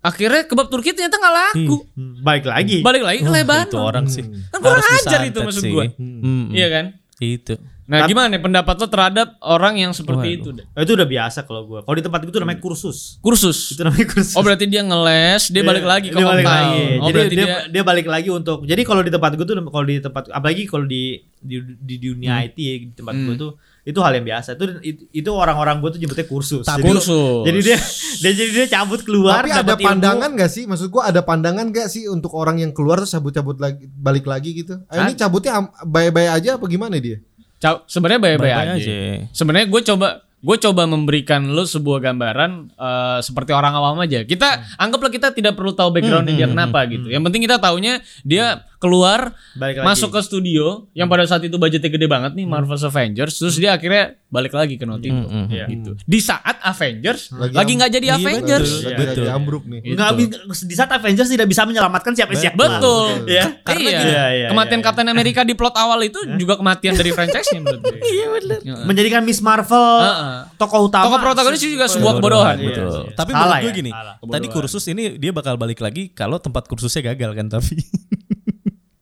[SPEAKER 1] Akhirnya kebab Turki ternyata nggak laku.
[SPEAKER 3] Hmm, Balik lagi.
[SPEAKER 1] Balik lagi ke Lebanon.
[SPEAKER 2] Iya. Itu orang sih.
[SPEAKER 1] Kan kurang
[SPEAKER 2] Harus
[SPEAKER 1] ajar itu
[SPEAKER 2] disantet
[SPEAKER 1] maksud
[SPEAKER 2] sih.
[SPEAKER 1] gua.
[SPEAKER 2] Mm, mm.
[SPEAKER 1] Iya kan?
[SPEAKER 2] Itu.
[SPEAKER 1] Nah, gimana nih pendapat lo terhadap orang yang seperti
[SPEAKER 2] Waduh.
[SPEAKER 1] itu? Dan?
[SPEAKER 3] Eh, Itu udah biasa kalau gua. Kalau di tempat itu namanya kursus.
[SPEAKER 1] Kursus.
[SPEAKER 3] Itu namanya kursus.
[SPEAKER 1] Hmm. Oh berarti dia ngeles, dia balik lagi ke
[SPEAKER 3] Iya, dia balik
[SPEAKER 1] hometown.
[SPEAKER 3] lagi.
[SPEAKER 1] Oh
[SPEAKER 3] jadi
[SPEAKER 1] berarti
[SPEAKER 3] dia,
[SPEAKER 1] dia,
[SPEAKER 3] dia balik lagi untuk jadi kalau di tempat gue tuh kalau di tempat apalagi kalau di di, di
[SPEAKER 1] Hmm.
[SPEAKER 3] dunia IT ya, di tempat gue tuh itu hal yang biasa itu itu- itu orang-orang gue tuh nyebutnya kursus jadi,
[SPEAKER 1] kursus.
[SPEAKER 3] jadi dia dia jadi dia cabut keluar
[SPEAKER 4] Tapi ada
[SPEAKER 3] dapat ilmu.
[SPEAKER 4] pandangan gak sih? Maksud gua ada pandangan gak sih untuk orang yang keluar terus cabut-cabut lagi balik lagi gitu? Ah,
[SPEAKER 2] Kan?
[SPEAKER 4] ini cabutnya am- bye-bye aja apa gimana dia?
[SPEAKER 1] Ca- sebenarnya baik-baik
[SPEAKER 2] Bye-bye
[SPEAKER 1] aja.
[SPEAKER 2] Iya aja.
[SPEAKER 1] Sebenarnya gue coba gue coba memberikan lo sebuah gambaran eh, seperti orang awam aja. Kita anggaplah kita tidak perlu tahu background
[SPEAKER 3] Hmm,
[SPEAKER 1] dia kenapa gitu. Yang penting kita taunya dia keluar
[SPEAKER 3] Balik lagi. Hmm.
[SPEAKER 1] masuk ke studio yang pada saat itu budgetnya gede banget nih Marvel's Avengers terus dia akhirnya balik lagi ke Naughty Dog
[SPEAKER 2] Mm, mm.
[SPEAKER 3] hmm.
[SPEAKER 1] gitu. Di saat Avengers
[SPEAKER 4] Lagi
[SPEAKER 1] lagi nggak jadi
[SPEAKER 2] Iya,
[SPEAKER 1] Avengers.
[SPEAKER 2] betul.
[SPEAKER 4] Lagi
[SPEAKER 2] Betul.
[SPEAKER 4] lagi ambruk nih.
[SPEAKER 1] Iya.
[SPEAKER 3] nggak bi- di saat Avengers tidak bisa menyelamatkan siapa siapa
[SPEAKER 1] Gitu. Betul.
[SPEAKER 3] Iya.
[SPEAKER 1] Karena
[SPEAKER 3] Iya,
[SPEAKER 1] gini,
[SPEAKER 3] iya, iya,
[SPEAKER 1] kematian
[SPEAKER 3] iya.
[SPEAKER 1] Captain America di plot awal itu juga kematian dari franchise-nya menurut gue. Iya benar.
[SPEAKER 3] menjadikan Miss Marvel
[SPEAKER 1] Heeh.
[SPEAKER 3] tokoh utama
[SPEAKER 1] Tokoh protagonis itu juga sebuah kebodohan.
[SPEAKER 2] Betul.
[SPEAKER 3] Iya, iya.
[SPEAKER 2] Tapi
[SPEAKER 3] Salah
[SPEAKER 2] menurut gue
[SPEAKER 3] ya,
[SPEAKER 2] gini,
[SPEAKER 3] salah.
[SPEAKER 2] tadi kursus ini dia bakal balik lagi kalau tempat kursusnya gagal kan tapi.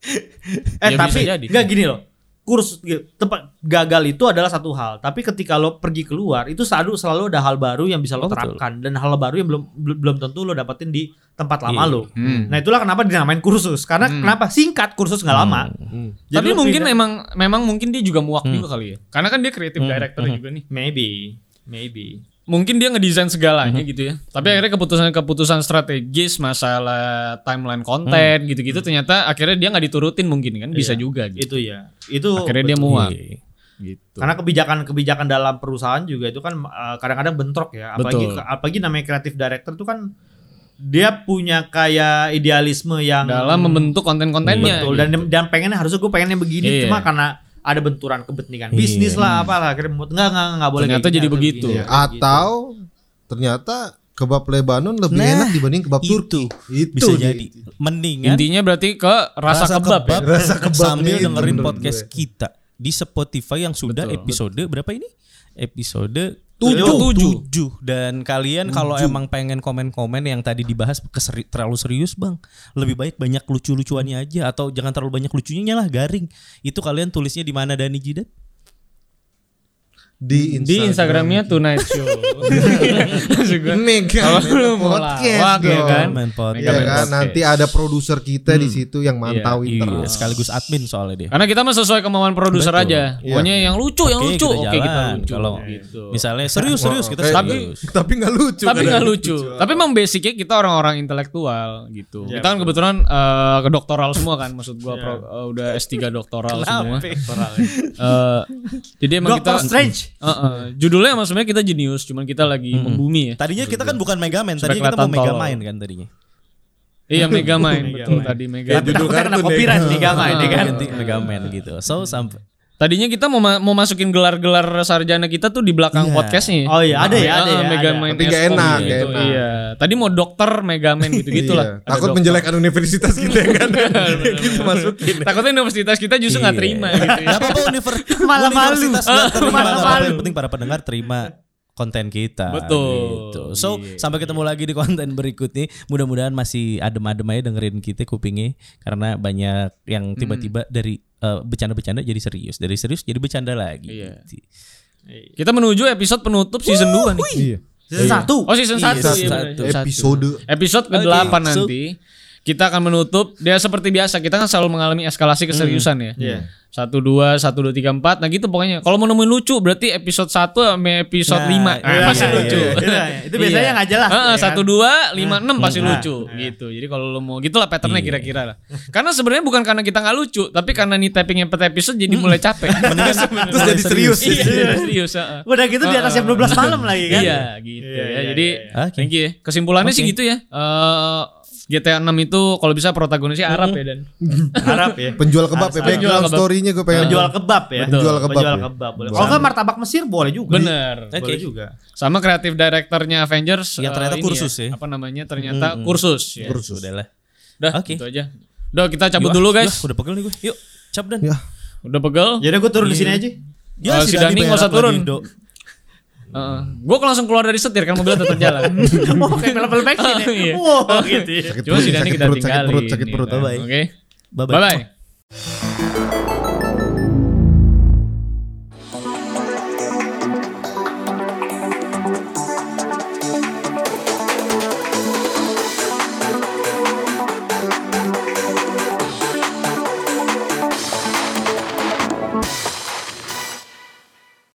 [SPEAKER 3] eh
[SPEAKER 1] Ya,
[SPEAKER 3] tapi
[SPEAKER 1] bisa jadi.
[SPEAKER 3] nggak gini loh kursus tempat gagal itu adalah satu hal tapi ketika lo pergi keluar itu selalu selalu ada hal baru yang bisa
[SPEAKER 2] Oh,
[SPEAKER 3] lo
[SPEAKER 2] betul.
[SPEAKER 3] terapkan dan hal baru yang belum belum belum tentu lo dapetin di tempat lama
[SPEAKER 2] Iya.
[SPEAKER 3] lo
[SPEAKER 1] Hmm.
[SPEAKER 3] nah itulah kenapa dinamain kursus karena kenapa singkat kursus nggak lama Jadi
[SPEAKER 1] Hmm. Tapi
[SPEAKER 3] lo
[SPEAKER 1] mungkin
[SPEAKER 3] pindah-
[SPEAKER 1] memang memang mungkin dia juga
[SPEAKER 3] Hmm.
[SPEAKER 1] muak juga kali ya. Karena kan dia kreatif director juga nih.
[SPEAKER 3] maybe maybe
[SPEAKER 1] Mungkin dia ngedesain segalanya
[SPEAKER 3] Hmm.
[SPEAKER 1] gitu ya. Tapi akhirnya keputusan-keputusan strategis masalah timeline konten
[SPEAKER 3] Hmm.
[SPEAKER 1] gitu-gitu ternyata akhirnya dia nggak diturutin mungkin kan bisa juga gitu.
[SPEAKER 3] itu ya itu
[SPEAKER 1] Akhirnya dia
[SPEAKER 3] betul.
[SPEAKER 1] muak.
[SPEAKER 2] Iya.
[SPEAKER 1] Gitu.
[SPEAKER 3] karena kebijakan-kebijakan dalam perusahaan juga itu kan eh, kadang-kadang bentrok ya apalagi
[SPEAKER 1] Betul.
[SPEAKER 3] apalagi namanya kreatif director itu kan dia punya kayak idealisme yang
[SPEAKER 1] Dalam membentuk konten-kontennya. gitu.
[SPEAKER 3] Betul dan dan pengennya harusnya gue pengennya begini
[SPEAKER 1] Iya.
[SPEAKER 3] cuma karena ada benturan
[SPEAKER 2] Iya.
[SPEAKER 3] kepentingan bisnis lah apalah akhirnya membuat enggak enggak enggak boleh
[SPEAKER 1] Ternyata
[SPEAKER 3] kayak gitu.
[SPEAKER 1] jadi
[SPEAKER 3] gini, harus
[SPEAKER 1] begitu.
[SPEAKER 3] begini,
[SPEAKER 1] Iya.
[SPEAKER 3] harus begitu."
[SPEAKER 4] Atau ternyata kebab Lebanon lebih
[SPEAKER 2] Nah,
[SPEAKER 4] enak dibanding kebab
[SPEAKER 2] itu.
[SPEAKER 4] Turki. Itu
[SPEAKER 2] Bisa
[SPEAKER 4] nih.
[SPEAKER 2] jadi mendingan
[SPEAKER 1] Intinya berarti ke rasa, kebab, ya.
[SPEAKER 4] Rasa kebab Iya,
[SPEAKER 2] sambil
[SPEAKER 4] nih itu
[SPEAKER 2] dengerin
[SPEAKER 4] menurut
[SPEAKER 2] podcast
[SPEAKER 4] gue.
[SPEAKER 2] kita di Spotify yang sudah episode berapa ini? Episode
[SPEAKER 1] Tujuh. Tujuh.
[SPEAKER 2] Tujuh. dan kalian kalau emang pengen komen-komen yang tadi dibahas keseri- terlalu serius bang lebih baik banyak lucu-lucuannya aja atau jangan terlalu banyak lucunya lah garing itu kalian tulisnya di mana Dani Jidat
[SPEAKER 4] di
[SPEAKER 1] Di Instagramnya Tonight Show. Maksud gua,
[SPEAKER 4] Mega
[SPEAKER 1] Kalau
[SPEAKER 4] Mega
[SPEAKER 1] lu mau lawak, ya
[SPEAKER 4] kan dong.
[SPEAKER 1] kan?
[SPEAKER 2] Main podcast.
[SPEAKER 4] Iya
[SPEAKER 1] Mega
[SPEAKER 4] kan?
[SPEAKER 1] Podcast. Hmm.
[SPEAKER 4] Nanti ada produser kita di situ yang mantauin
[SPEAKER 2] Iya,
[SPEAKER 4] terus.
[SPEAKER 2] sekaligus admin soalnya dia.
[SPEAKER 1] Karena kita mah sesuai kemauan produser
[SPEAKER 2] Betul.
[SPEAKER 1] aja.
[SPEAKER 4] Iya.
[SPEAKER 1] Pokoknya yang lucu, yang
[SPEAKER 2] Oke,
[SPEAKER 1] lucu.
[SPEAKER 2] kita
[SPEAKER 1] Oke, kita
[SPEAKER 2] jalan.
[SPEAKER 1] lucu.
[SPEAKER 2] Kalau
[SPEAKER 1] Gitu.
[SPEAKER 2] Misalnya serius serius kita
[SPEAKER 4] Oke.
[SPEAKER 2] serius.
[SPEAKER 4] Tapi nggak lucu.
[SPEAKER 1] Tapi
[SPEAKER 4] kan?
[SPEAKER 1] nggak lucu. Tapi memang basicnya kita orang-orang intelektual gitu. kita kan kebetulan eh, ke doktoral semua kan. Maksud gua pro- eh, udah S3 doktoral semua. Eh, jadi Iya. emang
[SPEAKER 3] Doctor
[SPEAKER 1] kita
[SPEAKER 3] Strange.
[SPEAKER 1] Eh, eh, judulnya emang sebenarnya kita jenius, cuman kita lagi membumi ya.
[SPEAKER 2] Tadinya kita kan bukan Mega Man,
[SPEAKER 1] Supaya
[SPEAKER 2] tadinya kita mau
[SPEAKER 1] kelihatan
[SPEAKER 2] Mega
[SPEAKER 1] tolol.
[SPEAKER 2] Mind kan tadinya.
[SPEAKER 1] Iya Mega Mind betul tadi Mega.
[SPEAKER 4] Kayak
[SPEAKER 1] Mind.
[SPEAKER 4] judul
[SPEAKER 1] ya.
[SPEAKER 3] Takutnya kena
[SPEAKER 4] kartun deh.
[SPEAKER 3] copyright nih gama
[SPEAKER 1] Iya.
[SPEAKER 3] ini kan.
[SPEAKER 2] Nah, Ganti Mega Man gitu. So sampai
[SPEAKER 1] Tadinya kita mau ma- mau masukin gelar-gelar sarjana kita tuh di belakang podcastnya.
[SPEAKER 3] Oh iya, ada ya,
[SPEAKER 1] Ah,
[SPEAKER 3] ada ya,
[SPEAKER 1] Mega
[SPEAKER 3] ada.
[SPEAKER 1] Mind
[SPEAKER 4] Tapi nggak
[SPEAKER 1] Eskom
[SPEAKER 4] enak,
[SPEAKER 1] gitu.
[SPEAKER 4] nggak enak.
[SPEAKER 1] Iya. Tadi mau dokter Mega Man gitu-gitu
[SPEAKER 4] Iya.
[SPEAKER 1] lah. Ada
[SPEAKER 4] Takut
[SPEAKER 1] dokter.
[SPEAKER 4] menjelekkan universitas kita ya kan. Gitu masukin.
[SPEAKER 1] Takutnya universitas kita justru nggak terima
[SPEAKER 2] Iya.
[SPEAKER 1] gitu.
[SPEAKER 2] Gak apa-apa univer
[SPEAKER 3] Malah malu.
[SPEAKER 2] universitas nggak terima.
[SPEAKER 3] Malah
[SPEAKER 2] Gak apa-apa
[SPEAKER 3] malu.
[SPEAKER 2] yang penting para pendengar terima konten kita.
[SPEAKER 1] Betul. Iya.
[SPEAKER 2] gitu. So sampai ketemu lagi di konten berikutnya. Mudah-mudahan masih adem-adem aja dengerin kita kupingnya karena banyak
[SPEAKER 1] Hmm.
[SPEAKER 2] yang tiba-tiba dari eh, bercanda-bercanda jadi serius, dari serius jadi bercanda lagi.
[SPEAKER 1] Iya.
[SPEAKER 2] Gitu.
[SPEAKER 1] Kita menuju episode penutup season 2 nih.
[SPEAKER 4] Iya.
[SPEAKER 3] Season satu.
[SPEAKER 1] Oh season 1
[SPEAKER 2] Iya, season
[SPEAKER 4] Episode
[SPEAKER 1] Episode ke-8 nanti kita akan menutup dia seperti biasa kita kan selalu mengalami eskalasi keseriusan ya.
[SPEAKER 3] Iya.
[SPEAKER 1] Satu dua satu dua tiga empat nah gitu pokoknya kalau mau nemuin lucu berarti episode 1 sampai episode
[SPEAKER 2] Nah,
[SPEAKER 1] 5
[SPEAKER 2] iya,
[SPEAKER 1] pasti
[SPEAKER 2] iya,
[SPEAKER 1] lucu.
[SPEAKER 2] iya,
[SPEAKER 3] iya. Itu biasanya nggak jelas,
[SPEAKER 1] Heeh,
[SPEAKER 3] ya kan?
[SPEAKER 1] satu dua
[SPEAKER 2] Nah.
[SPEAKER 1] lima enam pasti lucu gitu. Jadi kalau lo mau gitulah patternnya
[SPEAKER 2] Iya.
[SPEAKER 1] kira-kira lah. Karena sebenarnya bukan karena kita nggak lucu tapi karena nih tappingnya per episode jadi
[SPEAKER 2] Hmm.
[SPEAKER 1] mulai capek.
[SPEAKER 4] terus
[SPEAKER 3] Nah,
[SPEAKER 4] jadi serius.
[SPEAKER 1] Iya, jadi serius. heeh.
[SPEAKER 3] Udah gitu di atas jam 12 malam lagi kan.
[SPEAKER 1] Iya gitu ya.
[SPEAKER 3] Iya, iya,
[SPEAKER 1] Jadi
[SPEAKER 2] iya. Oke.
[SPEAKER 1] thank you ya. Kesimpulannya sih
[SPEAKER 2] Oke.
[SPEAKER 1] gitu ya. Eh GTA 6 itu kalau bisa protagonisnya
[SPEAKER 2] Hmm.
[SPEAKER 1] Arab ya dan.
[SPEAKER 3] Harap ya.
[SPEAKER 4] Penjual kebab ya.
[SPEAKER 1] Penjual
[SPEAKER 4] Background
[SPEAKER 1] kebab.
[SPEAKER 4] story-nya gue pengen.
[SPEAKER 3] Penjual kebab ya.
[SPEAKER 4] Betul. Penjual kebab
[SPEAKER 3] Penjual
[SPEAKER 4] ya.
[SPEAKER 3] kebab boleh.
[SPEAKER 4] Boleh.
[SPEAKER 3] Kalau nggak martabak Mesir boleh juga.
[SPEAKER 1] Bener.
[SPEAKER 2] Oke.
[SPEAKER 3] Boleh juga.
[SPEAKER 1] Sama kreatif directornya Avengers
[SPEAKER 2] Yang
[SPEAKER 1] eh,
[SPEAKER 2] ternyata
[SPEAKER 1] ini
[SPEAKER 2] kursus ya. Hmm,
[SPEAKER 1] Apa namanya? Ternyata kursus ya.
[SPEAKER 2] Kursus. Udah lah.
[SPEAKER 1] Udah
[SPEAKER 2] Oke.
[SPEAKER 1] gitu aja. Udah kita cabut
[SPEAKER 2] Yuk,
[SPEAKER 1] dulu
[SPEAKER 2] ah,
[SPEAKER 1] guys.
[SPEAKER 2] yuk, udah pegel nih gue. Yuk, cap dan.
[SPEAKER 4] Ya.
[SPEAKER 1] Udah pegel.
[SPEAKER 3] Jadi gue turun di sini aja.
[SPEAKER 1] Eh, si Dani nggak usah
[SPEAKER 2] berak lagi,
[SPEAKER 1] turun.
[SPEAKER 2] Dok.
[SPEAKER 1] gue langsung keluar dari setir kan mobilnya tetap jalan.
[SPEAKER 3] Oh, kayak film vaksin
[SPEAKER 1] Iya.
[SPEAKER 3] ya. Wow, gitu ya.
[SPEAKER 4] Sakit
[SPEAKER 1] Cuma
[SPEAKER 4] perut,
[SPEAKER 1] si Dani
[SPEAKER 4] sakit
[SPEAKER 1] kita
[SPEAKER 4] perut,
[SPEAKER 1] tinggalin.
[SPEAKER 4] sakit perut, sakit
[SPEAKER 1] ya
[SPEAKER 4] perut.
[SPEAKER 1] kan.
[SPEAKER 2] bye-bye.
[SPEAKER 1] Oke.
[SPEAKER 2] Bye-bye.
[SPEAKER 1] Bye bye.